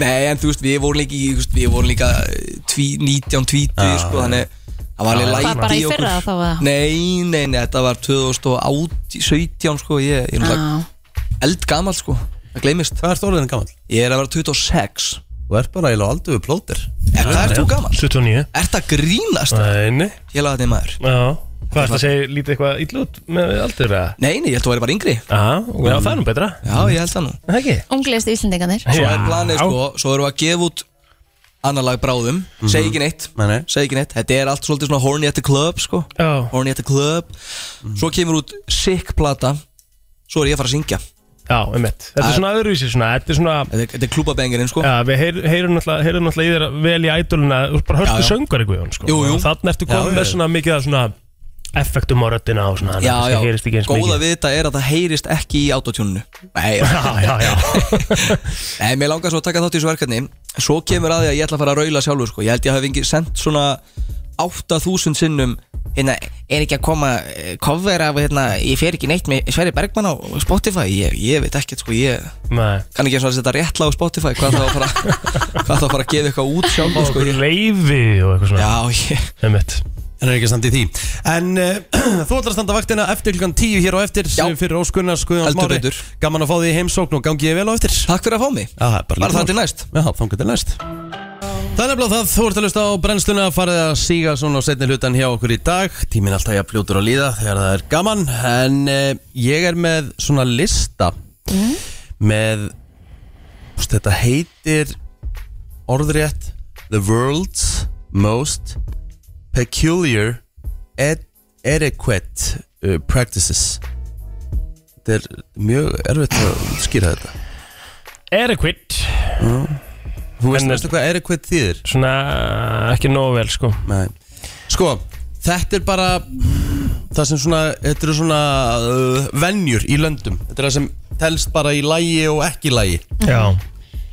S3: Nei en þú veist við vorum líka, í- þú veist, við vorum líka eh, tví, 19, 20 sko, Þannig að það var alveg
S2: Hvað,
S3: læti
S2: bara í
S3: í okkur.
S2: fyrra þá, eða?
S3: Nei, nei, nei, þetta var 2017 sko Ég, ég er
S2: Já.
S3: náttúrulega eldgamall sko Það gleymist
S1: Hvað ert orðin gamall?
S3: Ég er að vera 26
S1: Þú ert bara eiginlega aldrei við plótir
S3: Er það ert þú gamall?
S4: 29
S3: Er það grínast?
S4: Nei
S3: Ég laði þetta maður
S4: Já Hvað er það að segja lítið eitthvað illa út með aldur eða?
S3: Nei, nei, ég held að þú væri bara yngri
S4: Já, já, það er nú betra
S3: Já, ég held það nú
S4: Það ekki?
S2: Ungliðist Íslendinganir
S3: Svo
S4: Já.
S3: er planið sko, svo erum við að gefa út annar lag bráðum,
S4: Mhm.
S3: segi ekki neitt
S1: nei.
S3: segi ekki neitt, þetta er allt svolítið svona horny at the club sko,
S4: Já.
S3: horny at the club
S4: Mhm.
S3: svo kemur út sick plata svo er ég að fara að syngja
S4: Já, einmitt Þetta er svona öðruvísi svona Þetta er svona
S3: Þetta er, þetta er klúbabengirinn sko
S4: Já, við heyr, heyrum náttúrulega heyrum náttúrulega í þér vel í ædoluna Þú ert bara hörstu
S3: Já, já.
S4: söngar eitthvað Jón sko.
S3: Jú, jú.
S4: Þannig ertu
S3: Já,
S4: komið með
S3: já.
S4: svona mikið að svona effektum á röddina og svona
S3: já,
S4: þannig að
S3: já,
S4: það heyrist ekki eins
S3: góða
S4: mikið
S3: við þetta er að það heyrist ekki í autotjóninu Nei, já,
S4: já, já
S3: Nei, mér langar svo að taka þátt í þessu verkefni Svo kemur að því að ég ætla að fara að raula sjálfur sko. Ég held ég hafi engi sendt svona 8000 sinnum hérna, Er ekki að koma eh, cover af hérna, Ég fer ekki neitt með Sverri Bergmann á Spotify Ég, ég veit ekkert sko, ég
S4: Nei
S3: kann ekki eins og að setja rétt lag á Spotify Hvað þá að fara, hvað þá að fara að gefa eitthvað út sjálfur sko.
S4: Okkur leiði og eitthvað svona
S3: Já, ég
S4: Einmitt
S1: En er ekki samt í því En uh, þú ætlar að standa vaktina eftir klukkan 10 hér og eftir Já. Fyrir Óskunnars Guðjóns
S3: Heldur
S1: Mári
S3: betur.
S1: Gaman að fá því heimsókn og gangi ég vel á eftir
S3: Takk fyrir að fá mig
S1: Já, það er bara
S3: Bara
S1: lítið
S3: þar til
S1: mál.
S3: næst
S1: Já, þangar til næst Það er nefnilega það, þú ert að lusta á brennsluna farið að síga svona á setni hlutan hjá okkur í dag Tíminn alltaf ég fljótur að líða þegar það er gaman En uh, ég er með svona lista Með, úst, þetta heitir orðrétt The world's most eh, peculiar ed- adequate uh, practices
S3: þetta er mjög erfitt að skýra þetta
S4: Adequate
S3: Þú veist, veistu hvað adequate þýðir?
S4: Svona ekki nógu vel sko
S3: Nei. Sko, þetta er bara það sem svona, þetta eru svona uh, venjur í löndum Þetta er það sem telst bara í lægi og ekki lægi
S4: Já,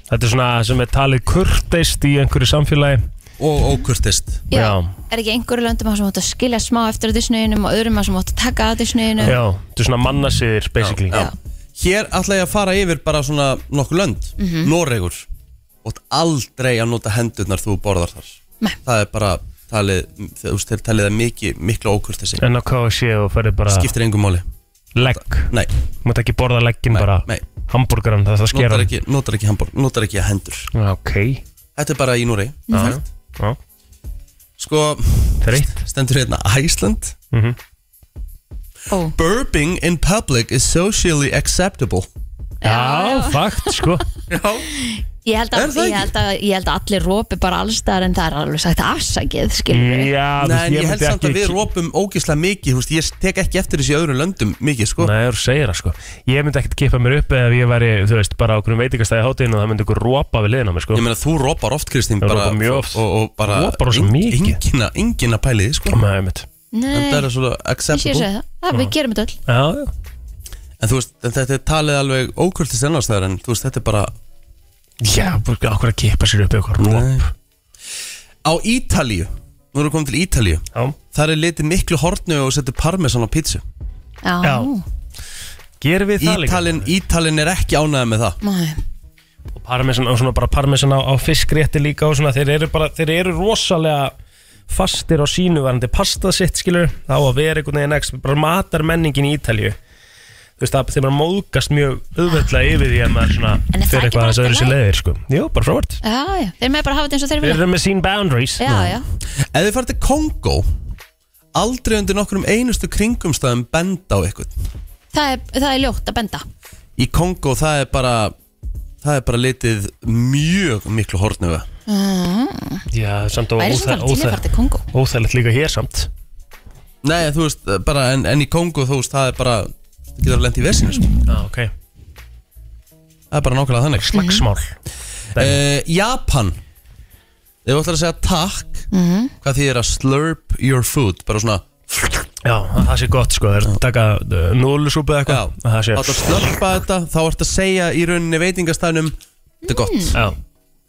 S4: þetta er svona sem er talið kurteist í einhverju samfélagi
S3: Og ókurteist
S2: Já. Er ekki einhverju löndum að sem átt að skilja smá eftir á disneyinum og öðrum að sem átt að taka að disneyinum
S4: Já, þetta er svona mannasiðir basically
S3: Já. Hér ætla ég að fara yfir bara svona nokkur lönd
S2: Mhm.
S3: Noregur Ótt aldrei að nota hendurnar þú borðar þar
S2: Nei.
S3: Það er bara talið, þú veist, þeir talið það mikið, miklu ókurteisi
S4: En á KFC og ferði bara
S3: Skiptir engum máli
S4: Legg
S3: Nei
S4: Mátt ekki borða leggin bara
S3: Nei
S4: Hamburgaran það það sker
S3: Notar ekki, notar ekki hambúr, notar ekki hendur
S4: Ok
S3: Þetta er bara í Núri
S4: Já, já.
S3: Sko
S4: Þreitt
S3: Stendur hérna Iceland
S4: Mhm.
S2: oh.
S3: Burping in public is socially acceptable
S4: Já, fakt sko
S3: Já
S2: Ég held,
S3: Er
S2: að,
S3: það
S2: ég, held að, ég held að allir rópi bara allstaðar en það er alveg sagt afsakið skilur við
S4: Já,
S3: Nei,
S4: þú veist,
S3: en
S4: ég
S3: ég held
S4: myndi
S3: samt
S4: ekki-
S3: að við rópum ógislega mikið þú veist, Ég tek ekki eftir þessi öðru löndum mikið sko.
S4: Nei, þú segir það sko Ég myndi ekkert kippa mér upp ef ég væri, þú veist, bara á okkur veitingastæði hátíðin og það myndi okkur rópa við liðin á mér sko
S3: Ég meina þú rópar oft Kristín
S4: Ég
S3: bara-
S4: rópa mjög oft
S3: og, og bara
S4: Rópar rosa mikið.
S3: engin, að- engin að pæli því sko.
S4: Nei, mitt
S2: Nei.
S3: En það er svona
S2: Ég sé að segja
S3: acceptable
S2: það, það við gerum þetta öll
S4: Já, já
S3: En þú veist, en þetta er talið alveg ókvöldist ennastæðar En þú veist, þetta er bara
S4: Já, bara okkur að kippa sér upp í okkur róp
S3: Á Ítalíu, nú erum við komin til Ítalíu
S4: Já.
S3: Þar er litið miklu hornu og setur parmesan á pítsu
S2: Já,
S4: Gerum við það líka?
S3: Ítalin, Ítalin er ekki ánægð með það
S2: Nei.
S4: og parmesan og svona bara parmesan á, á fiskrétti líka og svona þeir eru bara, þeir eru rosalega fastir á sínu varandi pastað sitt skilur þá að vera einhvern veginn ekki bara matar menningin í Ítalju þú veist það þeir bara móðgast mjög auðveldlega yfir því að maður
S2: En er
S4: svona
S2: það
S4: fer
S2: ekki
S4: eitthvað
S2: bara
S4: aðeins
S2: allt
S4: öðru sér
S2: í lagi?
S4: leiðir sko Jú, bara frávært
S2: já, já, þeir með bara hafa þetta eins og þeir
S4: Þeir
S2: vilja
S4: eru með sín boundaries
S2: Já, já,
S3: Ef þið farið til Kongo Aldrei undir nokkrum einustu kringumstæðum benda á eitthvað
S2: það er, það er ljótt að benda
S3: Í Kongo það er bara Það er bara litið mjög miklu hornu við
S2: mm.
S4: Já, samt og
S2: Væri samt alveg til í að fara til Kongó.
S4: óþægilegt líka hér samt
S3: Nei, þú veist, bara, en, en í Kongo þú veist, það er bara Það getur að lenda í vesinu, sko
S4: Já, ah, ok
S2: Mhm.
S3: Það er bara nákvæmlega þannig
S4: Slagsmál
S3: uh, Japan Ef þú ætlar að segja takk Hvað þýðir að slurp your food Bara svona
S4: Já, að það sé gott sko, þeir taka uh, núlusúpu eða eitthvað að það sé
S3: Þá ætlar að slurpa þetta Þá ert að segja í rauninni veitingastæðnum Þetta er gott
S4: Já.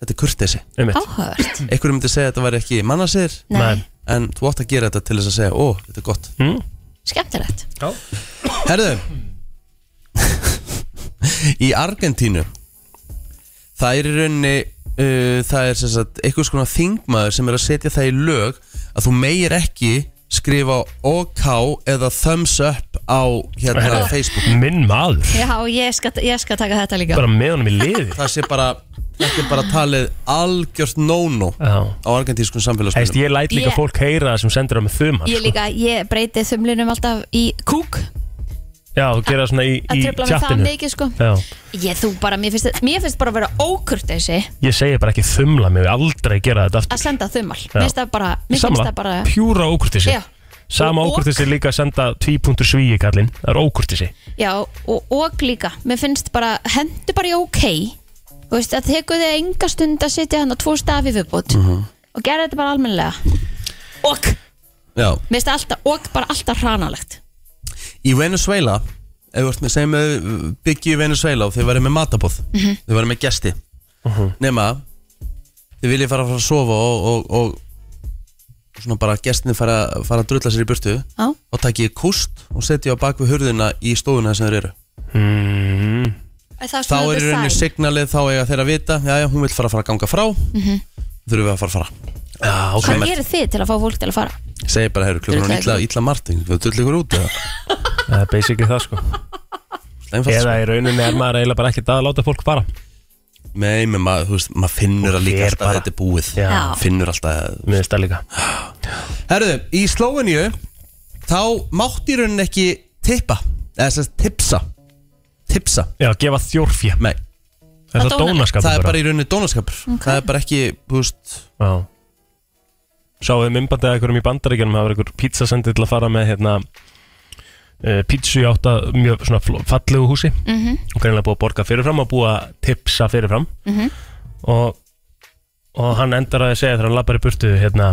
S3: Þetta er kurteisi
S4: Mm.
S2: Áhugavert
S3: Einhverjum myndi segja að þetta væri ekki mannasir
S2: Nei.
S3: En þú átt að gera þetta til þess að segja Ó, þetta er gott
S4: mm.
S2: Skemmtilegt
S4: Já.
S3: Herðu Í Argentínu Það er í rauninni uh, Það er sem sagt einhvers konar þingmaður sem er að setja það í lög að þú meir ekki skrifa OK eða thumbs up á hérna
S4: Herðu,
S3: Facebook
S4: Minn maður
S2: Já, ég skal, ég skal taka þetta líka
S4: með honum í liði
S3: Það sé bara Þetta er bara talið algjört no-no á argentískun samfélagsmiðlum
S4: Heist, ég læt líka
S2: Ég-
S4: fólk heyra það sem sendir það með þuman
S2: Ég líka, ég breyti þumlinum alltaf í kúk
S4: Já, þú gera það svona í,
S2: að
S4: í
S2: trufla mig það
S4: tjattinu
S2: mikið, sko.
S4: Já,
S2: Ég þú bara, mér finnst, mér finnst bara að vera ókurt þessi
S4: ég segi bara ekki þumla mig, við aldrei gera þetta
S2: að
S4: aftur
S2: senda þumal
S4: Já.
S2: Mér finnst það bara, mér finnst
S4: Sammála.
S2: það bara
S4: Pjúra ókurtisi
S2: Já.
S4: Sama
S2: Og-
S4: ókurtisi líka að senda 2.7 kallinn Það er ókurtisi
S2: Já, og, og líka, mér finnst bara hendur bara í ok Þú veist, það tekur þig enga stund að sitja hann á tvo stafi viðbútt
S4: Mhm.
S2: mm -hmm. og gera þetta bara almennilega Ok,
S3: Já
S2: mér finnst það alltaf ok, bara alltaf hranalegt
S3: Í Venezuela Ef þú ert með segjum með byggju í Venezuela og þið verið með matabóð
S2: Mhm.
S3: Þið verið með gesti Nema Þið viljið fara að fara að sofa og, og, og Svona bara gestinni fara, fara að drulla sér í burtu
S2: Já.
S3: Og takið kúst og setjið á bak við hurðina í stofuna þar sem þeir eru
S4: mm.
S3: Þá er í rauninni signalið þá eiga þeir að vita Jæja, hún vil fara að fara að ganga frá
S2: Mhm.
S3: Þurfum við að fara að fara Já,
S2: Hvað gerir þið til að fá fólk til að fara?
S3: Segir bara, heyrðu, klukkan
S2: Drulla
S3: er illa,
S2: ykkur.
S3: illa Martin Við dullum ykkur út eða?
S4: Það er basically það sko
S3: Einfalt,
S4: Eða í rauninni er maður eiginlega bara ekki að láta fólk fara
S3: Nei, menn maður, þú veist, maður finnur að líka
S4: fer
S3: alltaf að
S4: bara.
S3: þetta er búið
S4: Já. Já.
S3: Finnur alltaf
S4: Mér finnst það líka
S3: Herðu, í Slóveníu Þá mátti í rauninni ekki tippa Eða þess að tipsa Tipsa
S4: Já, gefa þjórfja
S3: Nei
S4: Er það dónaskapur
S3: Það er
S4: bara?
S3: bara í rauninni dónaskapur Það er bara ekki, þú veist
S4: Já Sáum við myndbandið að einhverjum í bandaríkjanum hafa verið einhver pizza sendið til að fara með hérna uh, pítsu í átta mjög svona fl- fallegu húsi
S5: Mhm.
S4: og greinlega búið að borga fyrirfram og búið að tipsa fyrirfram
S5: Mhm.
S4: og, og hann endar að segja þegar hann lappar í burtu hérna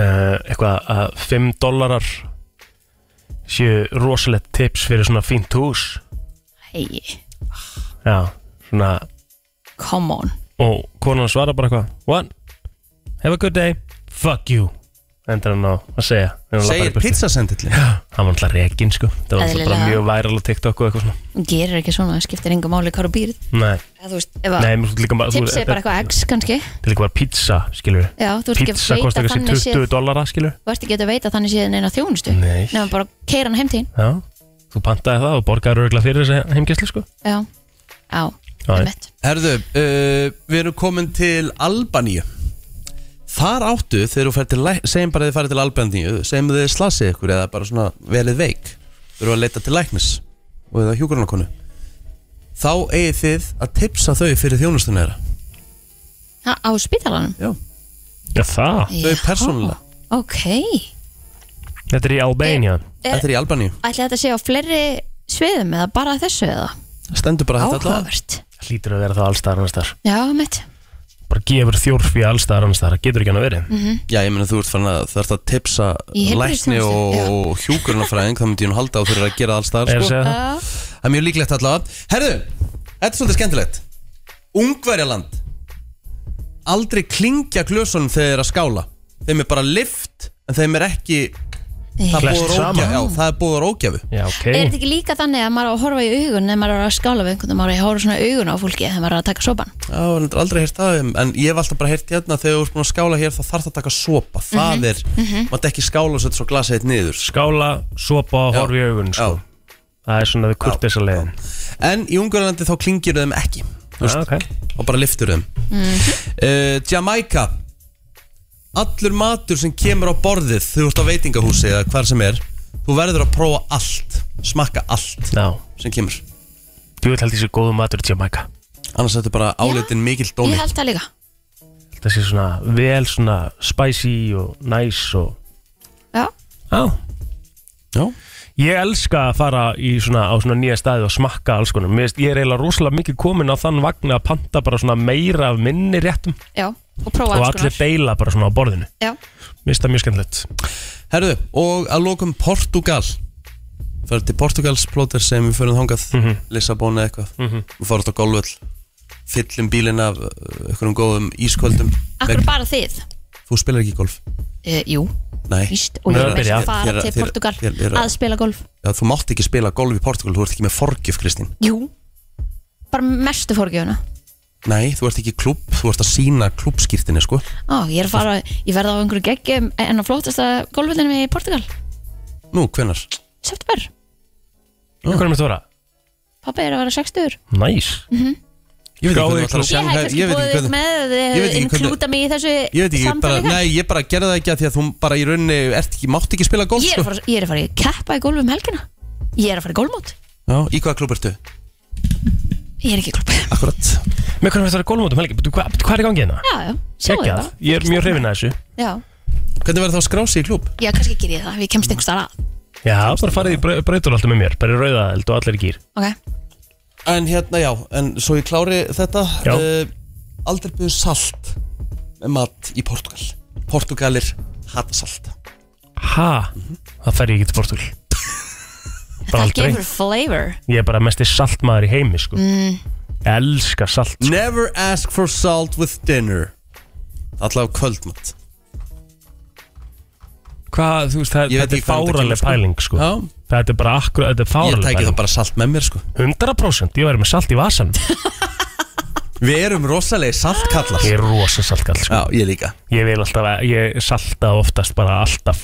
S4: uh, eitthvað að 5 dólarar séu rosalegt tips fyrir svona fínt hús
S2: Hei,
S4: Já, svona
S2: come on
S4: Og konan svarar bara eitthvað What? Have a good day Fuck you Endur hann á að segja
S3: Segir
S4: pizzasendilli Já, hann var alltaf rekin sko Það var alltaf bara
S2: Eðlilega.
S4: mjög væral á TikTok og eitthvað svona
S2: Hún gerir ekki svona, það skiptir engu máli hvað þú býrð
S4: Nei
S2: Eða þú veist, ef að
S4: Nei, mér finnst líka bara- þú-
S2: tipsið er bara
S4: þetta-
S2: eitthvað x kannski
S4: Til líka bara pizza, skilur við
S2: Já, þú ert ekki að
S4: Pizza
S2: veita
S4: kostar kannski
S2: þannig
S4: 20
S2: séð-
S4: dollara, skilur
S2: Þú ert ekki að veita þannig séðin eina þjónustu
S4: Nei.
S2: Nefnum bara keira hann heim til þín
S4: Já, þú pantaði það og borgaði örgla fyrir þessi heimgæslu sko
S2: Já, já, einmitt
S3: Herðu, uh, við erum komin til Albaníu Þar áttu þegar þú fer til læk- segjum bara að þið farið til Albaníu segjum að þið slasið ykkur eða bara svona velið veik þú eru að leita til læknis og eða hjúkurunarkonu þá eigið þið að tipsa þau fyrir þjónustunni þeirra
S2: Ha, Á spítalanum?
S3: Já
S4: Já, það
S3: Þau er persónulega
S2: Ok,
S4: Þetta er í Albania
S2: Eh, Þetta
S3: er í Albaníu
S2: ætli þetta sé á fleiri sviðum eða bara þessu eða?
S3: Stendur bara
S2: þetta allavega. Áhugavert
S4: Hlýtur að vera það allstaðar annarstaðar
S2: Já, mitt
S4: Bara gefur þjórfi allstaðar annarstaðar Það getur ekki hann að verið
S2: Mhm.
S3: Já, ég meina þú ert farin að þarft að tipsa
S2: Í
S3: lækni
S2: heilbrigðisþjónustu,
S3: og,
S2: já.
S3: og hjúkurunarfræðing þá myndi ég nú halda á fyrir að gera alls þar
S4: Er
S3: sko.
S4: það? Já.
S3: Það er mjög líklegt allavega Herðu, þetta er svolítið skemmtilegt Ungverjaland Aldrei klingja glösunum þegar þeir eru að skála Þeim er bara lift en þeim er ekki Það
S4: Klesst
S3: búður
S4: saman.
S3: ógjafu Já, það er búður ógjafu
S4: Já, ok
S2: Er þetta ekki líka þannig að maður á að horfa í augun ef maður er að skála við einhvern maður er að horfa svona í augun á fólki þegar maður er að taka sopan
S3: Já, en þetta er aldrei heyrt það um, En ég hef alltaf bara heyrt hérna Þegar þú ert búin að skála hér þá þarf það að taka sopa Það
S2: Mhm,
S3: er, mm
S2: mhm.
S3: -hmm. maður ekki skála og setja svo glasið eitt niður sko.
S4: Skála, sopa og horfa í augun sko. Það er svona við kurtisa leiðin
S3: En í Ungverjalandi þá klingir þeim ekki þú
S4: Ah,
S3: veist, Og bara liftur þeim uh, Jamaica Allur matur sem kemur á borðið Þú ert á veitingahúsi eða hvar sem er Þú verður að prófa allt Smakka allt
S4: Já.
S3: sem kemur
S4: Þú vil held þessi góðu matur til Jamaica
S3: Annars þetta er bara áleitin mikill dómi
S2: Ég held það líka
S4: Þetta sé svona vel svona spicy og nice og
S2: Já.
S4: Já
S3: Já
S4: Ég elska að fara í svona, á svona nýja staði og smakka alls konum Mér, finnst- Ég er eiginlega rosalega mikið komin á þann vagn að panta bara svona meira af minni réttum
S2: Já, og prófa
S4: Og
S2: alls
S4: allir
S2: konar
S4: deila bara svona á borðinu
S2: Já.
S4: Mér finnst það mjög skemmtilegt
S3: Herðu, og að lokum Portugal Fyrir til Portugals plóter sem við fyrir þangað mm -hmm. Lissabon eða eitthvað mm
S4: Mhm.
S3: Við fórum þetta á golvöll Fyllum bílinn af uh, einhverjum góðum ísköldum
S2: Akkur bara þið?
S3: Þú spilar ekki golf
S2: E, jú,
S3: Nei
S2: víst og ég vil fara til Portugal að spila golf
S3: Já, þú mátt ekki spila golf í Portugal, þú ert ekki með forgjöf, Kristín
S2: Jú, bara mestu fórgjöfuna
S3: Nei, þú ert ekki klubb, þú ert að sína klubbskýrtinni, sko
S2: Á, ég er að fara, ég verði á einhverju geggjum en á flótasta golfvillinu í Portugal
S3: Nú, hvenar?
S2: September,
S4: Hvað er með þóra?
S2: pappi er að vera 60
S4: Næs
S2: Mhm.
S3: Ég veit ekki
S4: Skráðu
S3: hvernig þú ætlar að
S4: í klúbb.
S3: sjá-
S2: Ég hef kannski
S3: ég veit ekki
S2: búið
S3: hvernig-
S2: með eh,
S3: ég veit ekki hvernig-
S2: inklúta mig í þessu
S3: Ég veit ekki, bara,
S2: samtali kannski.
S3: nei, ég bara gerði það ekki að því að þú bara í rauninni ert ekki, mátt ekki spila golf,
S2: Ég er að
S3: sko
S2: fara- ég er að fara í keppa í golf um helgina Ég er að fara í golfmót
S3: Já, í hvaða klubb ertu?
S2: Ég er ekki í klubb
S3: Akkurat
S4: Með hvernig þetta er golfmótum helgi? Bíddu, Hvað hvað er í gangi hérna?
S2: Já, já, sjáum við
S4: Geggjað.
S2: það
S4: Ég er mjög hrifin að þessu
S2: Já,
S3: Hvernig verður þá skrási í klubb?
S2: já, kannski ger ég það, við kemst einhvers þar að
S4: Já, bara farið í breytur alltaf með mér Bara í rauðaðeld og allir í gýr
S2: Ok.
S3: En hérna, já, en svo ég klári þetta
S4: Já.
S3: uh, Aldrei byrðu salt með mat í Portugal Portugalir hata salt
S4: Ha? Það fer ég ekki til Portugal Bara
S2: Það
S4: aldrei
S2: gefur flavor
S4: Ég er bara mesti saltmaður í heimi sko
S2: Mm.
S4: Elska salt sko.
S3: Never ask for salt with dinner Allavega kvöldmatt
S4: Hvað, þú veist, það,
S3: Ég veit
S4: þetta er
S3: ekki hvaðan þetta kemur,
S4: fáraleg
S3: sko.
S4: pæling sko
S3: Já.
S4: Þetta er bara akkur, þetta er
S3: Ég
S4: fáraleg pæling
S3: tæki þá bara salt með mér sko
S4: 100% ég væri með salt í vasan
S3: Við erum rosalegi saltkallar
S4: Ég er rosa saltkall sko
S3: Já, ég líka
S4: Ég vil alltaf, að- ég salta oftast bara alltaf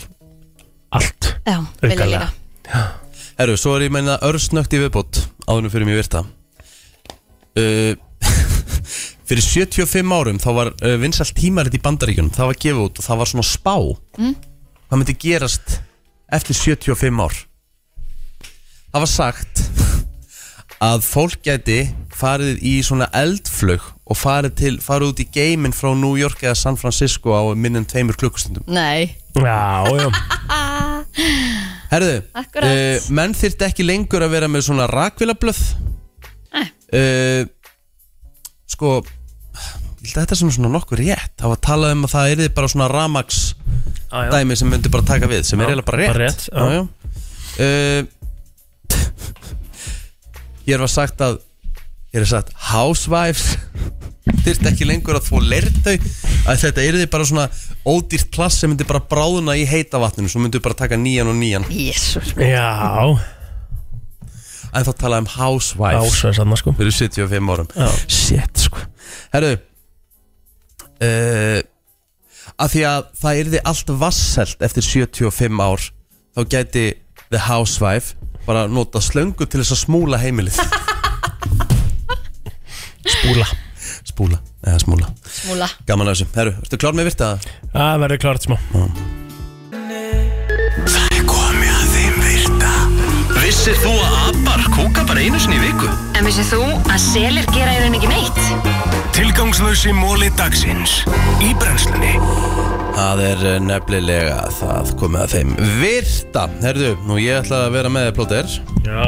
S4: Allt
S2: Já, vil ég líka
S3: Herru, svo er ég meina örsnögt í viðbót áðunum fyrir mér virta uh, Fyrir 75 árum þá var uh, vinsalt tímarit í bandaríkjunum það var gefið út og það var svona spá
S5: Mm.
S3: hvað myndi gerast eftir 75 ár Það var sagt að fólk gæti farið í svona eldflug og farið, til, farið út í geiminn frá New York eða San Francisco á minnum tveimur klukkustundum
S2: Nei
S4: Já, já
S3: Herðu,
S2: Akkurat.
S3: eh, menn þyrft ekki lengur að vera með svona rakvilablöð
S2: Nei.
S3: uh, Sko, ég held að þetta sem svona nokkuð rétt Það var talað um að það er bara svona ramax
S4: já.
S3: dæmi sem myndi bara taka við sem
S4: Já,
S3: er eiginlega bara rétt,
S4: bara rétt,
S3: já.
S4: já.
S3: Já, uh, Hér var sagt að Hér er sagt housewives þyrft ekki lengur að þú lert þau að þetta er bara svona ódýrt klass sem myndi bara bráðuna í heita vatninu svo myndi bara taka nýjan og nýjan
S4: sko.
S2: Jésus
S4: Já
S3: En þá talaði um housewives
S4: Housewives annars sko
S3: Fyrir 75 árum
S4: Já.
S3: Shit sko Herru uh, Af því að það yrði allt vasselt eftir 75 ár Þá gæti the housewife bara nota slöngu til þess að smúla heimilið
S4: Spúla
S3: Spúla, eða smúla
S2: Smúla
S3: Gaman að þessu Herru, ertu klár með virta?
S4: Það verður klart smá
S5: Það er komið að þeim virta Vissir þú að abar kúka bara einu sinni í viku?
S13: En vissið þú að selir gera í rauninni ekki neitt?
S5: Tilgangslösi móli dagsins Í brennslunni
S3: Það er eh, nefnilega það komið að þeim virta Herðu, nú ég ætla að vera með þér plóter
S4: Já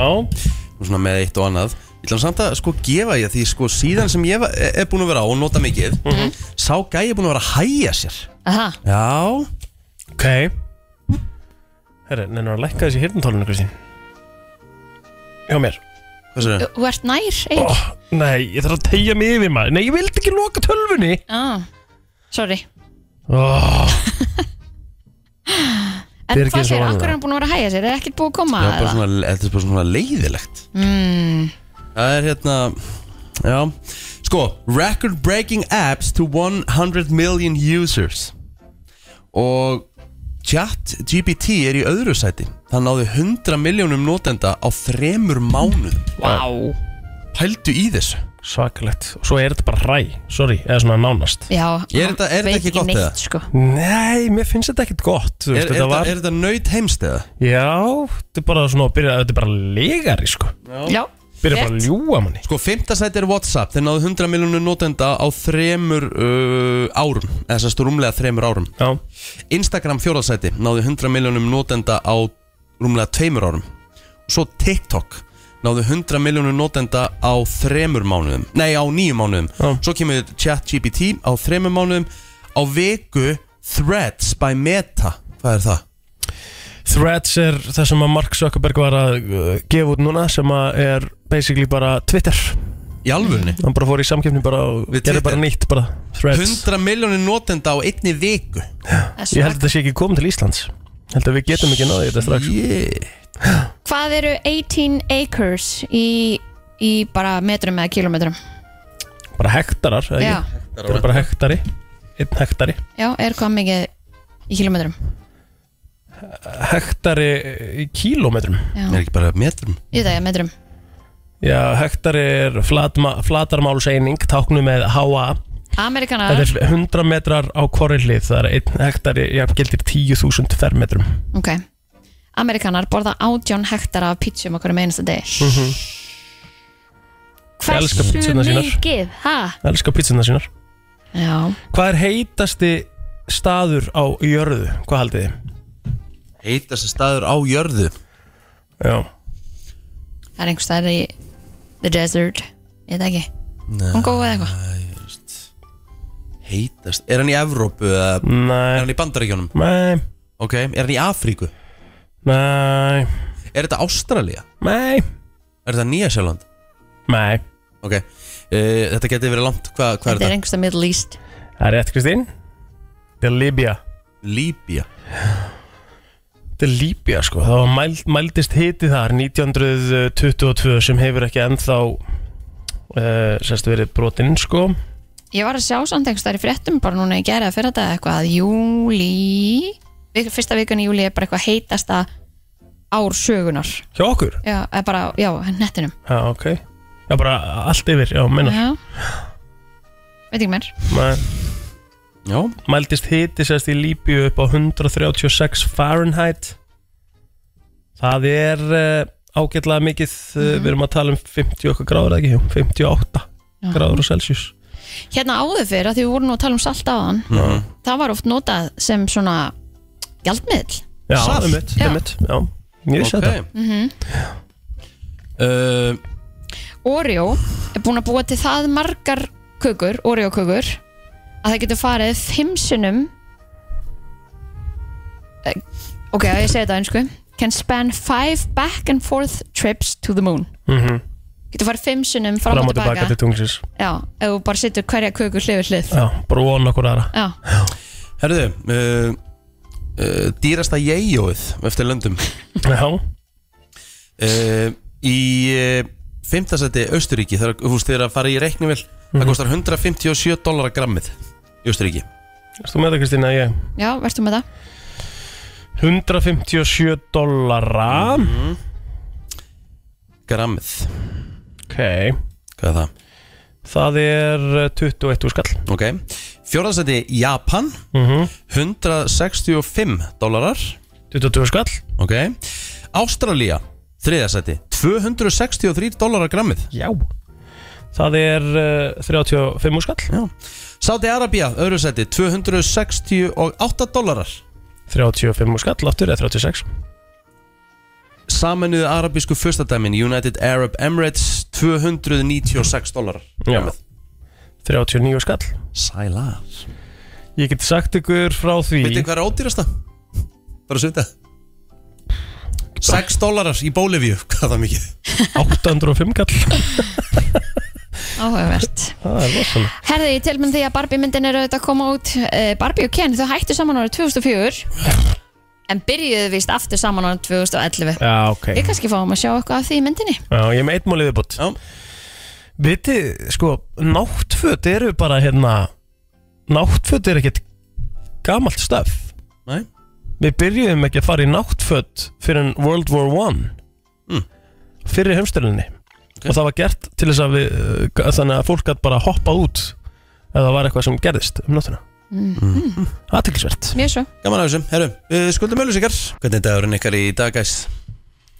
S3: Nú svona með eitt og annað Ég ætla samt að sko gefa ég því sko síðan sem ég var- er er búin að vera á og nota mikið
S2: Mhm.
S3: Sá gæi er búin að vera að hæja sér
S2: Aha,
S3: Já
S4: Ok Herri, nennur að lækka þessi hirtintólinu, Kristín Hjá mér
S3: Hvað sér
S2: þú ert nær Egil
S4: oh, Nei, ég þarf að tegja mig yfir maður Nei, ég vildi ekki loka tölvunni
S2: ah, Sorry
S4: oh,
S2: En
S3: Þetta er ekki
S2: hvað
S3: eins og
S2: sér,
S3: vanlega.
S2: akkur er hann búin að vera að hæja sér? Er ekkert búið að koma
S3: Já, bara
S2: eða?
S3: svona, þetta er bara svona leiðilegt
S2: mm,
S3: Það er hérna Já Sko, record breaking apps to 100 million users Og chat GPT er í öðru sæti Það náði 100 miljónum notenda á þremur mánuð
S2: Vá
S3: Pældu í þessu
S4: Svakalegt Og svo er þetta bara ræ, sorry, eða svona nánast
S2: Já,
S3: Er þetta-
S2: hann
S3: er þetta
S2: veit
S3: ekki gott
S2: neitt,
S3: eða?
S2: sko.
S4: Nei, mér finnst þetta ekkert gott þú
S3: Er, er,
S4: veist,
S3: þetta,
S4: þetta var,
S3: er þetta nöyt heimstæða?
S4: Já, þetta er bara svona að byrja Þetta er bara legari, sko
S2: Já
S4: Byrja bara að ljúa manni
S3: Sko, fymtasæti er WhatsApp Þeir náðu 100 miljónu notenda á þremur uh, árum Eða sérst rúmlega þremur árum
S4: Já.
S3: Instagram fjórðasæti náðu 100 miljónum notenda á rúmlega tveimur árum Svo TikTok náðu 100 miljónu notenda á þremur mánuðum Nei, á nýju mánuðum Svo kemur ChatGPT á þremur mánuðum Á viku Threads by Meta Hvað er það?
S4: Threads er það sem að Mark Zuckerberg var að uh, gefa út núna sem að er basically bara Twitter
S3: Í alvörinni?
S4: Hann bara fór í samkjöfni bara og gerði bara nýtt bara Threads
S3: 100 miljónu notenda á einni viku
S4: Ég held að þetta sé ekki komið til Íslands Ég held að við getum ekki náðið þetta strax
S3: yeah.
S2: Hvað eru 18 acres í, í bara metrum eða kilometrum?
S4: Bara hektarar eða
S2: Já.
S4: ekki? Þetta er bara hektari Einn hektari
S2: Já, er hvað mikið í kilometrum?
S4: Hektari í kílómetrum
S2: Já. Er
S3: ekki bara metrum?
S2: Í dag, metrum
S4: Já, hektari er flatma, flatarmálseining Táknu með HA
S2: Amerikanar
S4: Þetta er 100 metrar á hvori hlið Það er einn hektari, já, gildir 10.000 fermetrum
S2: Ok Amerikanar borða 18 hektar af pítsum okkur um einasta deg
S4: mm -hmm.
S3: Mhm.
S4: Elskar pizzurnar sínar.
S2: mikið? Ha?
S4: Elskar pítsunar sínar
S2: Já
S4: Hvað er heitasti staður á jörðu? Hvað haldið þið?
S3: Heitasti staður á jörðu?
S4: Já
S2: Það er einhvers staðar í The Desert Ég veit ekki
S3: Nei.
S2: Hún góð eða eitthvað
S3: Heitast Er hann í Evrópu? eða-
S4: Er
S3: hann í Bandaríkjónum?
S4: Nei
S3: Ok, er hann í Afríku?
S4: Nei
S3: Er þetta Ástralía?
S4: Nei
S3: Er þetta Nýja Sjáland?
S4: Nei
S3: Ok, uh, þetta geti verið langt Hva, Hvað er
S2: Þetta er
S3: þetta?
S2: einhvers staðar Middle East
S4: Það er rétt, Kristín Þetta er Líbía
S3: Líbía
S4: Þetta er Líbía, sko Það var mæld, mældist hiti þar 1922 sem hefur ekki ennþá uh, sérst verið brotinn, sko
S2: Ég var að sjá samt einhvers staðar í fréttum bara núna í gera að fyrir þetta eitthvað að júli vik- Fyrsta vikun í júli er bara eitthvað heitasta ár sögunar
S4: Hjá okkur?
S2: Já, eða bara, já, nettinum
S4: Já, ok Já, bara allt yfir, já, minna
S2: Já Veit ekki mér
S3: Já
S4: Mældist hiti sérst í Líbíu upp á 136 Fahrenheit Það er uh, ágætlega mikið uh,
S2: Mhm.
S4: Við erum að tala um 50 okkur gráður eða ekki jú, 58
S2: Já.
S4: gráður og Celsius
S2: Hérna áður fyrir að því við vorum nú að tala um salt á hann
S4: Já,
S2: það var oft notað sem svona gjaldmiðl
S4: já einmitt,
S2: Já.
S4: einmitt já. Ég vissi þetta.
S2: Mhm.
S14: Uh,
S2: Oreo er búin að búa til það margar kökur, Oreo kökur að það getur farið fimm sinnum Eh, ok, ég segi þetta á einsku can span five back and forth trips to the moon
S4: Mhm.
S2: getur farið fimm sinnum fram
S4: Fram
S2: og
S4: og tilbaka til tungsis
S2: já, ef þú bara setur hverja köku hlið við hlið
S4: Já, bara vona okkur aðra
S2: já.
S3: Herðu, uh, uh, dýrasta jæjóið eftir löndum
S4: Já
S3: uh, Í uh, fymtasæti Austuríki þegar þú veist þegar að fara í reiknivel
S4: Mhm.
S3: það kostar 157 dólar grammið í Austuríki
S4: Erst þú með það Kristín að ég
S2: já, verður með það
S4: 157 dollara
S3: Grammið
S4: Ok
S3: Hvað er það?
S4: Það er eh, 21 úr skall
S3: Ok, fjórðarsæti Japan
S4: Mhm.
S3: 165 dólarar
S4: 22 skall
S3: Ok, Ástralía þriðarsæti 263 dólarar grammið
S4: Já Það er uh, 35 úr skall
S3: Já Sáti Arabía, öðru sæti 268 dólarar
S4: 35 úr skall, aftur eða 36
S3: Saminuðu arabísku fyrstadæmin United Arab Emirates 296 dólarar
S4: Já 39 skall
S3: Sælar
S4: Ég get sagt ykkur frá því
S3: Veitir hvað er ódýrasta? Bara svita 6 dólarar í Bólivíu Hvað er það mikið?
S4: 805 kall
S2: áhugavert
S4: Það er rosalega
S2: Herði, ég telminn því að Barbie myndin er auðvitað að koma út uh, Barbie og Ken, þau hættu saman árið 2004 en byrjuðu víst aftur saman árið 2011
S4: Já, ok
S2: Við kannski fáum að sjá eitthvað af því í myndinni
S4: Já, ég er með eitt mál yfirbútt Vitið, sko, náttföt eru bara hérna Náttföt eru ekkert gamalt stöf
S3: Nei
S4: Við byrjuðum ekki að fara í náttföt fyrir en World War One mm. Fyrir heimstölinni Og það var gert til þess að við uh, Þannig að fólk gætt bara hoppað út Ef það var eitthvað sem gerðist um nóttina
S2: Mhm.
S4: Aðteklisvert
S2: Mjög svo
S3: Gaman af þessum, herru, uh, skuldum öllusikar Hvernig er dagurinn ykkar í dag, gæs?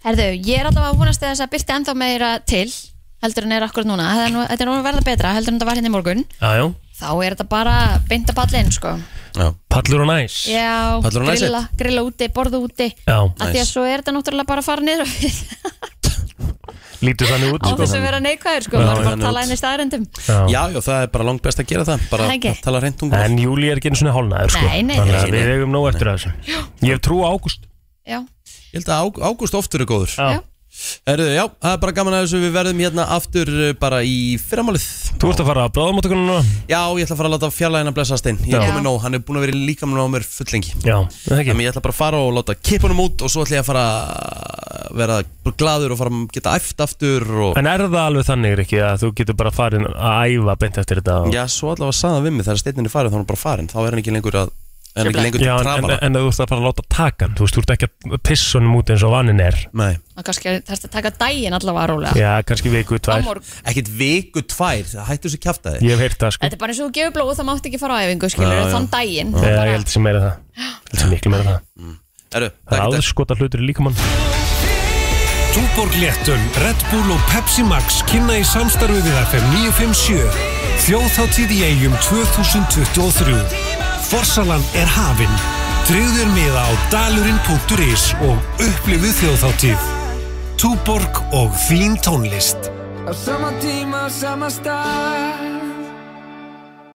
S2: Herðu, ég er allavega að vonast til þess að byrti ennþá meira til heldur en er akkurat núna Það er nú- Þetta er nú að verða betra heldur en þetta var hérna í morgun
S4: Já, já,
S2: þá er þetta bara beinta pallin sko.
S3: já.
S4: Pallur og næs
S2: Já,
S4: Pallur og næs
S2: grilla, grilla úti, borða úti
S4: Já,
S2: að því að svo er þetta náttúrulega bara að fara niður á við
S4: Lítur þannig út
S2: á þess að vera neikvæður sko,
S3: Já,
S2: maður er bara
S3: þannig
S2: að tala
S3: út.
S2: inn í staðrendum
S4: Já.
S3: já, það er bara langt best að gera það
S2: Það
S3: Bara
S2: er ekki.
S3: að tala reynd um
S4: En júli er ekki einu svona hálnaður sko.
S2: Nei, nei,
S4: Þannig
S2: nei.
S4: að við eigum nóg eftir af þessu Ég hef trú á águst
S2: Já,
S3: Ég held að ág- ágúst oftur er góður
S4: Já.
S3: Herru, já, það er bara gaman að þessu Við verðum hérna aftur uh, bara í fyrramálið
S4: Þú ert að fara að bráðamáttökunum núna?
S3: Já, ég ætla að fara að láta fjarlægina blessa stein Ég
S4: Já.
S3: er komið nóg, hann er búin að vera líka með mér fullengi
S4: Já,
S3: Þannig að ég ætla bara að fara og láta kippunum út Og svo ætla ég að fara að vera gladur Og fara að geta æft aftur og...
S4: En er það alveg þannig, Rikki, að þú getur bara farin að æfa beint eftir þetta? og-
S3: Já, svo allavega sagði hann við mig Þegar steinninn er farin, þá er hann bara farin Þá er hann ekki lengur að Er hann ekki lengur
S4: Já,
S3: til
S4: en, en,
S3: trafara
S4: en þú ert að fara að láta taka hann Þú veist, þú ert ekki að pissa honum út eins og vannin er
S3: Nei
S2: og kannski þarfst að taka daginn allavega rólega
S4: Já, kannski viku
S2: Á
S4: tvær
S2: morgun.
S3: Ekkit viku tvær, það hættu þessu kjafta
S4: Ég hef heyrt það, sko
S2: Þetta er bara eins og þú gefur blóð og það mátt ekki fara á æfingu skilur
S4: Já, já.
S2: þann daginn
S4: Já, ég held sem meira það Ég held sem miklu meira það
S3: Heru,
S4: Það er aðskota hlutur í líkamann
S15: Túborg Léttun, Red Bull og Pepsi Max kynna í samstarfi við FM 957. Þjóðháttíð í eigum 2023. Forsalan er hafin. Tryggður miða á dalurinn.is og upplifu þjóðháttíð. Túborg og þín tónlist.
S5: Á sama tíma, sama stað